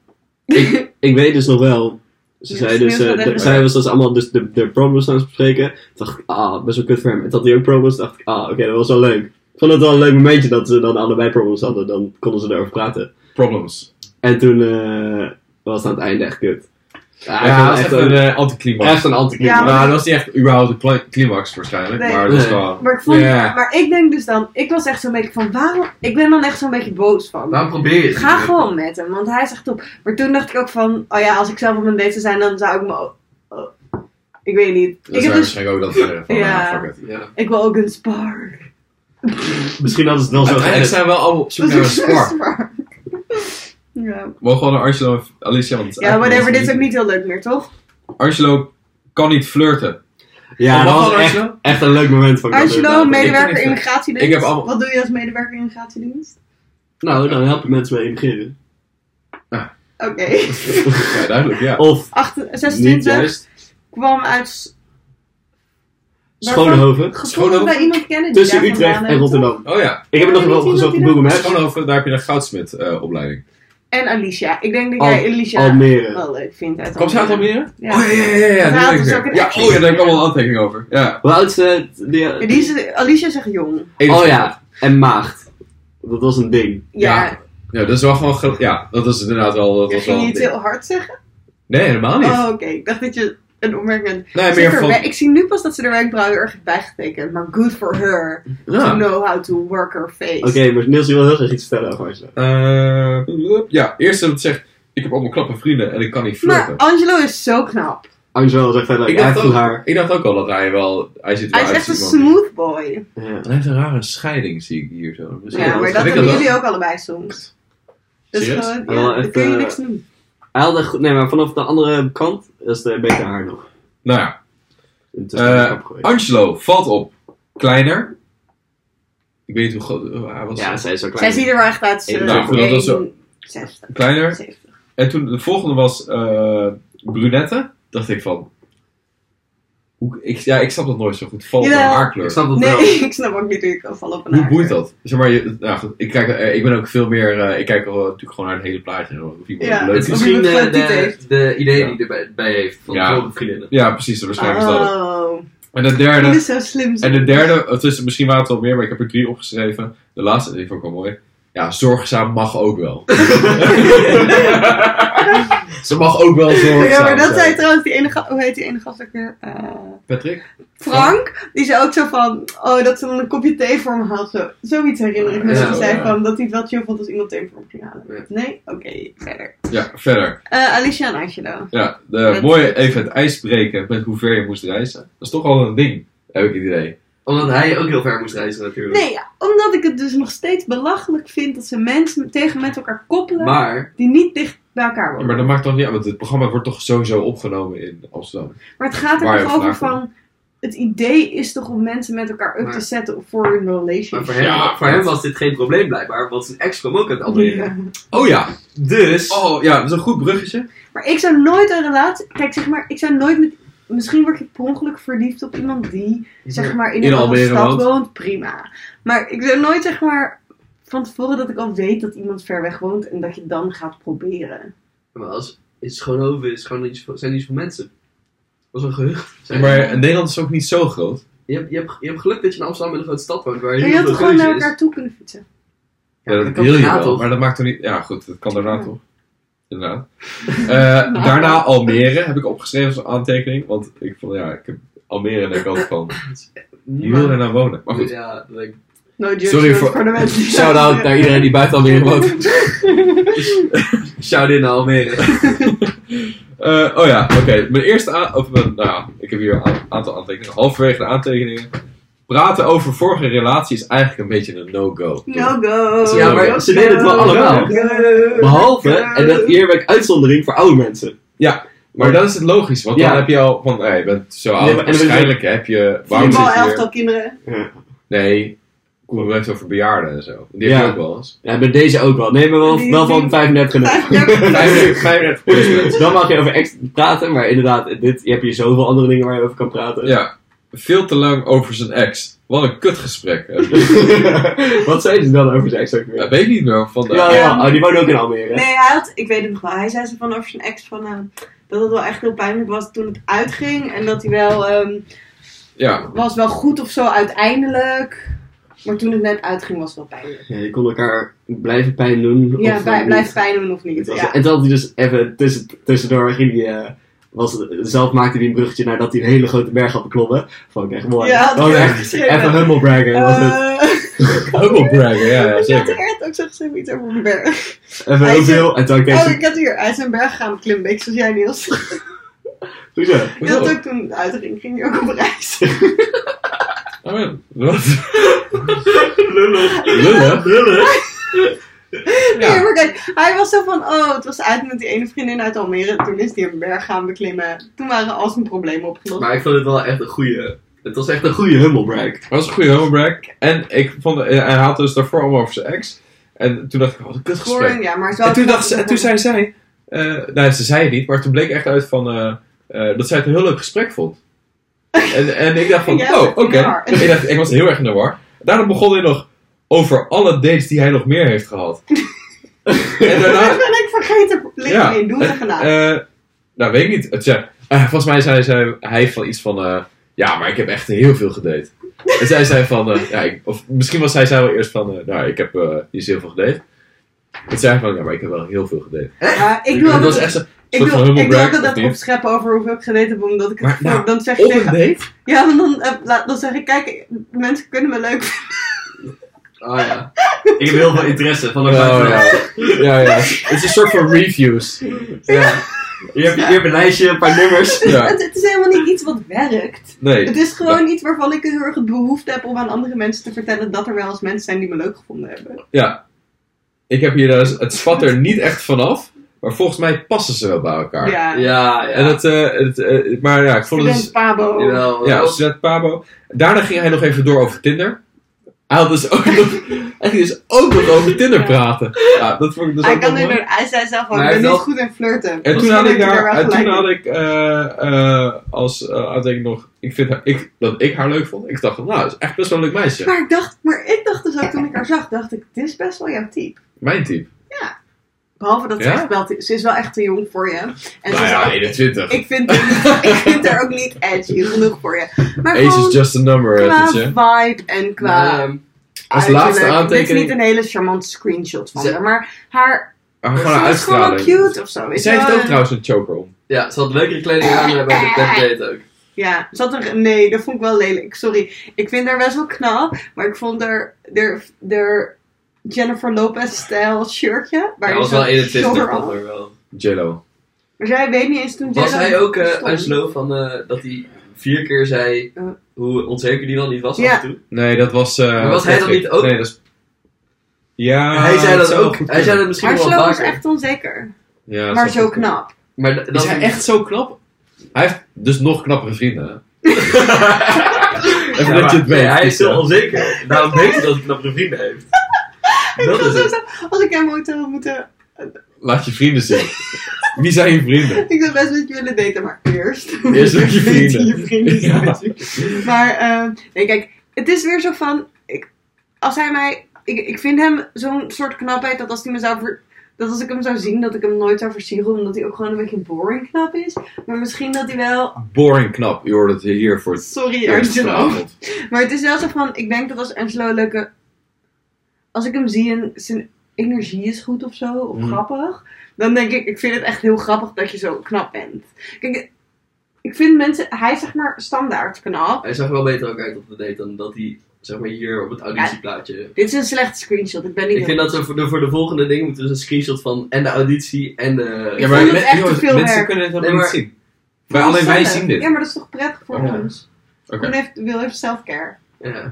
Speaker 3: Ik weet dus nog wel. Ze
Speaker 1: Ja,
Speaker 3: zei dus,
Speaker 1: Sneeuw
Speaker 3: eh,
Speaker 1: gaat
Speaker 3: de-
Speaker 1: even-
Speaker 3: zij was dus allemaal dus de, de problems aan het bespreken. Toen dacht ik, ah, best wel kut voor hem. En toen had hij ook problems, dacht ik, ah, oké, dat was wel leuk. Ik vond het wel een leuk momentje dat ze dan allebei problems hadden. Dan konden ze erover praten.
Speaker 2: Problems.
Speaker 3: En toen eh, was het aan het einde echt kut. Ja, ik
Speaker 2: Ja,
Speaker 3: vond
Speaker 2: dat is
Speaker 3: echt
Speaker 2: echt
Speaker 3: een,
Speaker 2: een eh, anticlimax.
Speaker 3: echt een anticlimax.
Speaker 1: Ja,
Speaker 2: Nou, dat was niet echt überhaupt een cli- climax waarschijnlijk.
Speaker 1: Nee.
Speaker 2: Maar dat is
Speaker 3: Nee.
Speaker 2: gewoon...
Speaker 1: Maar ik, vond,
Speaker 2: Ja.
Speaker 1: maar ik denk dus dan. Ik was echt zo'n beetje van. Waarom? Ik ben dan echt zo'n beetje boos van.
Speaker 3: Waarom probeer je
Speaker 1: Ga gewoon met hem, want hij is echt top. Maar toen dacht ik ook van. Oh ja, als ik zelf op een date zou zijn, dan zou ik me. ook- oh, ik weet niet.
Speaker 2: Dat
Speaker 1: ik,
Speaker 2: zijn
Speaker 1: heb dus,
Speaker 2: waarschijnlijk ook dat verder van,
Speaker 1: Ja.
Speaker 2: ah, fuck it.
Speaker 1: ik wil ook een spark.
Speaker 3: Misschien hadden ze het wel zo
Speaker 2: Uiteindelijk
Speaker 3: geëindigd.
Speaker 2: zijn we wel allemaal op zoek
Speaker 1: Dat
Speaker 2: naar een
Speaker 1: is dus-
Speaker 2: spark.
Speaker 1: Ja,
Speaker 2: Mogen we gewoon naar Angelo en Alicia? Want het is
Speaker 1: ja
Speaker 2: eigenlijk
Speaker 1: whatever.
Speaker 2: onze
Speaker 1: Dit is ook niet
Speaker 2: liefde.
Speaker 1: heel leuk meer, toch?
Speaker 2: Angelo kan niet flirten.
Speaker 3: Ja,
Speaker 2: Wat
Speaker 3: dat was
Speaker 2: hadden
Speaker 3: echt,
Speaker 2: Angelo?
Speaker 3: echt een leuk moment van
Speaker 1: Angelo,
Speaker 3: inderdaad.
Speaker 1: medewerker
Speaker 2: ik-
Speaker 1: immigratiedienst.
Speaker 2: ik heb allemaal-
Speaker 1: Wat doe je als medewerker immigratiedienst?
Speaker 3: Nou, dan help je mensen mee immigreren.
Speaker 1: Oké.
Speaker 2: Ja, duidelijk, ja.
Speaker 3: Of,
Speaker 1: 28
Speaker 3: niet
Speaker 1: 26
Speaker 3: juist,
Speaker 1: kwam uit S-
Speaker 3: Schoonhoven.
Speaker 1: gevonden
Speaker 2: Schoonhoven?
Speaker 1: bij iemand kennen die
Speaker 3: Tussen
Speaker 1: daar
Speaker 3: Utrecht
Speaker 1: vandaan
Speaker 3: en
Speaker 1: is,
Speaker 3: Rotterdam.
Speaker 2: Oh ja,
Speaker 3: Ik heb het nog wel
Speaker 1: Weet je
Speaker 3: opgezocht op
Speaker 1: dat
Speaker 3: Google
Speaker 1: die
Speaker 3: Maps.
Speaker 2: Schoonhoven, daar heb je een eh, goudsmidopleiding.
Speaker 1: toch? En Alicia. Ik denk dat
Speaker 3: Al-
Speaker 1: jij Alicia
Speaker 3: Almere.
Speaker 1: wel leuk vindt. uit
Speaker 2: Komt ze uit Almere?
Speaker 1: Ja.
Speaker 2: Oh ja, ja, ja. ja,
Speaker 1: Ze
Speaker 2: die
Speaker 1: had
Speaker 2: weet ik
Speaker 1: dus
Speaker 2: weer.
Speaker 1: ook een
Speaker 2: ja
Speaker 1: actie.
Speaker 2: oh ja, daar heb ik allemaal een aantekening over. Ja.
Speaker 3: Hoe oud is eh, die-
Speaker 1: Ja, Die is, Alicia zegt jong.
Speaker 3: Oh ja, en maagd. Dat was een ding.
Speaker 1: Ja.
Speaker 2: Ja. Ja, dat is wel gewoon... ge- Ja, dat is inderdaad wel... Dat was
Speaker 1: Ging
Speaker 2: wel
Speaker 1: je
Speaker 2: een
Speaker 1: het
Speaker 2: ding.
Speaker 1: heel hard zeggen?
Speaker 2: Nee, helemaal niet.
Speaker 1: Oh, oké. Ik dacht dat je een opmerking had.
Speaker 2: nee,
Speaker 1: Ze heeft
Speaker 2: meer
Speaker 1: haar
Speaker 2: van...
Speaker 1: wer- Ik zie nu pas dat ze de wenkbrauwen erg heeft bijgetekend. Maar good for her. To
Speaker 2: Ja.
Speaker 1: know how to work her face.
Speaker 3: Oké, maar Niels, je wil heel graag iets vertellen over Angelo.
Speaker 2: Eh, ja, eerst dat het zegt... Ik heb allemaal knappe vrienden en ik kan niet flirten.
Speaker 1: Maar Angelo is zo knap.
Speaker 3: Angelo was echt verder.
Speaker 2: ik,
Speaker 3: Hij
Speaker 2: dacht
Speaker 3: vond
Speaker 2: ook,
Speaker 3: haar.
Speaker 2: ik dacht ook al dat hij wel... Hij ziet er
Speaker 1: Hij
Speaker 2: wel
Speaker 1: is echt een
Speaker 2: uit als iemand die-
Speaker 1: smooth boy.
Speaker 3: Ja.
Speaker 2: Hij heeft een rare scheiding, zie ik hier zo. Dus
Speaker 1: Ja,
Speaker 3: Ja,
Speaker 1: maar
Speaker 3: dat
Speaker 1: dat
Speaker 2: heb ik
Speaker 1: hebben
Speaker 2: ook.
Speaker 1: jullie ook allebei soms. Dat is
Speaker 2: Serieus?
Speaker 1: gewoon, ja,
Speaker 3: Wel
Speaker 1: daar
Speaker 3: echt,
Speaker 1: kun je
Speaker 3: eh,
Speaker 1: niks aan doen.
Speaker 3: Hij had echt goed, nee, maar vanaf de andere kant is het eh, beter haar nog.
Speaker 2: Nou ja,
Speaker 3: Het is wel
Speaker 2: eh,
Speaker 3: grappig geweest.
Speaker 2: Angelo valt op. Kleiner. Ik weet niet hoe groot eh, hij was.
Speaker 3: Ja, zij is zo
Speaker 1: Zij
Speaker 3: klein.
Speaker 1: ziet er wel echt uit. eh,
Speaker 2: Nou, ik vond dat wel zo.
Speaker 1: 1,60.
Speaker 2: Kleiner.
Speaker 1: 70.
Speaker 2: En toen de volgende was eh brunette. Dacht ik van. Hoe, ik, ja, ik snap dat nooit zo goed. Val op een
Speaker 1: Jawel.
Speaker 2: haarkleur.
Speaker 3: Ik snap dat wel.
Speaker 1: Nee, ik snap ook niet hoe je kan vallen op een
Speaker 2: Hoe
Speaker 1: haar.
Speaker 2: boeit dat? Zeg maar, je, nou goed, ik, kijk, eh, ik ben ook veel meer. eh, ik kijk wel, eh, natuurlijk gewoon naar het hele plaatje. en Of iemand
Speaker 1: Ja.
Speaker 2: leuk
Speaker 3: Het is
Speaker 2: is.
Speaker 1: Of
Speaker 3: misschien
Speaker 1: iemand
Speaker 3: eh,
Speaker 1: een tiet
Speaker 3: de,
Speaker 1: heeft.
Speaker 3: de idee
Speaker 2: Ja.
Speaker 3: die hij erbij heeft van
Speaker 2: Ja.
Speaker 3: grote vriendinnen.
Speaker 2: Ja, precies. Waarschijnlijk is dat. het.
Speaker 1: Oh,
Speaker 2: En de
Speaker 1: dat
Speaker 2: derde.
Speaker 1: is zo slim.
Speaker 2: En de derde, oh, het is, misschien waren het wel meer, maar ik heb er drie opgeschreven. De laatste, die vond ik wel mooi. Ja, zorgzaam mag ook wel. Ze mag ook wel zorgzaam
Speaker 1: Ja, maar dat
Speaker 2: zijn.
Speaker 1: zei trouwens die ene gast, hoe heet die ene gast ook weer? Eh,
Speaker 2: Patrick?
Speaker 1: Frank, die zei ook zo van, oh, dat ze dan een kopje thee voor me had. Zo, zoiets herinner ik me. Ze
Speaker 3: Ja,
Speaker 1: zei
Speaker 2: ja.
Speaker 1: van, dat hij het wel chill vond als iemand thee voor hem ging halen.
Speaker 3: Ja.
Speaker 1: Nee? Oké, verder.
Speaker 2: Ja, verder.
Speaker 1: Eh, Alicia en Angelo.
Speaker 2: Ja, de
Speaker 1: Met-
Speaker 2: mooie even het ijs breken met hoe ver je moest reizen. Dat is toch al een ding, heb ik het idee.
Speaker 3: Omdat hij ook heel ver moest reizen natuurlijk.
Speaker 1: Nee, ja, omdat ik het dus nog steeds belachelijk vind dat ze mensen tegen met elkaar koppelen
Speaker 3: Maar,
Speaker 1: die niet dicht bij elkaar
Speaker 2: Ja,
Speaker 1: wonen.
Speaker 2: maar dat maakt toch niet uit, want het programma wordt toch sowieso opgenomen in Amsterdam.
Speaker 1: Maar het gaat er
Speaker 2: Waar
Speaker 1: nog
Speaker 2: je
Speaker 1: over
Speaker 2: vraagt om.
Speaker 1: van. Het idee is toch om mensen met elkaar up
Speaker 3: Maar-
Speaker 1: te zetten voor hun relationship.
Speaker 3: maar voor, hem,
Speaker 2: Ja.
Speaker 3: voor hem was dit geen probleem blijkbaar, want zijn ex kwam ook uit Almere.
Speaker 1: Ja.
Speaker 2: Oh ja,
Speaker 3: Dus,
Speaker 2: oh ja, dat is een goed bruggetje.
Speaker 1: Maar ik zou nooit een relatie. Kijk, zeg maar, ik zou nooit met. Misschien word je per ongeluk verliefd op iemand die, zeg maar, in,
Speaker 2: In
Speaker 1: een andere
Speaker 2: Almere
Speaker 1: stad
Speaker 2: woont.
Speaker 1: woont. Prima. Maar ik zou nooit, zeg maar, van tevoren dat ik al weet dat iemand ver weg woont en dat je dan gaat proberen.
Speaker 3: maar als, is Schoonhoven is gewoon iets, voor- zijn iets voor mensen. Dat was een gehucht.
Speaker 2: Ja, maar Nederland is ook niet zo groot.
Speaker 3: je, hebt, je, hebt, je hebt geluk dat je in Amsterdam in een grote stad woont waar
Speaker 1: Maar
Speaker 3: heel
Speaker 1: je had
Speaker 3: veel
Speaker 1: toch gewoon naar
Speaker 3: keuze is.
Speaker 1: elkaar toe kunnen fietsen.
Speaker 2: Ja,
Speaker 3: Ja,
Speaker 2: dat
Speaker 3: dat kan
Speaker 2: wil je
Speaker 3: daarna
Speaker 2: wel,
Speaker 3: toch?
Speaker 2: maar dat maakt toch niet... Ja goed, dat kan daarna
Speaker 1: Ja.
Speaker 2: toch. Inderdaad.
Speaker 3: Nou.
Speaker 2: Eh, daarna Almere heb ik opgeschreven als aantekening, want ik vond ja, ik heb Almere en ik altijd van, je wil er nou wonen. Maar goed,
Speaker 3: Ja, dat denk ik.
Speaker 1: No judgment
Speaker 2: Sorry
Speaker 1: Sorry
Speaker 2: voor-
Speaker 1: voor, de mensen. die-
Speaker 3: Shout-out naar iedereen die buiten Almere woont. Shout-in naar Almere.
Speaker 2: Eh, oh ja, oké. Mijn eerste aan... Of, mijn- nou ja, ik heb hier een a- aantal aantekeningen. Halverwege de aantekeningen. Praten over vorige relatie is eigenlijk een beetje een no-go.
Speaker 1: No go.
Speaker 3: Ja, maar ze deden het wel allemaal. Behalve, en dat eerwerk uitzondering voor oude mensen.
Speaker 2: Maar dat is het logisch, want
Speaker 3: Ja.
Speaker 2: dan heb je al van... Hey, je bent zo oud,
Speaker 3: Nee, maar- en dan
Speaker 2: waarschijnlijk heb je... Waarom
Speaker 1: Voetbal
Speaker 2: zit je hier?
Speaker 1: elftal kinderen.
Speaker 2: Nee, we hebben het over verjaarden en zo. Die
Speaker 3: Ja.
Speaker 2: heb je ook wel eens.
Speaker 3: Ja, bij deze ook wel. Nee, maar wel, wel van 35 genoeg.
Speaker 2: 35 35 plus mensen.
Speaker 3: Dan mag je over ex praten, maar inderdaad, dit, je hebt hier zoveel andere dingen waar je over kan praten.
Speaker 2: Ja, veel te lang over zijn ex. Wat een kutgesprek. heb je.
Speaker 3: Wat zeiden ze dan over zijn ex ook
Speaker 2: Dat
Speaker 3: weer?
Speaker 2: weet ik niet meer. Van de...
Speaker 3: Ja, ja. Oh, die woont ook in Almere.
Speaker 1: Nee, hij had, ik weet het nog wel. Hij zei ze van over zijn ex van, eh, dat het wel echt heel pijnlijk was toen het uitging. En dat hij wel, ehm,
Speaker 2: ja.
Speaker 1: was wel goed of zo uiteindelijk. Maar toen het net uitging was het wel pijnlijk.
Speaker 3: Ja, je kon elkaar blijven pijn doen.
Speaker 1: Ja,
Speaker 3: of,
Speaker 1: bij-
Speaker 3: eh,
Speaker 1: blijft pijn doen of niet.
Speaker 3: Het was-
Speaker 1: Ja.
Speaker 3: En toen had hij dus even tussen, tussendoor ging hij, eh, was, zelf maakte hij een bruggetje nadat hij een hele grote berg had beklommen. Vond ik echt mooi.
Speaker 1: Ja, had
Speaker 3: Oh,
Speaker 1: ik
Speaker 3: echt,
Speaker 1: ook geschreven.
Speaker 3: even humble bragger was het.
Speaker 1: Eh,
Speaker 2: Ook wel braggen, ja, ja,
Speaker 1: ik had
Speaker 2: eh, zeker.
Speaker 1: er echt ook zo gezegd iets over een berg.
Speaker 3: Even
Speaker 1: hij
Speaker 3: heel
Speaker 1: is-
Speaker 3: veel. En toen had ik
Speaker 1: Oh,
Speaker 3: tegen
Speaker 1: ik had hier. Hij is een berg gaan klimmen, ik zoals jij Niels.
Speaker 3: Hoezo?
Speaker 1: Ik had ook toen het uitging, ging hij ook op reis.
Speaker 2: Oh ja, wat?
Speaker 3: Lullig.
Speaker 2: Lullig.
Speaker 3: Lullig.
Speaker 2: Ja.
Speaker 1: Nee, maar kijk, hij was zo van, oh, het was uit met die ene vriendin uit Almere. Toen is die een berg gaan beklimmen. Toen waren al zijn problemen opgelost.
Speaker 3: Maar ik vond het wel echt een goede. Het was echt een goede humble brag.
Speaker 2: Dat was een goede homebreak. En ik vond, eh, hij had dus daarvoor allemaal over zijn ex. En toen dacht ik, wat een kutgesprek.
Speaker 1: Scoring, ja, maar het is wel
Speaker 2: En toen,
Speaker 1: knap
Speaker 2: dacht ze,
Speaker 1: dat
Speaker 2: en toen
Speaker 1: hij-
Speaker 2: zei zij, eh, nou ze zei het niet, maar toen bleek echt uit van, eh, eh, dat zij het een heel leuk gesprek vond. En, en ik dacht van,
Speaker 1: Ja,
Speaker 2: oh, oké.
Speaker 1: in de war.
Speaker 2: Ik, dacht, ik was heel erg in de war. Daarna begon hij nog over alle dates die hij nog meer heeft gehad. en daarna,
Speaker 1: Dat ben ik vergeten. Liggen
Speaker 2: Ja.
Speaker 1: in, doen we gedaan.
Speaker 2: eh nou weet ik niet. Het, zei- eh, volgens mij zei zij, hij heeft van iets van, eh, ja, maar ik heb echt heel veel gedate. En zij zei van, eh, ja, ik- of misschien was zij zei wel eerst van, eh, nou, ik heb eh, niet zo heel veel gedate. En zij van, ja, maar ik heb wel heel veel gedate.
Speaker 1: Ja, ik doe
Speaker 2: Dat was
Speaker 1: altijd-
Speaker 2: echt zo,
Speaker 1: Ik
Speaker 2: soort van
Speaker 1: wil,
Speaker 2: humble
Speaker 1: ik wil
Speaker 2: brag,
Speaker 1: altijd
Speaker 2: of
Speaker 1: dat
Speaker 2: niet?
Speaker 1: opscheppen over hoeveel ik gedate heb, omdat ik het
Speaker 2: Maar,
Speaker 1: voor-
Speaker 2: nou,
Speaker 1: dan zeg ik
Speaker 2: op een
Speaker 1: tegen...
Speaker 2: date?
Speaker 1: Ja, want dan, eh, laat- dan zeg ik, kijk, mensen kunnen me leuk vinden.
Speaker 3: Oh ja. Ik heb heel veel interesse van elkaar.
Speaker 2: Oh, ja. ja, ja. Het is een soort van reviews.
Speaker 3: Ja. Je hebt, je hebt een lijstje, een paar nummers.
Speaker 2: Ja,
Speaker 1: Het, het is helemaal niet iets wat werkt.
Speaker 2: nee.
Speaker 1: Het is gewoon iets waarvan ik heel erg het behoefte heb om aan andere mensen te vertellen dat er wel eens mensen zijn die me leuk gevonden hebben.
Speaker 2: Ja. Ik heb hier dus, het spat er niet echt vanaf, maar volgens mij passen ze wel bij elkaar.
Speaker 1: Ja,
Speaker 3: Ja,
Speaker 2: En het, eh, het, eh, maar ja, ik vond het...
Speaker 1: Student Pabo.
Speaker 3: Jawel.
Speaker 2: Ja, student Pabo. Daarna ging hij nog even door over Tinder. Hij had dus ook nog, hij ging dus ook nog over Tinder praten. Ja, dat vond ik dus
Speaker 1: Hij
Speaker 2: ook
Speaker 1: kan
Speaker 2: wel
Speaker 1: nu
Speaker 2: mooi.
Speaker 1: door, hij zei zelf al,
Speaker 5: Maar
Speaker 1: ik
Speaker 5: hij
Speaker 1: ben niet
Speaker 5: heeft
Speaker 1: goed in flirten.
Speaker 2: En toen
Speaker 1: Misschien
Speaker 2: had ik
Speaker 1: heeft hij
Speaker 2: daar,
Speaker 1: wel
Speaker 2: en toen
Speaker 1: gelijk
Speaker 2: had
Speaker 1: in.
Speaker 2: ik eh, eh, als eh, uitdekking nog, ik vind haar, ik, dat ik haar leuk vond. Ik dacht van, nou, dat is echt best wel een leuk meisje.
Speaker 1: Maar ik dacht, maar ik dacht dus ook toen ik haar zag, dacht ik, dit is best wel jouw type.
Speaker 2: Mijn type.
Speaker 1: Behalve dat ze
Speaker 2: Ja?
Speaker 1: echt wel, te- ze is wel echt te jong voor je. En ze
Speaker 2: nou
Speaker 1: is
Speaker 2: ja,
Speaker 1: ook-
Speaker 2: 21.
Speaker 1: ik vind, haar niet- ik vind haar ook niet edgy genoeg voor je. Maar
Speaker 2: Age
Speaker 1: gewoon
Speaker 2: is just a number, eh,
Speaker 1: qua
Speaker 2: dit, hè.
Speaker 1: vibe en qua
Speaker 5: Ehm,
Speaker 2: Als
Speaker 1: uiterlijk.
Speaker 2: laatste
Speaker 1: Dit is niet
Speaker 2: aantekening,
Speaker 1: een hele charmante screenshot van
Speaker 5: Ze-
Speaker 1: haar, maar haar
Speaker 2: maar
Speaker 1: ze
Speaker 2: gewoon haar
Speaker 1: is gewoon wel
Speaker 2: uitstraling.
Speaker 1: cute of zo. weet
Speaker 2: Zij
Speaker 1: je
Speaker 2: heeft
Speaker 1: wel.
Speaker 2: ook trouwens een choker om.
Speaker 5: ja, ze had leukere kleding aan eh, bij de pet date ook.
Speaker 1: Ja, zat er. Nee, dat vond ik wel lelijk. Sorry. Ik vind haar best wel knap, maar ik vond haar. haar, haar Jennifer Lopez-stijl shirtje. Waar
Speaker 5: Hij
Speaker 1: je
Speaker 5: was
Speaker 1: zo'n
Speaker 5: wel 21,
Speaker 1: short
Speaker 5: vond
Speaker 1: had.
Speaker 5: er wel.
Speaker 2: Jello.
Speaker 1: Maar zij weet niet eens toen
Speaker 5: Was
Speaker 1: Jenna
Speaker 5: hij ook eh
Speaker 1: bestond.
Speaker 5: uit slow van eh, dat hij vier keer zei
Speaker 1: Eh.
Speaker 5: hoe onzeker die dan niet was
Speaker 1: Ja.
Speaker 5: af en toe?
Speaker 2: Nee, dat was... eh,
Speaker 5: Maar was hij dat
Speaker 2: Patrick.
Speaker 5: niet ook?
Speaker 2: Nee, dat is... Ja,
Speaker 5: hij zei dat
Speaker 2: zou
Speaker 5: ook.
Speaker 2: goed
Speaker 5: Hij zei
Speaker 2: kunnen.
Speaker 5: dat misschien
Speaker 1: Haar
Speaker 5: wel
Speaker 1: slow was
Speaker 5: vaker.
Speaker 1: echt onzeker.
Speaker 2: Ja, dat
Speaker 1: maar
Speaker 2: zou
Speaker 1: zo
Speaker 2: goed kunnen.
Speaker 1: knap.
Speaker 5: Maar d- dat
Speaker 2: Is hij echt zo knap? Hij heeft dus nog knappere vrienden. hè? Even
Speaker 5: Ja,
Speaker 2: dat je het weet.
Speaker 5: maar- nee, hij is
Speaker 2: dus,
Speaker 5: zo
Speaker 2: eh,
Speaker 5: onzeker. Daarom weet hij dat hij knappere vrienden heeft. dat is
Speaker 3: dus-
Speaker 1: Zo,
Speaker 5: het.
Speaker 1: zo, Als ik hem ooit zou moeten.
Speaker 2: Laat je vrienden zien. Wie zijn je vrienden?
Speaker 1: Ik zou best met je willen daten, maar eerst.
Speaker 2: Eerst met je
Speaker 1: Weet
Speaker 2: vrienden.
Speaker 1: je vrienden zijn.
Speaker 2: Ja.
Speaker 1: Maar eh, nee, kijk, het is weer zo van. Ik, als hij mij. Ik, ik vind hem zo'n soort knapheid dat als hij me zou. ver- dat als ik hem zou zien, dat ik hem nooit zou versiegelen. Omdat hij ook gewoon een beetje boring knap is. Maar misschien dat hij wel.
Speaker 2: Boring knap. Je hoort het hier voor het
Speaker 1: Sorry,
Speaker 2: eerst
Speaker 1: Angelo.
Speaker 2: vanavond.
Speaker 1: Maar het is wel zo van. Ik denk dat als Angelo een leuke. Als ik hem zie en zijn energie is goed of zo. Of
Speaker 2: Mhm.
Speaker 1: grappig. Dan denk ik, ik vind het echt heel grappig dat je zo knap bent. Kijk, ik vind mensen. Hij is zeg maar standaard knap.
Speaker 5: Hij zag er wel beter ook uit op de date dan dat hij zeg maar hier op het auditieplaatje.
Speaker 1: Dit is een slechte screenshot. Ik ben niet.
Speaker 5: Ik vind dat we voor de, voor de volgende dingen moeten we dus een screenshot van en de auditie en de.
Speaker 1: Ja, maar- vond het echt te
Speaker 2: jongens,
Speaker 1: veel
Speaker 2: mensen
Speaker 1: werk.
Speaker 2: kunnen het
Speaker 5: Nee,
Speaker 2: helemaal niet
Speaker 5: maar-
Speaker 2: zien. Wij, alleen wij zien dit.
Speaker 1: Ja, maar dat is toch prettig voor
Speaker 2: Ja.
Speaker 1: ons?
Speaker 2: Oké.
Speaker 1: Gewoon even, wil even self-care.
Speaker 5: Ja.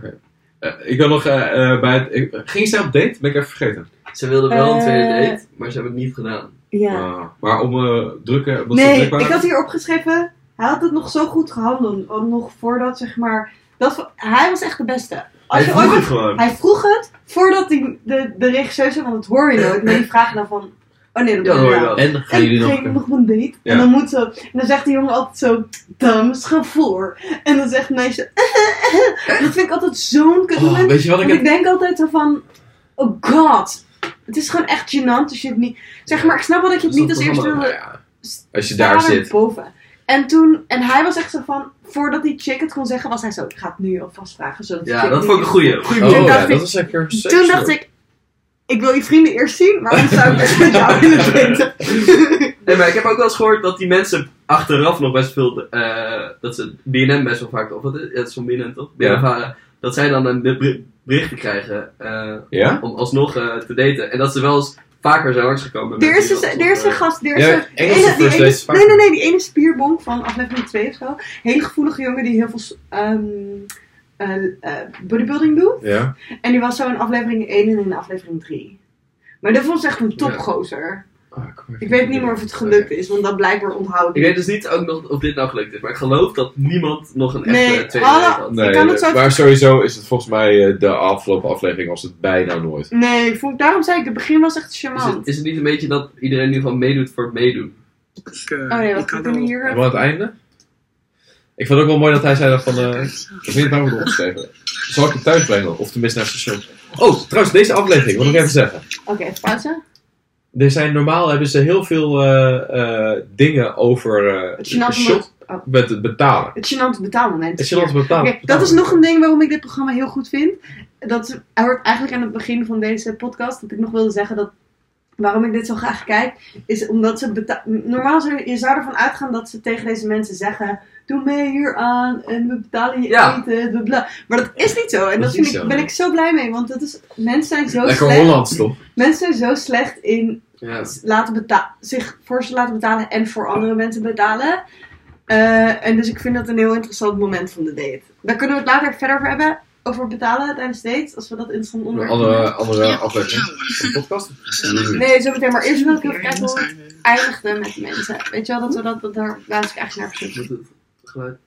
Speaker 2: Eh, ik wil nog eh, eh, bij het... ik- ging zij op date? Ben ik even vergeten.
Speaker 5: Ze wilde wel een tweede
Speaker 1: Eh.
Speaker 5: date, maar ze hebben het niet gedaan.
Speaker 1: Ja.
Speaker 2: Ah, maar om eh, drukken... omdat ze
Speaker 1: nee,
Speaker 2: druk waren?
Speaker 1: ik had hier opgeschreven, hij had het nog zo goed gehandeld. Ook nog voordat, zeg maar... Dat, hij was echt de beste. Als je
Speaker 5: vroeg
Speaker 1: ooit,
Speaker 5: het gewoon.
Speaker 1: hij vroeg het voordat die, de, de regisseur zei, want dat hoor je nooit. Maar die vragen dan van... Oh nee, dat,
Speaker 5: Ja, dat
Speaker 1: hoor
Speaker 5: hoor
Speaker 1: je
Speaker 5: je
Speaker 1: wel.
Speaker 5: wel.
Speaker 2: En gaan
Speaker 1: En
Speaker 2: jullie
Speaker 1: ik
Speaker 2: nog...
Speaker 1: kreeg nog een date.
Speaker 2: Ja.
Speaker 1: En dan moet ze. En dan zegt die jongen altijd zo. Dames, ga voor. En dan zegt het meisje. dat vind ik altijd zo'n kut
Speaker 2: Oh,
Speaker 1: moment.
Speaker 2: weet je wat ik
Speaker 1: Want
Speaker 2: heb...
Speaker 1: ik denk altijd zo van, oh god, het is gewoon echt gênant als je het niet... Zeg maar, ik snap wel dat je het
Speaker 5: Dat
Speaker 1: niet
Speaker 5: is
Speaker 1: als
Speaker 5: een
Speaker 1: eerste
Speaker 5: programma,
Speaker 2: Nou
Speaker 1: wilde
Speaker 2: ja, als je daar
Speaker 1: staren
Speaker 2: zit.
Speaker 1: boven. En toen, en hij was echt zo van, voordat die chick het kon zeggen, was hij zo, ik ga het nu alvast vragen. Zodat die
Speaker 5: Ja,
Speaker 1: chick
Speaker 5: dat
Speaker 1: niet-
Speaker 5: vond ik een goeie.
Speaker 2: Oh
Speaker 1: Toen
Speaker 2: ja,
Speaker 1: dacht ik-
Speaker 2: dat is lekker
Speaker 1: Toen dacht ik, ik wil je vrienden eerst zien, maar dan zou ik echt met jou willen daten.
Speaker 5: Nee, maar ik heb ook wel eens gehoord dat die mensen achteraf nog best veel. eh, dat ze BNM best wel vaak. Of wat is ja, het? is van BNM toch?
Speaker 2: Ja.
Speaker 5: BNM varen. eh, Dat zij dan een beri- berichten krijgen eh,
Speaker 2: Ja?
Speaker 5: om alsnog eh, te daten. En dat ze wel eens vaker zijn langsgekomen. met
Speaker 1: Er is dus
Speaker 5: die
Speaker 1: een,
Speaker 5: alsnog,
Speaker 1: er is een
Speaker 5: eh,
Speaker 1: gast, er is
Speaker 2: Ja,
Speaker 1: een... die
Speaker 2: Engelse
Speaker 1: ene- die
Speaker 2: first
Speaker 1: ene-
Speaker 2: dates vaak.
Speaker 1: nee, nee, nee, die ene spierbonk van aflevering 2 of zo. Hele gevoelige jongen die heel veel ehm, eh, eh, bodybuilding doet.
Speaker 2: Ja.
Speaker 1: En die was zo in aflevering 1 en in aflevering 3. Maar dat was echt een topgozer.
Speaker 2: Ah,
Speaker 1: Ik weet niet meer of het gelukt is, want dat blijkbaar onthoud
Speaker 5: Ik
Speaker 1: ik.
Speaker 5: weet dus niet ook nog of dit nou gelukt is, maar ik geloof dat niemand nog een echte
Speaker 1: Nee, Ah,
Speaker 5: tweede date
Speaker 1: alle-
Speaker 5: had.
Speaker 2: Nee,
Speaker 1: Ik kan het zo-
Speaker 2: maar sowieso is het volgens mij eh, de afgelopen aflevering was het bijna nooit.
Speaker 1: Nee, ik vond, daarom zei ik, het begin was echt
Speaker 5: Is het,
Speaker 1: charmant.
Speaker 5: is het niet een beetje dat iedereen nu van meedoet voor het meedoen?
Speaker 7: Ik, eh,
Speaker 1: Oh nee,
Speaker 7: ik
Speaker 1: wat
Speaker 7: had
Speaker 1: gaat er
Speaker 7: al-
Speaker 2: En
Speaker 1: hier?
Speaker 2: aan het einde? Ik vond het ook wel mooi dat hij zei dat van... eh ik weet niet waarom we het opgeschreven. Zal ik het thuis brengen? Of tenminste naar het station? Oh, trouwens, deze aflevering wil ik nog even zeggen.
Speaker 1: Oké, pauze.
Speaker 2: Er zijn, normaal hebben ze heel veel eh, eh, dingen over eh,
Speaker 1: Het
Speaker 2: de
Speaker 1: gênante
Speaker 2: shop
Speaker 1: moment- oh,
Speaker 2: met het betalen.
Speaker 1: Het gênante betaalmoment.
Speaker 2: Het
Speaker 1: is
Speaker 2: is altijd
Speaker 1: hier.
Speaker 2: betalen.
Speaker 1: Oké, dat is nog een ding waarom ik dit programma heel goed vind. Dat hoort eigenlijk aan het begin van deze podcast. Dat ik nog wilde zeggen dat waarom ik dit zo graag kijk, is omdat ze beta- normaal zou je zou ervan uitgaan dat ze tegen deze mensen zeggen: doe mee hier aan en we betalen je
Speaker 5: Ja.
Speaker 1: eten, bla bla. Maar dat is niet zo en
Speaker 2: Dat
Speaker 1: dat
Speaker 2: is
Speaker 1: vind
Speaker 2: niet
Speaker 1: ik,
Speaker 2: zo,
Speaker 1: ben
Speaker 2: nee.
Speaker 1: ik zo blij mee, want dat is, mensen zijn zo
Speaker 2: Lekker
Speaker 1: slecht.
Speaker 2: Hollands, toch?
Speaker 1: Mensen zijn zo slecht in
Speaker 5: Ja.
Speaker 1: laten beta- zich voor ze laten betalen en voor andere mensen betalen. Eh, en dus ik vind dat een heel interessant moment van de date. Daar kunnen we het later verder over hebben. Over betalen tijdens dates, als we dat interessant
Speaker 2: Een
Speaker 1: onderwerp
Speaker 2: andere,
Speaker 1: vinden.
Speaker 2: andere aflevering
Speaker 7: Nou,
Speaker 2: van de podcast.
Speaker 7: gezellig.
Speaker 1: Nee, zo meteen. Maar eerst wil ik even kijken hoe het
Speaker 7: Zijn, eh,
Speaker 1: eindigde met mensen. Weet je wel, dat we dat, dat daar waar ik eigenlijk naar op zoek.
Speaker 5: Moet het geluid.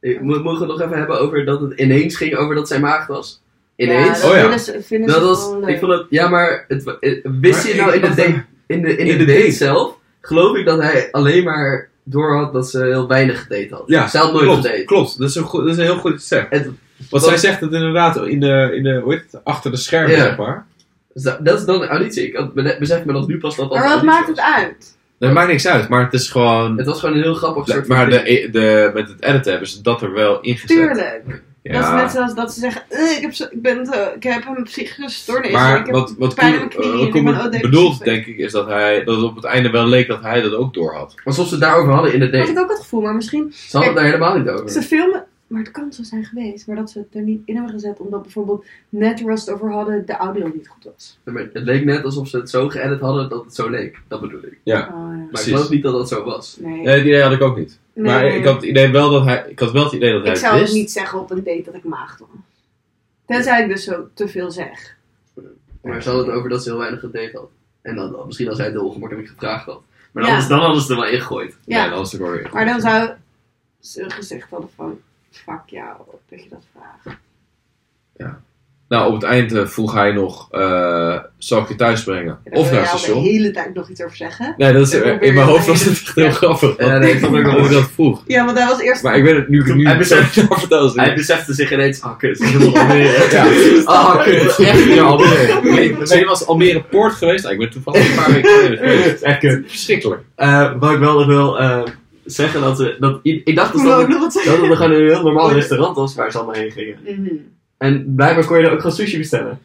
Speaker 5: Ik- mo- Mogen we het nog even hebben over dat het ineens ging over dat zij maagd was?
Speaker 1: Ja,
Speaker 5: Ineens?
Speaker 1: dat
Speaker 2: Oh ja.
Speaker 1: vinden ze, vinden
Speaker 5: dat
Speaker 1: ze
Speaker 5: was,
Speaker 1: gewoon leuk.
Speaker 5: ik vond het, ja, maar het, wa- eh, wist
Speaker 2: Maar
Speaker 5: je
Speaker 2: ik-
Speaker 5: nou in de,
Speaker 2: dat-
Speaker 5: date- in de, in de,
Speaker 2: in de
Speaker 5: date,
Speaker 2: date.
Speaker 5: zelf, geloof ik dat hij alleen maar door had dat ze heel weinig gedate had.
Speaker 2: Ja,
Speaker 5: Zij had nooit
Speaker 2: klopt,
Speaker 5: gedate.
Speaker 2: klopt. Dat is, een goed, dat is een heel goed iets zegt.
Speaker 5: Het-
Speaker 2: Want zij zegt het inderdaad in de, in de hoe heet het, achter de schermen,
Speaker 5: Ja.
Speaker 2: zeg maar.
Speaker 5: Dus dat, dat is dan een auditie. Ik had bene- besef me dat nu pas dat dat
Speaker 1: maar
Speaker 5: een
Speaker 1: wat
Speaker 5: auditie
Speaker 1: maakt
Speaker 5: was.
Speaker 1: het uit?
Speaker 2: Dat maakt niks uit, maar het is gewoon...
Speaker 5: Het was gewoon een heel grappig soort van
Speaker 2: Hm. maar
Speaker 5: ding.
Speaker 2: de, de, met het editen hebben ze dat er wel ingezet.
Speaker 1: Tuurlijk. Dat is
Speaker 2: Ja.
Speaker 1: net zoals dat ze zeggen, "Eh, ik, heb zo, ik, ben zo, ik heb een psychische stoornis. en ik
Speaker 2: Maar
Speaker 1: heb
Speaker 2: wat, wat,
Speaker 1: pijn
Speaker 2: Koen-
Speaker 1: in mijn knieën en
Speaker 2: eh,
Speaker 1: oh,
Speaker 2: wat
Speaker 1: ik ben
Speaker 2: Koeman
Speaker 1: ook depressief."
Speaker 2: bedoelt, denk ik, is dat, hij, dat het op het einde wel leek dat hij dat ook door had.
Speaker 5: Alsof ze het daarover hadden in de
Speaker 1: Had
Speaker 5: date.
Speaker 1: ik ook het gevoel, maar misschien
Speaker 5: Ze hadden het daar helemaal niet
Speaker 1: ze
Speaker 2: Eh.
Speaker 5: over.
Speaker 1: filmen. Maar het kan zo zijn geweest, maar dat ze het er niet in hebben gezet, omdat bijvoorbeeld net Rust over hadden, de audio niet goed was.
Speaker 5: Maar Het leek net alsof ze het zo geëdit hadden dat het zo leek. Dat bedoel ik.
Speaker 1: Oh, ja.
Speaker 5: Maar ik
Speaker 2: Precies.
Speaker 5: geloof niet dat dat zo was.
Speaker 1: Nee.
Speaker 2: Nee, dat idee had ik ook niet.
Speaker 1: Nee.
Speaker 2: Eh, Maar ik had, het idee wel dat hij, ik had wel het idee dat hij
Speaker 1: Ik
Speaker 2: het
Speaker 1: zou
Speaker 2: wist.
Speaker 1: niet zeggen op een date dat ik maagd was. Tenzij ik dus zo te veel zeg.
Speaker 5: Maar ze hadden het over dat ze heel weinig gedate had. En dan, misschien als hij het heel ongemakkelijk gevraagd had. Maar
Speaker 1: Ja.
Speaker 5: anders, dan hadden ze het er wel ingegooid.
Speaker 1: Ja,
Speaker 2: dat is ook weer-
Speaker 1: maar dan zou ze gezegd hadden van, fuck jou, dat je dat vraagt.
Speaker 2: Nou, op het eind eh, vroeg hij nog, eh, zal ik je thuis brengen?
Speaker 1: En daar
Speaker 2: Of
Speaker 1: wil
Speaker 2: naar het
Speaker 1: jij al
Speaker 2: station?
Speaker 1: de hele tijd nog iets over zeggen.
Speaker 2: Nee, dat is, eh,
Speaker 1: Ik probeer
Speaker 2: in mijn
Speaker 1: het
Speaker 2: hoofd was
Speaker 1: alleen.
Speaker 2: het echt heel grappig.
Speaker 5: Ja, nee, ik vond het ook wel
Speaker 2: dat ik dat vroeg.
Speaker 1: Ja, want hij was eerst...
Speaker 2: Maar ik weet het nu. nu
Speaker 5: Hij beseft-
Speaker 2: zo vertel ze
Speaker 5: Hij
Speaker 2: niet.
Speaker 5: besefte zich ineens, ah kut, ik wil alweer.
Speaker 2: Ja.
Speaker 5: Ah kut, echt niet
Speaker 2: Ja,
Speaker 5: alweer.
Speaker 2: Almere. Nee, nee, je was Almere Poort geweest. Ah, ik ben toevallig een paar weken geleden geweest.
Speaker 5: Echt kut.
Speaker 2: Verschrikkelijk.
Speaker 5: Eh, wat ik wel nog wil eh, zeggen, dat, we, dat i- ik dacht dus dat, het-
Speaker 1: wat
Speaker 5: dat het gewoon een heel normaal restaurant was waar ze allemaal heen gingen.
Speaker 1: Mhm.
Speaker 5: En blijkbaar kon je er ook gewoon sushi bestellen.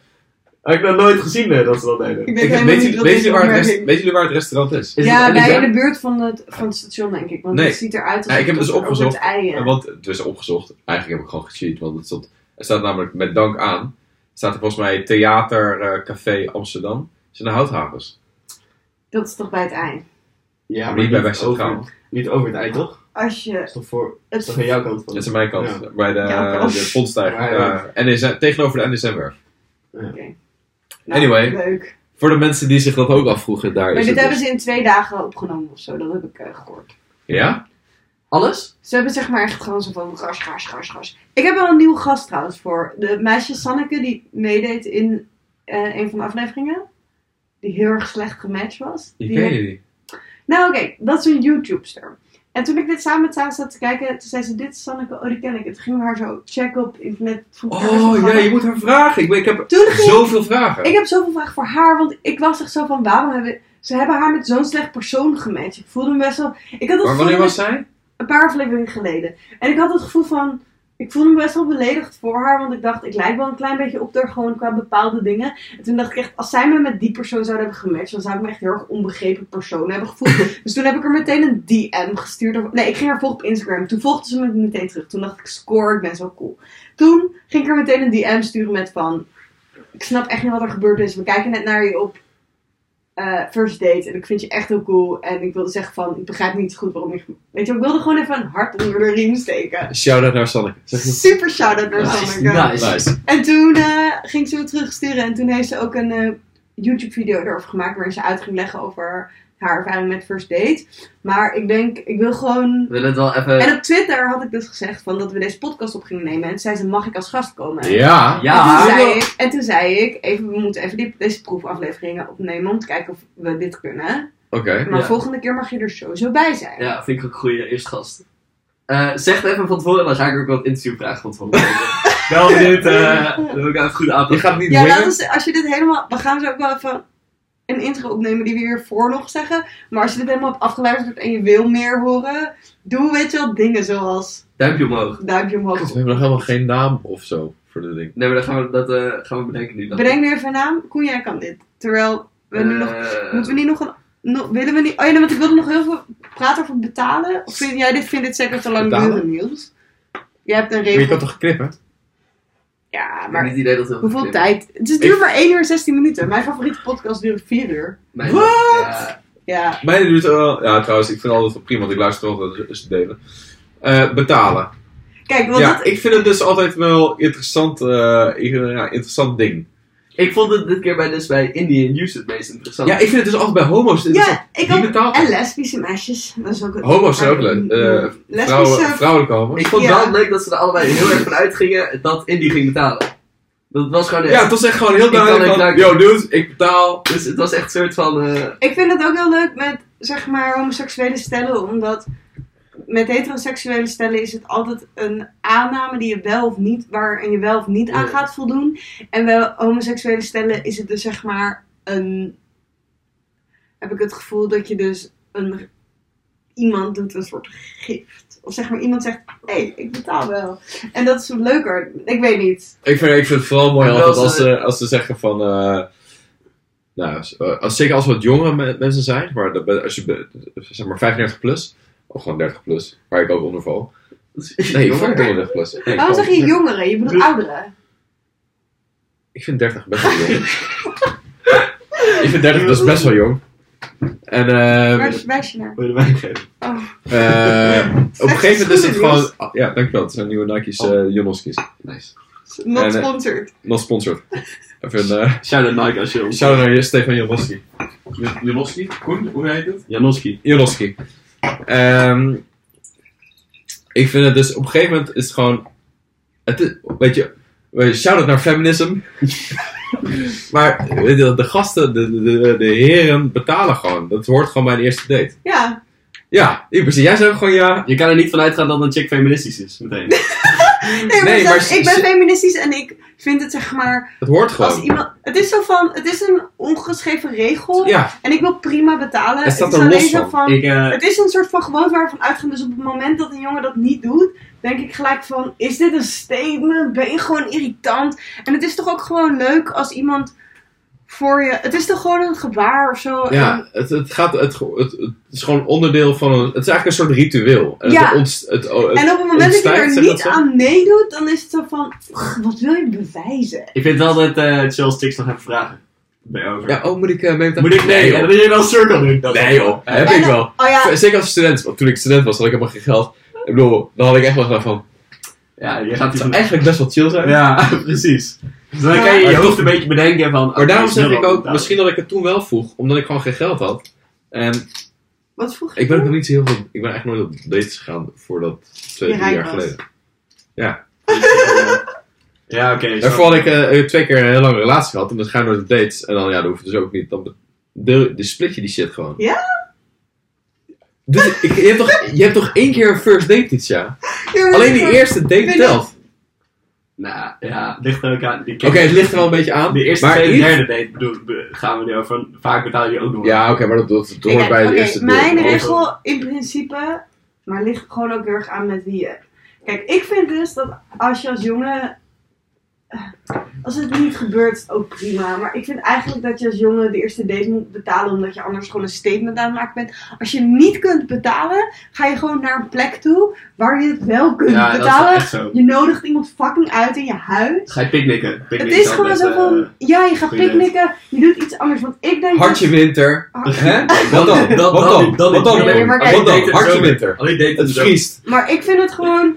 Speaker 5: Had ik nog nooit gezien eh, dat ze dat deden.
Speaker 1: Ik
Speaker 2: Ik-
Speaker 1: weet helemaal
Speaker 2: weet
Speaker 1: niet
Speaker 2: je-
Speaker 1: dat
Speaker 2: Weet
Speaker 1: dit
Speaker 2: je waar het
Speaker 1: opmerking-
Speaker 2: rest- weet jullie waar het restaurant is?
Speaker 5: Is
Speaker 1: Ja,
Speaker 5: het- en
Speaker 1: bij
Speaker 5: is
Speaker 1: in
Speaker 5: dat-
Speaker 1: de buurt van het, van het station, denk ik. Want
Speaker 2: Nee.
Speaker 1: het ziet eruit als
Speaker 2: Ja, ik heb het dus opgezocht.
Speaker 1: Eieren.
Speaker 2: Want het is opgezocht. Eigenlijk heb ik gewoon gecheat. Want het stond, er staat namelijk met dank aan. Staat er volgens mij Theater eh, Café Amsterdam. Het is in de houthavens.
Speaker 1: Dat is toch bij het ei?
Speaker 5: Ja,
Speaker 2: Niet bij West
Speaker 5: over-
Speaker 2: Centraal.
Speaker 5: Niet over het eind, toch? Dat
Speaker 1: Als
Speaker 5: is
Speaker 1: je...
Speaker 5: toch, voor, dat
Speaker 1: Het,
Speaker 5: is toch aan jouw kant van
Speaker 2: Dat is aan mijn kant.
Speaker 5: Ja.
Speaker 2: Bij de,
Speaker 1: Ja,
Speaker 2: de Fondstijger.
Speaker 5: Ja, ja.
Speaker 2: Eh, NSM tegenover de NSM-werf.
Speaker 1: nou,
Speaker 2: Anyway.
Speaker 1: Leuk.
Speaker 2: Voor de mensen die zich dat ook afvroegen, daar
Speaker 1: Maar
Speaker 2: is
Speaker 1: dit
Speaker 2: het
Speaker 1: hebben
Speaker 2: dus.
Speaker 1: ze in twee dagen opgenomen of zo. Dat heb ik eh, gehoord.
Speaker 2: Ja?
Speaker 5: Alles?
Speaker 1: Ze hebben zeg maar echt gewoon zo van ras, ras, ras, ras. Ik heb wel een nieuwe gast trouwens voor. De meisje Sanneke die meedeed in eh, een van de afleveringen. Die heel erg slecht gematcht was.
Speaker 2: Die
Speaker 1: Die
Speaker 2: ken je niet.
Speaker 1: Nou oké, dat is een YouTubester. En toen ik dit samen met Sarah zat te kijken, toen zei ze, dit is Sanneke, oh die ken ik. Het ging haar zo checken op internet. Vond ik haar zo
Speaker 2: Oh, ja,
Speaker 1: grappig.
Speaker 2: je moet haar vragen. Ik, ben- ik heb
Speaker 1: Toen ging
Speaker 2: zoveel vragen.
Speaker 1: ik heb zoveel vragen voor haar, want ik was echt zo van, waarom hebben... Ze hebben haar met zo'n slecht persoon gematcht. Ik voelde me best wel... Ik had het
Speaker 2: Maar wanneer
Speaker 1: gevoel-
Speaker 2: was zij?
Speaker 1: Een paar afleveringen geleden. En ik had het gevoel van... Ik voelde me best wel beledigd voor haar, want ik dacht, ik lijk wel een klein beetje op haar gewoon qua bepaalde dingen. En toen dacht ik echt, als zij me met die persoon zouden hebben gematcht, dan zou ik me echt heel erg onbegrepen persoon hebben gevoeld. dus toen heb ik haar meteen een DM gestuurd. Nee, ik ging haar volgen op Instagram. Toen volgde ze me meteen terug. Toen dacht ik, score, ik ben zo cool. Toen ging ik haar meteen een DM sturen met van, ik snap echt niet wat er gebeurd is. We kijken net naar je op eh, first date en ik vind je echt heel cool. En ik wilde zeggen van, ik begrijp niet goed waarom je... Weet je, ik wilde gewoon even een hart onder de riem steken.
Speaker 2: Shout-out naar Sanneke. Zeg je- Nou.
Speaker 1: Super shout-out naar
Speaker 5: Nice,
Speaker 1: Sanneke.
Speaker 2: Nice.
Speaker 1: En toen eh, ging ze me terugsturen. En toen heeft ze ook een eh, YouTube-video erover gemaakt. Waarin ze uit ging leggen over haar ervaring met First Date. Maar ik denk, ik wil
Speaker 5: We
Speaker 1: gewoon.
Speaker 5: willen het wel even...
Speaker 2: Eh.
Speaker 1: En op Twitter had ik dus gezegd van dat we deze podcast op gingen nemen. En toen zei ze: Mag ik als gast komen?
Speaker 2: Ja.
Speaker 1: En
Speaker 5: Ja,
Speaker 1: toen, zei ik, en toen zei ik, even, we moeten even die, deze proefafleveringen opnemen om te kijken of we dit kunnen.
Speaker 2: Oké.
Speaker 1: Maar
Speaker 5: Ja.
Speaker 1: volgende keer mag je er sowieso bij zijn.
Speaker 5: ja, vind ik ook een goede eerste gast. Eh, zeg het even van tevoren, dan ga ik ook wat interviewvragen van tevoren. maken. wel benieuwd, eh, dan wil ik even goed
Speaker 2: Je
Speaker 5: aanpakken.
Speaker 2: gaat niet
Speaker 1: Ja,
Speaker 2: winnen.
Speaker 1: laten we, als je dit helemaal. We gaan zo ook wel even een intro opnemen die we hiervoor nog zeggen. Maar als je dit helemaal hebt afgeluisterd en je wil meer horen, doe weet je wel dingen zoals
Speaker 5: Duimpje omhoog.
Speaker 1: duimpje
Speaker 2: We
Speaker 1: omhoog.
Speaker 2: hebben nog helemaal geen naam of zo voor de ding.
Speaker 5: Nee, maar dat gaan we, dat, eh, gaan we bedenken nu. Dan.
Speaker 1: Bedenk nu even een naam. Koen, jij kan dit. Terwijl we nu
Speaker 5: Eh,
Speaker 1: nog. Moeten we niet nog een. no- willen we niet. Oh ja, nee, want ik wilde nog heel veel praten over betalen. Of vind jij dit, vindt dit zeker te lang
Speaker 2: Betalen?
Speaker 1: duren, Niels? Jij hebt een
Speaker 2: Maar je kan
Speaker 1: regel.
Speaker 2: toch knippen?
Speaker 1: Ja,
Speaker 5: Ik heb niet
Speaker 1: maar.
Speaker 5: het idee dat we
Speaker 1: Hoeveel tijd? Het is duur
Speaker 2: Ik-
Speaker 1: maar 1 uur en 16 minuten. Mijn favoriete podcast duurt 4 uur.
Speaker 5: Wat?
Speaker 1: Ja.
Speaker 2: Mij duurt het wel... Ja, trouwens, ik vind het altijd wel prima, want ik luister altijd als ze delen. Eh, betalen.
Speaker 1: Kijk, want
Speaker 2: Ja,
Speaker 1: dat,
Speaker 2: ik vind het dus altijd wel interessant, eh, ik- ja, interessant ding.
Speaker 3: Ik vond het dit keer bij, dus bij Indian News het meest interessant.
Speaker 2: Ja, ik vind het dus altijd bij homo's interessant.
Speaker 1: Ja, ik
Speaker 2: Wie
Speaker 1: ook.
Speaker 2: betaalt
Speaker 1: En lesbische meisjes. Dat is ook het-
Speaker 2: Homo's zijn ook leuk. Eh,
Speaker 1: Lesbische-
Speaker 2: Vrouwen, vrouwelijke homo's.
Speaker 3: Ik vond
Speaker 1: Ja.
Speaker 3: wel leuk dat ze er allebei heel erg van uitgingen dat Indy ging betalen. Dat was gewoon echt.
Speaker 2: Ja, het was echt gewoon heel
Speaker 3: Ik kan
Speaker 2: duidelijk
Speaker 3: niet
Speaker 2: van,
Speaker 3: duiken.
Speaker 2: yo dude, ik betaal.
Speaker 3: Dus het was echt een soort van. eh,
Speaker 1: Ik vind het ook heel leuk met, zeg maar, homoseksuele stellen, omdat met heteroseksuele stellen is het altijd een aanname die je wel of niet, waarin je wel of niet aan
Speaker 3: Ja.
Speaker 1: gaat voldoen. En bij homoseksuele stellen is het dus, zeg maar, een, heb ik het gevoel dat je dus een, iemand doet een soort gift. Of zeg maar, iemand zegt, hé, hey, ik betaal wel. En dat is leuker. Ik weet niet.
Speaker 2: Ik vind, ik vind het vooral mooi
Speaker 3: En
Speaker 2: altijd
Speaker 3: wel
Speaker 2: als
Speaker 3: ze-
Speaker 2: ze, als ze zeggen van. eh, nou, als, eh, als, zeker als wat jongere me- mensen zijn, maar dat ben- als je be- zeg maar 35 plus, of gewoon 30 plus, waar ik ook onder val. Nee, ik vond 33 plus. Nee, ik
Speaker 1: Waarom
Speaker 2: vond-
Speaker 1: Oh, zeg je jongeren? Je bedoelt
Speaker 3: Dus-
Speaker 1: ouderen.
Speaker 2: Ik vind 30 best wel jong. ik vind 30 dus best wel jong. En
Speaker 1: Waar
Speaker 2: eh
Speaker 1: is waar is je naar?
Speaker 3: Wil je de wijn geven?
Speaker 1: Oh.
Speaker 2: eh, op een gegeven moment is
Speaker 1: Schoenen,
Speaker 2: het gewoon. ah, Ja, dankjewel. Het zijn nieuwe Nike's,
Speaker 1: Oh.
Speaker 2: eh Jonoski's.
Speaker 3: Nice.
Speaker 2: En,
Speaker 1: Not
Speaker 2: eh,
Speaker 1: sponsored.
Speaker 2: Not sponsored. Even een eh,
Speaker 3: Shout out Nike als je ons.
Speaker 2: shout-out naar Stefan Jonoski.
Speaker 3: Janoski? Koen, hoe heet het? Janoski.
Speaker 2: Janoski. Ehm, ik vind het dus op een gegeven moment is het gewoon. Het is, weet je, weet je, shout out naar feminism. maar weet je, de gasten, de, de, de, de heren betalen gewoon. Dat hoort gewoon bij een eerste date.
Speaker 1: Ja.
Speaker 2: Ja, in principe. Jij zegt gewoon ja.
Speaker 3: Je kan er niet van uitgaan dat een chick feministisch is, meteen.
Speaker 1: Nee, maar,
Speaker 2: Nee,
Speaker 1: zelfs-
Speaker 2: maar ze-
Speaker 1: ik ben
Speaker 2: ze-
Speaker 1: feministisch en ik vind het zeg maar
Speaker 2: Het hoort
Speaker 1: als
Speaker 2: gewoon.
Speaker 1: iemand. Het is zo van, het is een ongeschreven regel
Speaker 2: Ja,
Speaker 1: en ik wil prima betalen.
Speaker 2: Het staat
Speaker 1: het is
Speaker 2: er los
Speaker 1: alleen zo
Speaker 2: van.
Speaker 1: van.
Speaker 3: ik, eh,
Speaker 1: Het is een soort van gewoonte waarvan uitgaan. Dus op het moment dat een jongen dat niet doet, denk ik gelijk van: is dit een statement? Ben je gewoon irritant? En het is toch ook gewoon leuk als iemand voor je. Het is toch gewoon een gebaar of zo.
Speaker 2: ja het, het, gaat, het, ge- het, het is gewoon onderdeel van een. Het is eigenlijk een soort ritueel. En
Speaker 1: Ja.
Speaker 2: het, ontst- het, oh,
Speaker 1: En,
Speaker 2: het-
Speaker 1: en op het moment dat je
Speaker 2: ontstijgt,
Speaker 1: er
Speaker 2: zeg dat
Speaker 1: niet
Speaker 2: zo?
Speaker 1: aan meedoet, dan is het zo van: "Ugh, wat wil je bewijzen?
Speaker 3: ik vind wel dat eh Charles Chicks nog even vragen. Ben je over?
Speaker 2: ja, oh, moet ik eh, mee met-
Speaker 3: Moet ik? Nee,
Speaker 2: Nee,
Speaker 3: en dan
Speaker 2: joh.
Speaker 3: wil je wel een cirkel doen. Dat
Speaker 2: Nee, joh. Heb
Speaker 1: En
Speaker 2: ik
Speaker 1: dan-
Speaker 2: wel.
Speaker 1: Oh ja,
Speaker 2: Zeker als student, want toen ik student was, had ik helemaal geen geld. Ik bedoel, dan had ik echt wel gedacht van,
Speaker 3: Ja, je
Speaker 2: het
Speaker 3: gaat die
Speaker 2: zou
Speaker 3: van
Speaker 2: eigenlijk best wel chill zijn.
Speaker 3: Ja, precies. Dus dan kan je
Speaker 2: Maar
Speaker 3: je
Speaker 2: toch-
Speaker 3: hoofd een beetje bedenken van... oh,
Speaker 2: Maar daarom zeg ik ook,
Speaker 3: betalen.
Speaker 2: misschien dat ik het toen wel vroeg, omdat ik gewoon geen geld had. En
Speaker 1: wat vroeg je?
Speaker 2: ik ben ook nog niet zo heel veel, ik ben eigenlijk nooit op dates gegaan voordat twee,
Speaker 1: Je
Speaker 2: drie
Speaker 1: rijk
Speaker 2: jaar
Speaker 1: was.
Speaker 2: geleden.
Speaker 3: Ja, oké. zo.
Speaker 2: Daarvoor had ik eh, twee keer een hele lange relatie gehad en dan ga je nooit op dates. En dan, ja, dat hoeft dus ook niet. Dan be- deel, dus split je die shit gewoon.
Speaker 1: Ja?
Speaker 2: Dus ik, je, hebt toch, je hebt toch één keer een first date iets, ja? Alleen die eerste date
Speaker 1: Vind
Speaker 2: telt.
Speaker 3: Nou, ja, ligt er ook aan. die
Speaker 2: Oké, het ligt er wel een beetje aan.
Speaker 3: De eerste,
Speaker 2: maar
Speaker 3: tweede,
Speaker 2: in-
Speaker 3: derde date bedoel, be- gaan we nu over. Vaak betaal je ook nog.
Speaker 2: Ja, oké, maar dat, dat, dat hoort
Speaker 1: Kijk,
Speaker 2: bij de
Speaker 1: oké,
Speaker 2: eerste
Speaker 1: Mijn
Speaker 2: deel.
Speaker 1: regel in principe, maar ligt gewoon ook heel erg aan met wie je. hebt. Kijk, ik vind dus dat als je als jongen. eh, Als het niet gebeurt, is het ook prima. Maar ik vind eigenlijk dat je als jongen de eerste date moet betalen. Omdat je anders gewoon een statement aan het maken bent. Als je niet kunt betalen, ga je gewoon naar een plek toe waar je het wel kunt
Speaker 3: Ja, dat is wel
Speaker 1: betalen.
Speaker 3: echt zo.
Speaker 1: Je nodigt iemand fucking uit in je huis.
Speaker 3: Ga je picknicken.
Speaker 1: Het
Speaker 3: Picknicken
Speaker 1: is
Speaker 3: dan
Speaker 1: gewoon
Speaker 3: met,
Speaker 1: zo
Speaker 3: eh,
Speaker 1: van, ja, je gaat
Speaker 3: goeie idee.
Speaker 1: picknicken, je doet iets anders. Want ik denk dat- Oh.
Speaker 2: Hartje winter. Hè? Wat dan?
Speaker 3: dat-
Speaker 2: Wat dan?
Speaker 3: dat- dat-
Speaker 2: Wat dan?
Speaker 3: nee,
Speaker 1: maar
Speaker 2: Wat
Speaker 1: kijk,
Speaker 2: dan?
Speaker 3: dit is
Speaker 2: Hartje
Speaker 3: zo-
Speaker 2: winter.
Speaker 3: Alleen date
Speaker 2: Het vriest.
Speaker 1: Maar ik vind het gewoon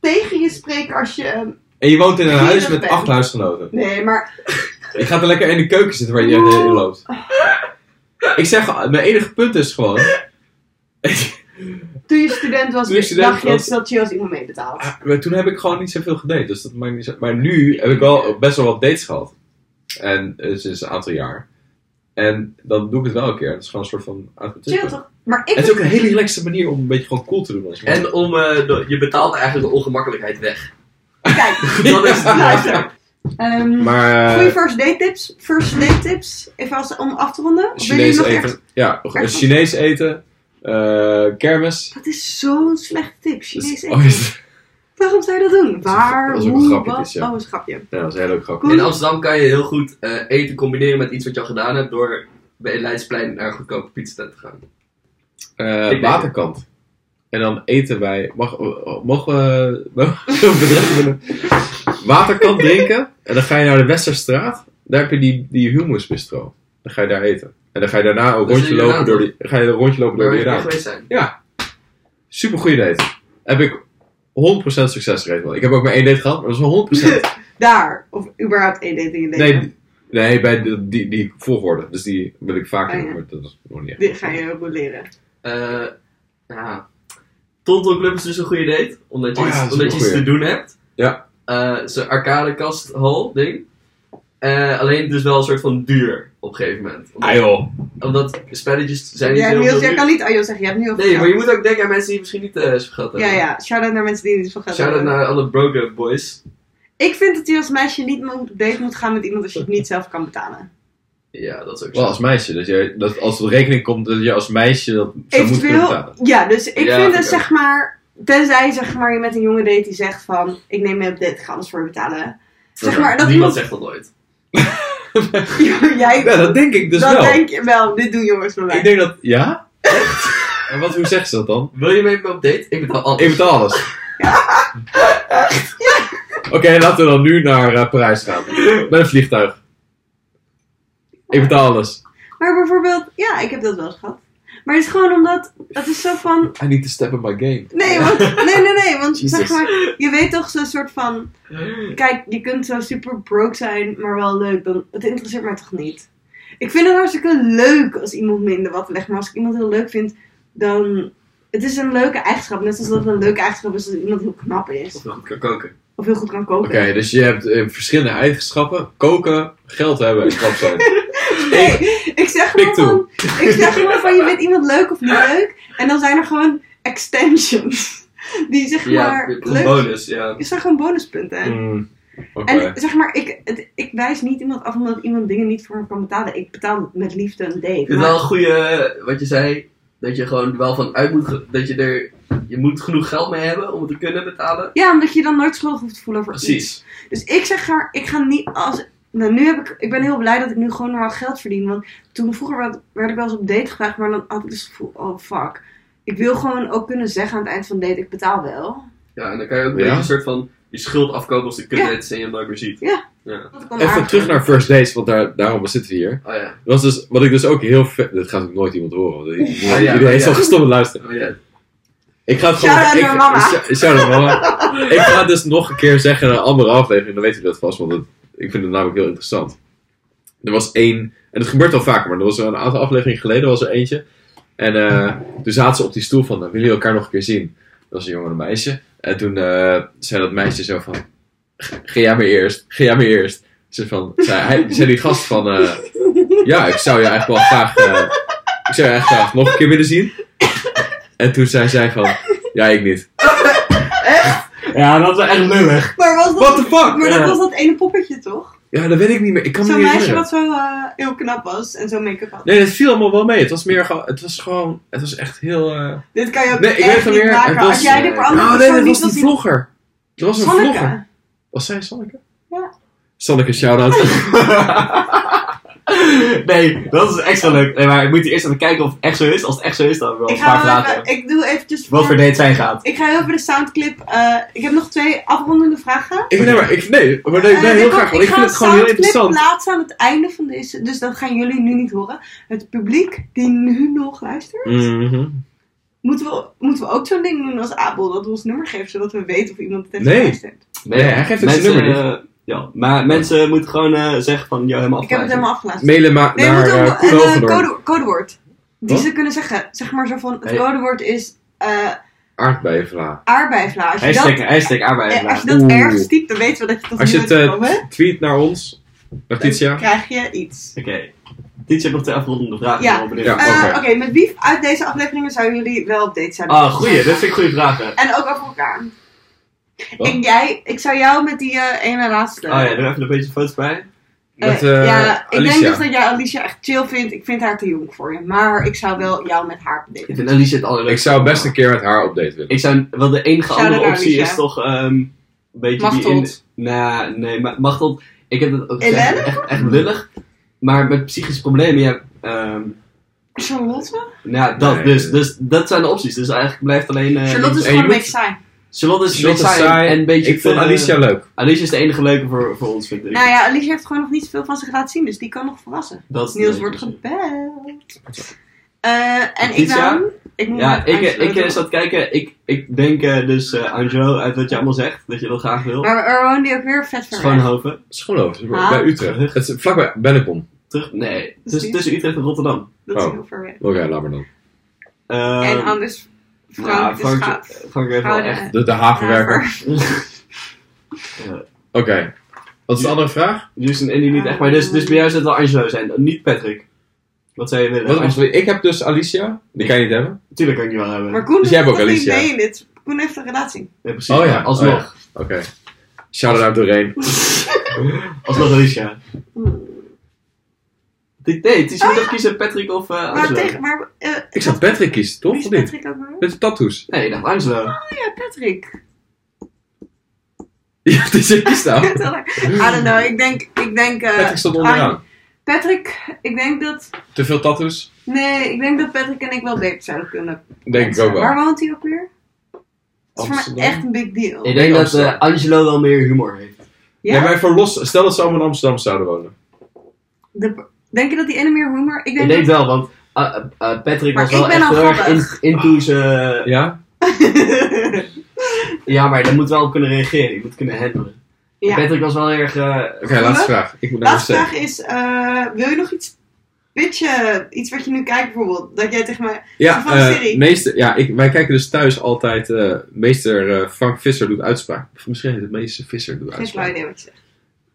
Speaker 1: tegen je spreken als je. ehm,
Speaker 2: En je woont in een
Speaker 1: Vlieg
Speaker 2: huis
Speaker 1: dat
Speaker 2: met
Speaker 1: weg.
Speaker 2: acht huisgenoten.
Speaker 1: Nee, maar.
Speaker 2: Je gaat er lekker in de keuken zitten waar je
Speaker 1: Oeh.
Speaker 2: in loopt. Ik zeg, al, mijn enige punt is gewoon...
Speaker 1: Toen je student was,
Speaker 2: Toen je student
Speaker 1: dacht je
Speaker 2: was- Ah,
Speaker 1: dat je als iemand mee betaalt.
Speaker 2: Maar toen heb ik gewoon niet zoveel gedate, dus dat maakt niet zo... Maar nu heb ik wel best wel wat dates gehad. En eh, sinds een aantal jaar. En dan doe ik het wel een keer. Het is gewoon een soort van...
Speaker 1: Chill toch? Maar ik.
Speaker 2: Het is ook een hele relaxte manier om een beetje gewoon cool te doen. Als man.
Speaker 3: En om, eh, de- je betaalt eigenlijk de ongemakkelijkheid weg.
Speaker 1: Kijk,
Speaker 3: Dat is het.
Speaker 1: luister. Ehm
Speaker 2: maar... eh,
Speaker 1: goede first date tips. First date tips. Even als, om af te ronden. Of willen jullie
Speaker 2: Chinees
Speaker 1: nog
Speaker 2: eten.
Speaker 1: echt-
Speaker 2: Ja,
Speaker 1: echt-
Speaker 2: Chinees eten. eh, kermis.
Speaker 1: Dat is zo'n slechte tip. Chinees
Speaker 2: Dus-
Speaker 1: eten.
Speaker 2: oh, is het-
Speaker 1: Waarom zou je dat doen? Waar,
Speaker 2: dat is ook een
Speaker 1: hoe,
Speaker 2: grapje,
Speaker 1: wat?
Speaker 2: dus ja.
Speaker 1: Oh, dat is een grapje.
Speaker 2: Ja, dat is heel leuk grapje.
Speaker 1: Cool.
Speaker 3: In Amsterdam kan je heel goed eh, eten combineren met iets wat je al gedaan hebt door bij Leidsplein naar een goedkope pizza te gaan.
Speaker 2: Eh,
Speaker 3: Ik
Speaker 2: waterkant. En dan eten wij... Mag, oh, mogen we... bedrijf willen? waterkant drinken. En dan ga je naar de Westerstraat. Daar heb je die, die hummus bistro. Dan ga je daar eten. En dan ga je daarna een
Speaker 3: Dat is
Speaker 2: rondje
Speaker 3: in
Speaker 2: lopen
Speaker 3: Jordaan,
Speaker 2: door die... Ga je een rondje lopen
Speaker 3: Waar
Speaker 2: door
Speaker 3: we
Speaker 2: die
Speaker 3: niet
Speaker 2: raad.
Speaker 3: geweest zijn.
Speaker 2: Super goede date. Heb ik 100% succesrate wel. Ik heb ook maar één date gehad, maar dat was wel 100%.
Speaker 1: Daar. Of überhaupt één dating in
Speaker 2: Nee, Nee, bij de- die, die volgorde. Dus die wil ik vaker
Speaker 1: Oh, ja.
Speaker 2: doen, maar dat is nog niet echt.
Speaker 1: Dit ga je ook wel leren.
Speaker 5: Eh ja. Tonton Club is dus een goede date. Omdat je,
Speaker 2: Oh ja,
Speaker 5: iets,
Speaker 2: dat is
Speaker 5: omdat
Speaker 2: een
Speaker 5: je iets te
Speaker 2: goeie.
Speaker 5: doen hebt.
Speaker 2: Ja.
Speaker 5: Eh, Zo'n arcadekast hall ding. Eh, alleen dus wel een soort van duur op een gegeven moment. Omdat,
Speaker 2: Ah joh.
Speaker 5: omdat spelletjes zijn niet
Speaker 1: Ja,
Speaker 5: heel
Speaker 1: Niels,
Speaker 5: veel
Speaker 1: jij
Speaker 5: duur.
Speaker 1: kan niet aan Niels zeggen, je hebt nu al
Speaker 5: Nee, maar je
Speaker 1: verteld.
Speaker 5: moet ook denken aan mensen die misschien niet eh zoveel geld hebben.
Speaker 1: Ja, ja. Shout-out naar mensen die niet zoveel geld
Speaker 5: Shout-out
Speaker 1: hebben.
Speaker 5: naar alle broke boys.
Speaker 1: Ik vind dat je als meisje niet mo- op date moet gaan met iemand als je het niet zelf kan betalen.
Speaker 5: Ja, dat is ook zo.
Speaker 2: Wel als meisje. Dat je, dat als er rekening komt dat je als meisje dat zou moeten kunnen betalen.
Speaker 1: Eventueel, ja, dus ik
Speaker 5: Ja,
Speaker 1: vind
Speaker 5: vind
Speaker 1: het
Speaker 5: ik ook.
Speaker 1: zeg maar, tenzij zeg maar je met een jongen date die zegt van, ik neem mee op date, ik ga alles voor je betalen. Zeg maar, dat
Speaker 5: Niemand
Speaker 1: iemand,
Speaker 5: zegt dat nooit.
Speaker 1: jij,
Speaker 2: Ja, dat denk ik dus
Speaker 1: dat
Speaker 2: wel.
Speaker 1: denk je wel, dit doen jongens bij mij.
Speaker 2: Ik denk dat... Ja? en wat, hoe zegt ze dat dan?
Speaker 5: Wil je mee op date? Ik betaal alles.
Speaker 2: Ik betaal alles. Oké, laten we dan nu naar eh, Parijs gaan. Met een vliegtuig. Ik betaal alles.
Speaker 1: Maar bijvoorbeeld, ja, ik heb dat wel eens gehad. Maar het is gewoon omdat, het is zo van,
Speaker 2: I need to step in my game.
Speaker 1: nee, want, nee, nee, nee, want
Speaker 2: Jesus.
Speaker 1: zeg maar, je weet toch zo'n soort van, kijk, je kunt zo super broke zijn, maar wel leuk, dan, het interesseert mij toch niet. Ik vind het hartstikke leuk als iemand minder wat legt, maar als ik iemand heel leuk vind, dan, het is een leuke eigenschap. Net als dat het een leuke eigenschap is dat iemand heel knap is,
Speaker 5: Of ik kan koken.
Speaker 1: of heel goed kan
Speaker 2: Oké,
Speaker 1: koken.
Speaker 2: dus je hebt eh, verschillende eigenschappen. Koken, geld hebben en knap zijn.
Speaker 1: Nee, ik zeg
Speaker 2: Pick
Speaker 1: gewoon van, ik zeg gewoon van je vindt iemand leuk of niet leuk. En dan zijn er gewoon extensions. Die zeg
Speaker 5: Ja,
Speaker 1: maar
Speaker 5: een
Speaker 1: leuk
Speaker 5: bonus, ja.
Speaker 1: is zijn gewoon bonuspunten.
Speaker 2: Mm, Oké.
Speaker 1: En zeg maar, ik, het- ik wijs niet iemand af omdat iemand dingen niet voor me kan betalen. Ik betaal met liefde een date.
Speaker 5: Ik vind
Speaker 1: maar-
Speaker 5: wel een goede, wat je zei, dat je gewoon wel van uit moet, ge- dat je er, je moet genoeg geld mee hebben om het te kunnen betalen.
Speaker 1: Ja, omdat je dan nooit schuldig hoeft te voelen voor iets.
Speaker 5: Precies.
Speaker 1: Dus ik zeg haar, ik ga niet als... Nou, nu heb ik... Ik ben heel blij dat ik nu gewoon normaal geld verdien. Want toen vroeger werd, werd ik wel eens op date gevraagd. Maar dan had ik dus het gevoel, oh fuck. Ik wil gewoon ook kunnen zeggen aan het eind van de date, ik betaal wel.
Speaker 5: Ja, en dan kan je ook een
Speaker 2: Ja.
Speaker 5: beetje een soort van je schuld afkopen als de kut
Speaker 1: Ja.
Speaker 5: is en je hem nooit meer ziet.
Speaker 1: Ja.
Speaker 5: ja.
Speaker 1: Dat kan
Speaker 2: Even
Speaker 1: aardig
Speaker 2: terug
Speaker 1: zijn.
Speaker 2: naar first dates, want daar, daarom zitten we hier.
Speaker 5: Oh ja.
Speaker 2: Dat was dus, wat ik dus ook heel vet... Dit gaat ook nooit iemand horen, want iedereen
Speaker 5: Oh ja,
Speaker 2: iedereen is
Speaker 5: ja.
Speaker 2: al gestopt met luisteren.
Speaker 5: Oh ja.
Speaker 2: Ik ga het gewoon...
Speaker 1: Shout-out
Speaker 2: ik,
Speaker 1: naar mama.
Speaker 2: sh- shout-out naar mama. ik ga het dus nog een keer zeggen in een andere aflevering, dan weet u dat vast, want het- ik vind het namelijk heel interessant. Er was één... En het gebeurt al vaker, maar er was een aantal afleveringen geleden was er eentje. En eh, toen zaten ze op die stoel van, "Nou, willen jullie elkaar nog een keer zien? Dat was een jongen en een meisje. En toen eh, zei dat meisje zo van, ga jij maar eerst, ga jij maar eerst. Ze van, zei, hij, zei die gast van, eh, ja, ik zou je eigenlijk wel graag, eh, ik zou je eigenlijk graag nog een keer willen zien. En toen zei zij van, ja, ik niet. Echt? Ja, dat was echt lullig.
Speaker 1: Maar was dat,
Speaker 2: What the fuck?
Speaker 1: maar dat
Speaker 2: Ja.
Speaker 1: was dat ene poppetje, toch?
Speaker 2: Ja, dat weet ik niet meer. Ik kan me
Speaker 1: Zo'n
Speaker 2: niet
Speaker 1: meisje
Speaker 2: herinneren.
Speaker 1: wat zo eh, heel knap was en zo make-up had.
Speaker 2: Nee, het viel allemaal wel mee. Het was meer gewoon, het was gewoon, het was echt heel... eh,
Speaker 1: Dit kan je ook
Speaker 2: Nee, ik weet
Speaker 1: echt
Speaker 2: het
Speaker 1: niet
Speaker 2: weer.
Speaker 1: maken.
Speaker 2: Het was,
Speaker 1: Als jij dit voor
Speaker 5: eh,
Speaker 1: andere
Speaker 2: Oh nee,
Speaker 1: persoon
Speaker 2: dat
Speaker 1: niet
Speaker 2: was
Speaker 1: wil
Speaker 2: die
Speaker 1: zien...
Speaker 2: vlogger. Dat was een vlogger.
Speaker 1: Sanneke.
Speaker 2: Was zij Sanneke?
Speaker 1: Ja.
Speaker 2: Sanneke, shout-out.
Speaker 5: nee, dat is extra leuk. Nee, maar ik moet eerst even kijken of het echt zo is. Als het echt zo is, dan wel
Speaker 1: Ik, ga wel even- ik doe eventjes... voor-
Speaker 5: date zijn gaat.
Speaker 1: Ik ga heel even de soundclip... eh, ik heb nog twee afrondende vragen.
Speaker 2: ik, nee, maar ik, nee, maar nee, ik ben
Speaker 1: Eh,
Speaker 2: heel
Speaker 1: ik
Speaker 2: graag,
Speaker 1: ga-
Speaker 2: want ik
Speaker 1: ga
Speaker 2: vind het
Speaker 1: een
Speaker 2: gewoon heel
Speaker 1: soundclip
Speaker 2: interessant.
Speaker 1: plaatsen aan het einde van deze... Dus dat gaan jullie nu niet horen. Het publiek die nu nog luistert...
Speaker 2: Mhm.
Speaker 1: Moeten, we, moeten we ook zo'n ding doen als Abel? Dat we ons nummer geven, zodat we weten of iemand het heeft
Speaker 2: Nee.
Speaker 1: geluisterd.
Speaker 2: Nee, hij geeft het zijn
Speaker 5: mensen,
Speaker 2: nummer
Speaker 5: eh, ja, maar mensen moeten gewoon eh, zeggen van, yo, helemaal
Speaker 1: Ik heb het
Speaker 5: afgeluisterd.
Speaker 1: helemaal afgeluisterd.
Speaker 2: Mailen maar
Speaker 1: Nee, we
Speaker 2: naar
Speaker 1: moeten
Speaker 2: eh
Speaker 1: ook een,
Speaker 2: Koen
Speaker 1: eh,
Speaker 2: Hogendorp.
Speaker 1: code, codewoord. Die
Speaker 2: Wat?
Speaker 1: ze kunnen zeggen. Zeg maar zo van, het
Speaker 5: Nee.
Speaker 1: codewoord is eh
Speaker 2: Aardbeienvla.
Speaker 1: aardbeivla. Als je dat,
Speaker 5: Hashtag, hashtag arbeid.
Speaker 1: eh, als je
Speaker 5: Ja.
Speaker 1: dat
Speaker 2: Oeh.
Speaker 1: ergens typt, dan weten we dat je tot
Speaker 2: Als je
Speaker 1: nu
Speaker 2: het
Speaker 1: bent gekomen.
Speaker 2: eh, tweet naar ons,
Speaker 1: Dan
Speaker 2: Letitia.
Speaker 1: krijg je iets.
Speaker 5: Oké. Dit zijn nog de afrondende vragen.
Speaker 1: Ja.
Speaker 5: Ik ben wel
Speaker 2: Ja.
Speaker 5: benieuwd.
Speaker 1: Eh,
Speaker 2: oké.
Speaker 1: Oké, met wie uit deze afleveringen zouden jullie wel op date zijn?
Speaker 5: Ah, goeie. Dat vind ik goede vragen.
Speaker 1: En ook over elkaar.
Speaker 2: Wat?
Speaker 1: Ik, jij, ik zou jou met die eh, ene laatste.
Speaker 5: Oh ja, doe even een beetje foto's bij.
Speaker 1: Eh,
Speaker 2: Met, eh,
Speaker 1: ja, ik denk
Speaker 2: Alicia.
Speaker 1: dus dat jij Alicia echt chill vindt. Ik vind haar te jong voor je. Maar ik zou wel jou met haar op date
Speaker 5: Ik vind Alicia het allerleukste.
Speaker 2: Ik zou best een keer met haar update willen.
Speaker 5: Ik zou... Wel, de enige
Speaker 1: Shout-out
Speaker 5: andere
Speaker 1: naar
Speaker 5: optie
Speaker 1: Alicia.
Speaker 5: is toch... ehm een beetje
Speaker 1: Machteld.
Speaker 5: die in... Nah, nee, maar Machteld... Ik heb het ook gezegd.
Speaker 1: Ellen?
Speaker 5: Echt, echt lullig. Maar met psychische problemen, ja... ehm
Speaker 1: Charlotte?
Speaker 5: nou, ja, dat.
Speaker 2: Nee.
Speaker 5: Dus, dus dat zijn de opties. Dus eigenlijk blijft alleen... eh,
Speaker 1: Charlotte is
Speaker 2: en je
Speaker 1: gewoon een
Speaker 2: moet-
Speaker 1: beetje saai.
Speaker 5: Charlotte is
Speaker 2: Charlotte
Speaker 5: saai
Speaker 2: saai.
Speaker 5: en een beetje...
Speaker 2: Ik vond
Speaker 5: te-
Speaker 2: Alicia leuk.
Speaker 5: Alicia is de enige leuke voor, voor ons, vind ik.
Speaker 1: Nou ja, Alicia heeft gewoon nog niet zoveel van zich laten zien, dus die kan nog verrassen.
Speaker 5: dat is
Speaker 1: Niels
Speaker 5: de
Speaker 1: wordt
Speaker 5: enige.
Speaker 1: gebeld. Eh, en ik
Speaker 5: Letitia?
Speaker 1: dan? Ik moet
Speaker 3: Ja,
Speaker 1: met
Speaker 3: ik,
Speaker 1: Angelo
Speaker 3: ik
Speaker 1: doen.
Speaker 3: eh, zat kijken. Ik, ik denk eh, dus, eh, Angelo, uit wat je allemaal zegt, dat je dat graag wil.
Speaker 1: Maar waar woonde die ook weer vet ver weg?
Speaker 3: Schoonhoven.
Speaker 2: Schoonhoven,
Speaker 1: Ah.
Speaker 2: bij Utrecht. Het is vlakbij Bennekom.
Speaker 3: Terug, nee,
Speaker 1: Dus
Speaker 3: tussen,
Speaker 1: die-
Speaker 3: tussen Utrecht en Rotterdam.
Speaker 1: Dat is
Speaker 2: Oh.
Speaker 1: heel ver weg.
Speaker 2: Oké, laat maar dan.
Speaker 3: Eh,
Speaker 2: Ehm,
Speaker 1: en anders, dus
Speaker 3: nou,
Speaker 1: Frank,
Speaker 3: Frank-
Speaker 1: de schaap.
Speaker 3: Frank heeft wel
Speaker 1: Gouden-
Speaker 3: echt...
Speaker 2: De, de havenwerker. Oké. Wat is de andere vraag?
Speaker 3: Houston Indy niet echt. Maar dus, dus bij jou zou het wel Angelo zijn, niet Patrick. Wat zou je willen?
Speaker 2: Wat, wacht, ik heb dus Alicia. Die kan je niet hebben.
Speaker 3: Tuurlijk kan ik die wel hebben.
Speaker 1: Maar Koen
Speaker 2: Dus jij hebt
Speaker 1: doet
Speaker 2: ook
Speaker 1: toch niet
Speaker 2: Alicia.
Speaker 1: mee in dit. Koen heeft een relatie.
Speaker 3: Ja, precies.
Speaker 2: Oh ja,
Speaker 3: Alsnog.
Speaker 2: oh Oké. Shout out doorheen.
Speaker 3: Alsnog Alicia.
Speaker 1: Hmm.
Speaker 3: Nee, het is je moet toch kiezen Patrick of eh,
Speaker 1: Maar,
Speaker 3: Angelo.
Speaker 1: Ah. tegen, maar eh,
Speaker 2: Ik zou Patrick kiezen, toch?
Speaker 1: wie
Speaker 2: Of
Speaker 1: is
Speaker 2: niet?
Speaker 1: Patrick ook weer?
Speaker 2: Met de tattoos.
Speaker 3: Nee, ik dacht Angelo.
Speaker 1: Oh ja, Patrick.
Speaker 2: Ja, het is een kiesnaam.
Speaker 1: Eh, I don't know, ik denk... Ik denk eh,
Speaker 2: Patrick stond onderaan.
Speaker 1: Patrick, ik denk dat...
Speaker 2: Te veel tattoos?
Speaker 1: Nee, ik denk dat Patrick en ik wel beter zouden kunnen.
Speaker 2: Denk ik ook
Speaker 1: Waar
Speaker 2: wel.
Speaker 1: woont hij ook weer? Dat is voor
Speaker 2: Amsterdam.
Speaker 1: mij echt een big deal.
Speaker 3: Ik denk dat
Speaker 2: Amsterdam.
Speaker 3: eh, Angelo wel meer humor heeft.
Speaker 1: Ja?
Speaker 2: Nee, maar voor los, stel dat ze allemaal in Amsterdam zouden wonen.
Speaker 1: De- denk je dat die ene meer humor... Ik
Speaker 3: Ik
Speaker 1: denk
Speaker 3: denk
Speaker 1: dat...
Speaker 3: wel, want eh, eh, eh, Patrick
Speaker 1: Maar
Speaker 3: was
Speaker 1: ik
Speaker 3: wel
Speaker 1: ben
Speaker 3: echt
Speaker 1: al
Speaker 3: heel erg
Speaker 1: grappig.
Speaker 3: in, into zijn...
Speaker 2: Ja?
Speaker 3: Ja, maar daar moet wel op kunnen reageren. Je moet kunnen handelen.
Speaker 1: Ja.
Speaker 3: Patrick was wel heel erg... eh,
Speaker 2: Oké, laatste vraag. Ik moet naar
Speaker 1: Laatste
Speaker 2: de wc.
Speaker 1: vraag is, eh, wil je nog iets pitchen? Iets wat je nu kijkt bijvoorbeeld. Dat jij tegen mij...
Speaker 2: Ja,
Speaker 1: Van de
Speaker 2: eh,
Speaker 1: serie.
Speaker 2: meester, ja ik, wij kijken dus thuis altijd. eh, meester eh, Frank Visser doet uitspraak. Of misschien is het meester Visser doet
Speaker 1: Geen flauw
Speaker 2: uitspraak.
Speaker 1: idee wat je zegt.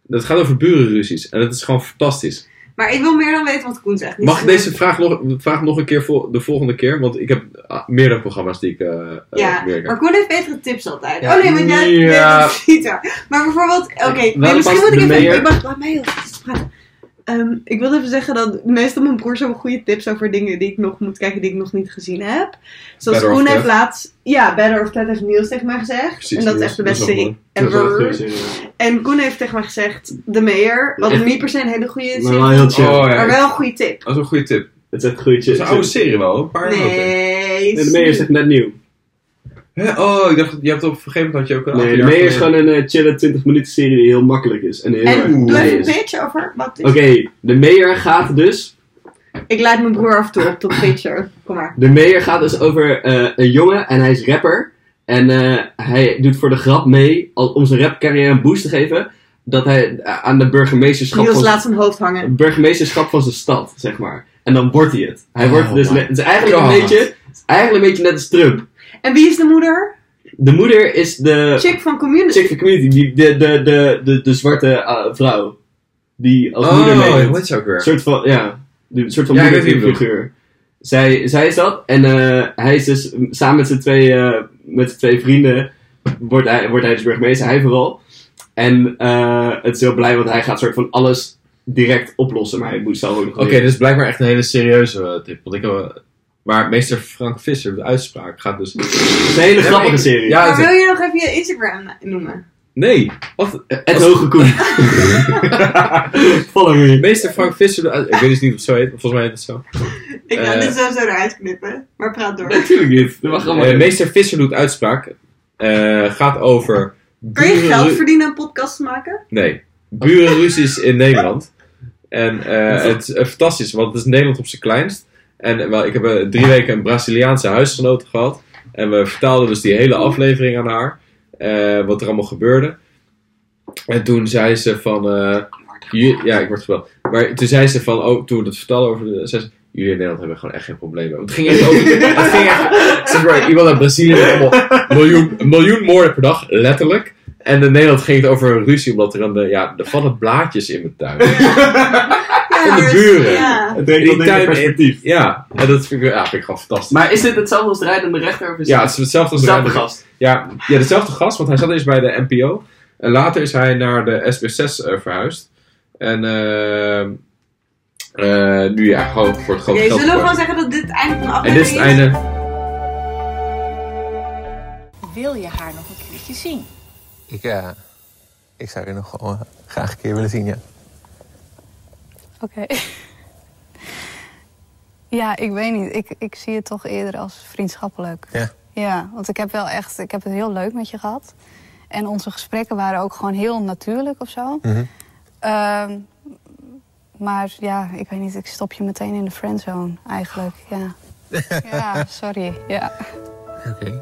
Speaker 2: Dat gaat over burenruzies. En dat is gewoon fantastisch.
Speaker 1: Maar ik wil meer dan weten wat Koen zegt. Niet
Speaker 2: Mag ik
Speaker 1: zo-
Speaker 2: deze vraag nog, vraag nog een keer voor de volgende keer? Want ik heb ah, meerdere programma's die ik eh eh,
Speaker 1: Ja,
Speaker 2: meer kijk.
Speaker 1: maar Koen heeft betere tips altijd.
Speaker 3: Ja.
Speaker 1: Oh nee, want jij
Speaker 2: Ja.
Speaker 1: bent een gieter. Maar bijvoorbeeld, oké, nee,
Speaker 3: past
Speaker 1: misschien moet ik
Speaker 3: de
Speaker 1: even...
Speaker 3: meer?
Speaker 1: Ik mag, laat mij heel even praten. Ehm, ik wil even zeggen dat meestal mijn broers hebben goede tips over dingen die ik nog moet kijken die ik nog niet gezien heb. Zoals
Speaker 2: Better
Speaker 1: Koen
Speaker 2: Off
Speaker 1: heeft
Speaker 2: Dead.
Speaker 1: laatst... Ja, Better of Ted heeft Niels tegen mij gezegd.
Speaker 2: Precies,
Speaker 1: en dat is
Speaker 2: Niels.
Speaker 1: echt de
Speaker 2: Dat is
Speaker 1: beste
Speaker 2: wel
Speaker 1: serie
Speaker 3: dat is wel een goede
Speaker 1: ever.
Speaker 3: serie, ja.
Speaker 1: En Koen heeft tegen mij gezegd, de Mayor. Wat
Speaker 3: Echt?
Speaker 1: niet per se een hele goede
Speaker 3: Maar
Speaker 1: serie
Speaker 3: wel heel
Speaker 1: is,
Speaker 3: chill.
Speaker 2: Oh, ja.
Speaker 1: maar wel een goede tip.
Speaker 2: Dat is een goede tip.
Speaker 3: Het is echt goed.
Speaker 2: Het is een oude serie wel, een paar jaar oud.
Speaker 1: Nee,
Speaker 3: de Meijer is echt net nieuw.
Speaker 2: Hè? Oh, ik dacht, je hebt op een gegeven moment had je ook een
Speaker 3: Nee,
Speaker 2: aantal
Speaker 3: de
Speaker 2: jaar
Speaker 3: Meijer is
Speaker 2: geleden-
Speaker 3: gewoon een eh, chille 20 minuten serie die heel makkelijk is. En heel erg
Speaker 1: En doe
Speaker 3: mooi
Speaker 1: even een
Speaker 3: is.
Speaker 1: pitch over wat is
Speaker 3: Oké, de Meijer gaat dus...
Speaker 1: Ik leid mijn broer af en toe op tot picture. Kom maar.
Speaker 3: De Meijer gaat dus over eh, een jongen en hij is rapper. En eh, hij doet voor de grap mee, al- om zijn rapcarrière een boost te dus geven, dat hij eh, aan de burgemeesterschap
Speaker 1: Niels
Speaker 3: van
Speaker 1: laat zijn hoofd hangen.
Speaker 3: burgemeesterschap van zijn stad, zeg maar. En dan wordt hij het. Hij wordt
Speaker 2: Oh
Speaker 3: dus
Speaker 2: my
Speaker 3: net- het is eigenlijk een
Speaker 2: God.
Speaker 3: beetje, het is eigenlijk een beetje net als Trump.
Speaker 1: En wie is de moeder?
Speaker 3: De moeder is de
Speaker 1: Chick van Community.
Speaker 3: chick van community, die, de, de, de, de, de zwarte eh, vrouw. Die als moeder
Speaker 2: Oh,
Speaker 3: meedoet.
Speaker 2: hoe heet ze ook
Speaker 3: Een
Speaker 2: weer?
Speaker 3: soort van, ja, een soort van
Speaker 2: Ja, ik weet wie je bedoelt.
Speaker 3: moederfiguur. Zij, zij is dat en eh, hij is dus samen met zijn twee, eh, met zijn twee vrienden wordt hij, wordt hij dus burgemeester, hij vooral. En eh, het is heel blij, want hij gaat soort van alles direct oplossen, maar hij moet zelf ook nog
Speaker 2: Oké,
Speaker 3: leren.
Speaker 2: dit is blijkbaar echt een hele serieuze eh, tip. Want ik, heb, eh, maar meester Frank Visser, de uitspraak, gaat dus...
Speaker 3: Het is een hele grappige
Speaker 2: Ja, maar ik-
Speaker 3: serie.
Speaker 2: Ja,
Speaker 1: maar
Speaker 2: het-
Speaker 1: wil je nog even je Instagram na- noemen?
Speaker 2: nee. Wat? Eh,
Speaker 3: Het hoge koen. Eh. Follow me.
Speaker 2: Meester Frank Visser, de uits- ik weet dus niet of het zo heet. Volgens mij heet het zo.
Speaker 1: Ik ga
Speaker 2: Eh.
Speaker 1: dit sowieso eruit knippen. Maar praat door.
Speaker 3: Natuurlijk niet. Dat mag allemaal.
Speaker 2: Eh, meester Visser doet uitspraak. Eh, gaat over...
Speaker 1: Kun je
Speaker 2: burenru-
Speaker 1: geld verdienen aan podcasts maken?
Speaker 2: Nee. Burenruzies in Nederland. En eh, het is eh, fantastisch, want het is Nederland op zijn kleinst. En eh, wel, ik heb eh, drie weken een Braziliaanse huisgenoot gehad. En we vertaalden dus die hele aflevering aan haar. eh, wat er allemaal gebeurde. En toen zei ze van... eh, ju- ja, ik word gebeld. Maar toen zei ze van... Oh, toen we dat vertelden over... De, zei ze, jullie in Nederland hebben gewoon echt geen problemen. Want het ging echt over... het ging echt, zeg maar, iemand uit Brazilië met allemaal miljoen, miljoen moorden per dag. Letterlijk. En in Nederland ging het over een ruzie. Omdat er, een, eh, ja, er vallen blaadjes in mijn tuin.
Speaker 1: Ja,
Speaker 2: Van de
Speaker 1: dus-
Speaker 2: buren.
Speaker 1: Ja.
Speaker 3: Het brengt wel
Speaker 2: Die
Speaker 3: dingen
Speaker 2: tuin-
Speaker 3: in perspectief.
Speaker 2: Ja, en dat vind ik, ja, vind ik gewoon fantastisch.
Speaker 3: Maar is dit hetzelfde als de rijdende rechter? Of is
Speaker 2: Ja, het is hetzelfde als
Speaker 3: dezelfde
Speaker 2: Ruimte-
Speaker 3: gast?
Speaker 2: Ja, ja, dezelfde gast, want hij zat eerst bij de NPO. En later is hij naar de SB6 eh, verhuisd. En ehm, eh, nu ja, gewoon voor het grote
Speaker 1: Oké,
Speaker 2: geld.
Speaker 1: zullen we gewoon
Speaker 2: verkocht.
Speaker 1: zeggen dat dit het einde van de
Speaker 2: En
Speaker 1: aflevering
Speaker 2: dit is het einde.
Speaker 8: Wil je haar nog een keertje zien?
Speaker 9: Ik, ja, ik zou je nog gewoon graag een keer willen zien, ja.
Speaker 10: Oké. ja, ik weet niet. Ik, ik zie het toch eerder als vriendschappelijk.
Speaker 9: Ja.
Speaker 10: Ja, want ik heb wel echt, ik heb het heel leuk met je gehad. En onze gesprekken waren ook gewoon heel natuurlijk of zo. Ehm, maar ja, ik weet niet, ik stop je meteen in de friendzone eigenlijk. Ja. Ja, sorry. Ja.
Speaker 9: Oké.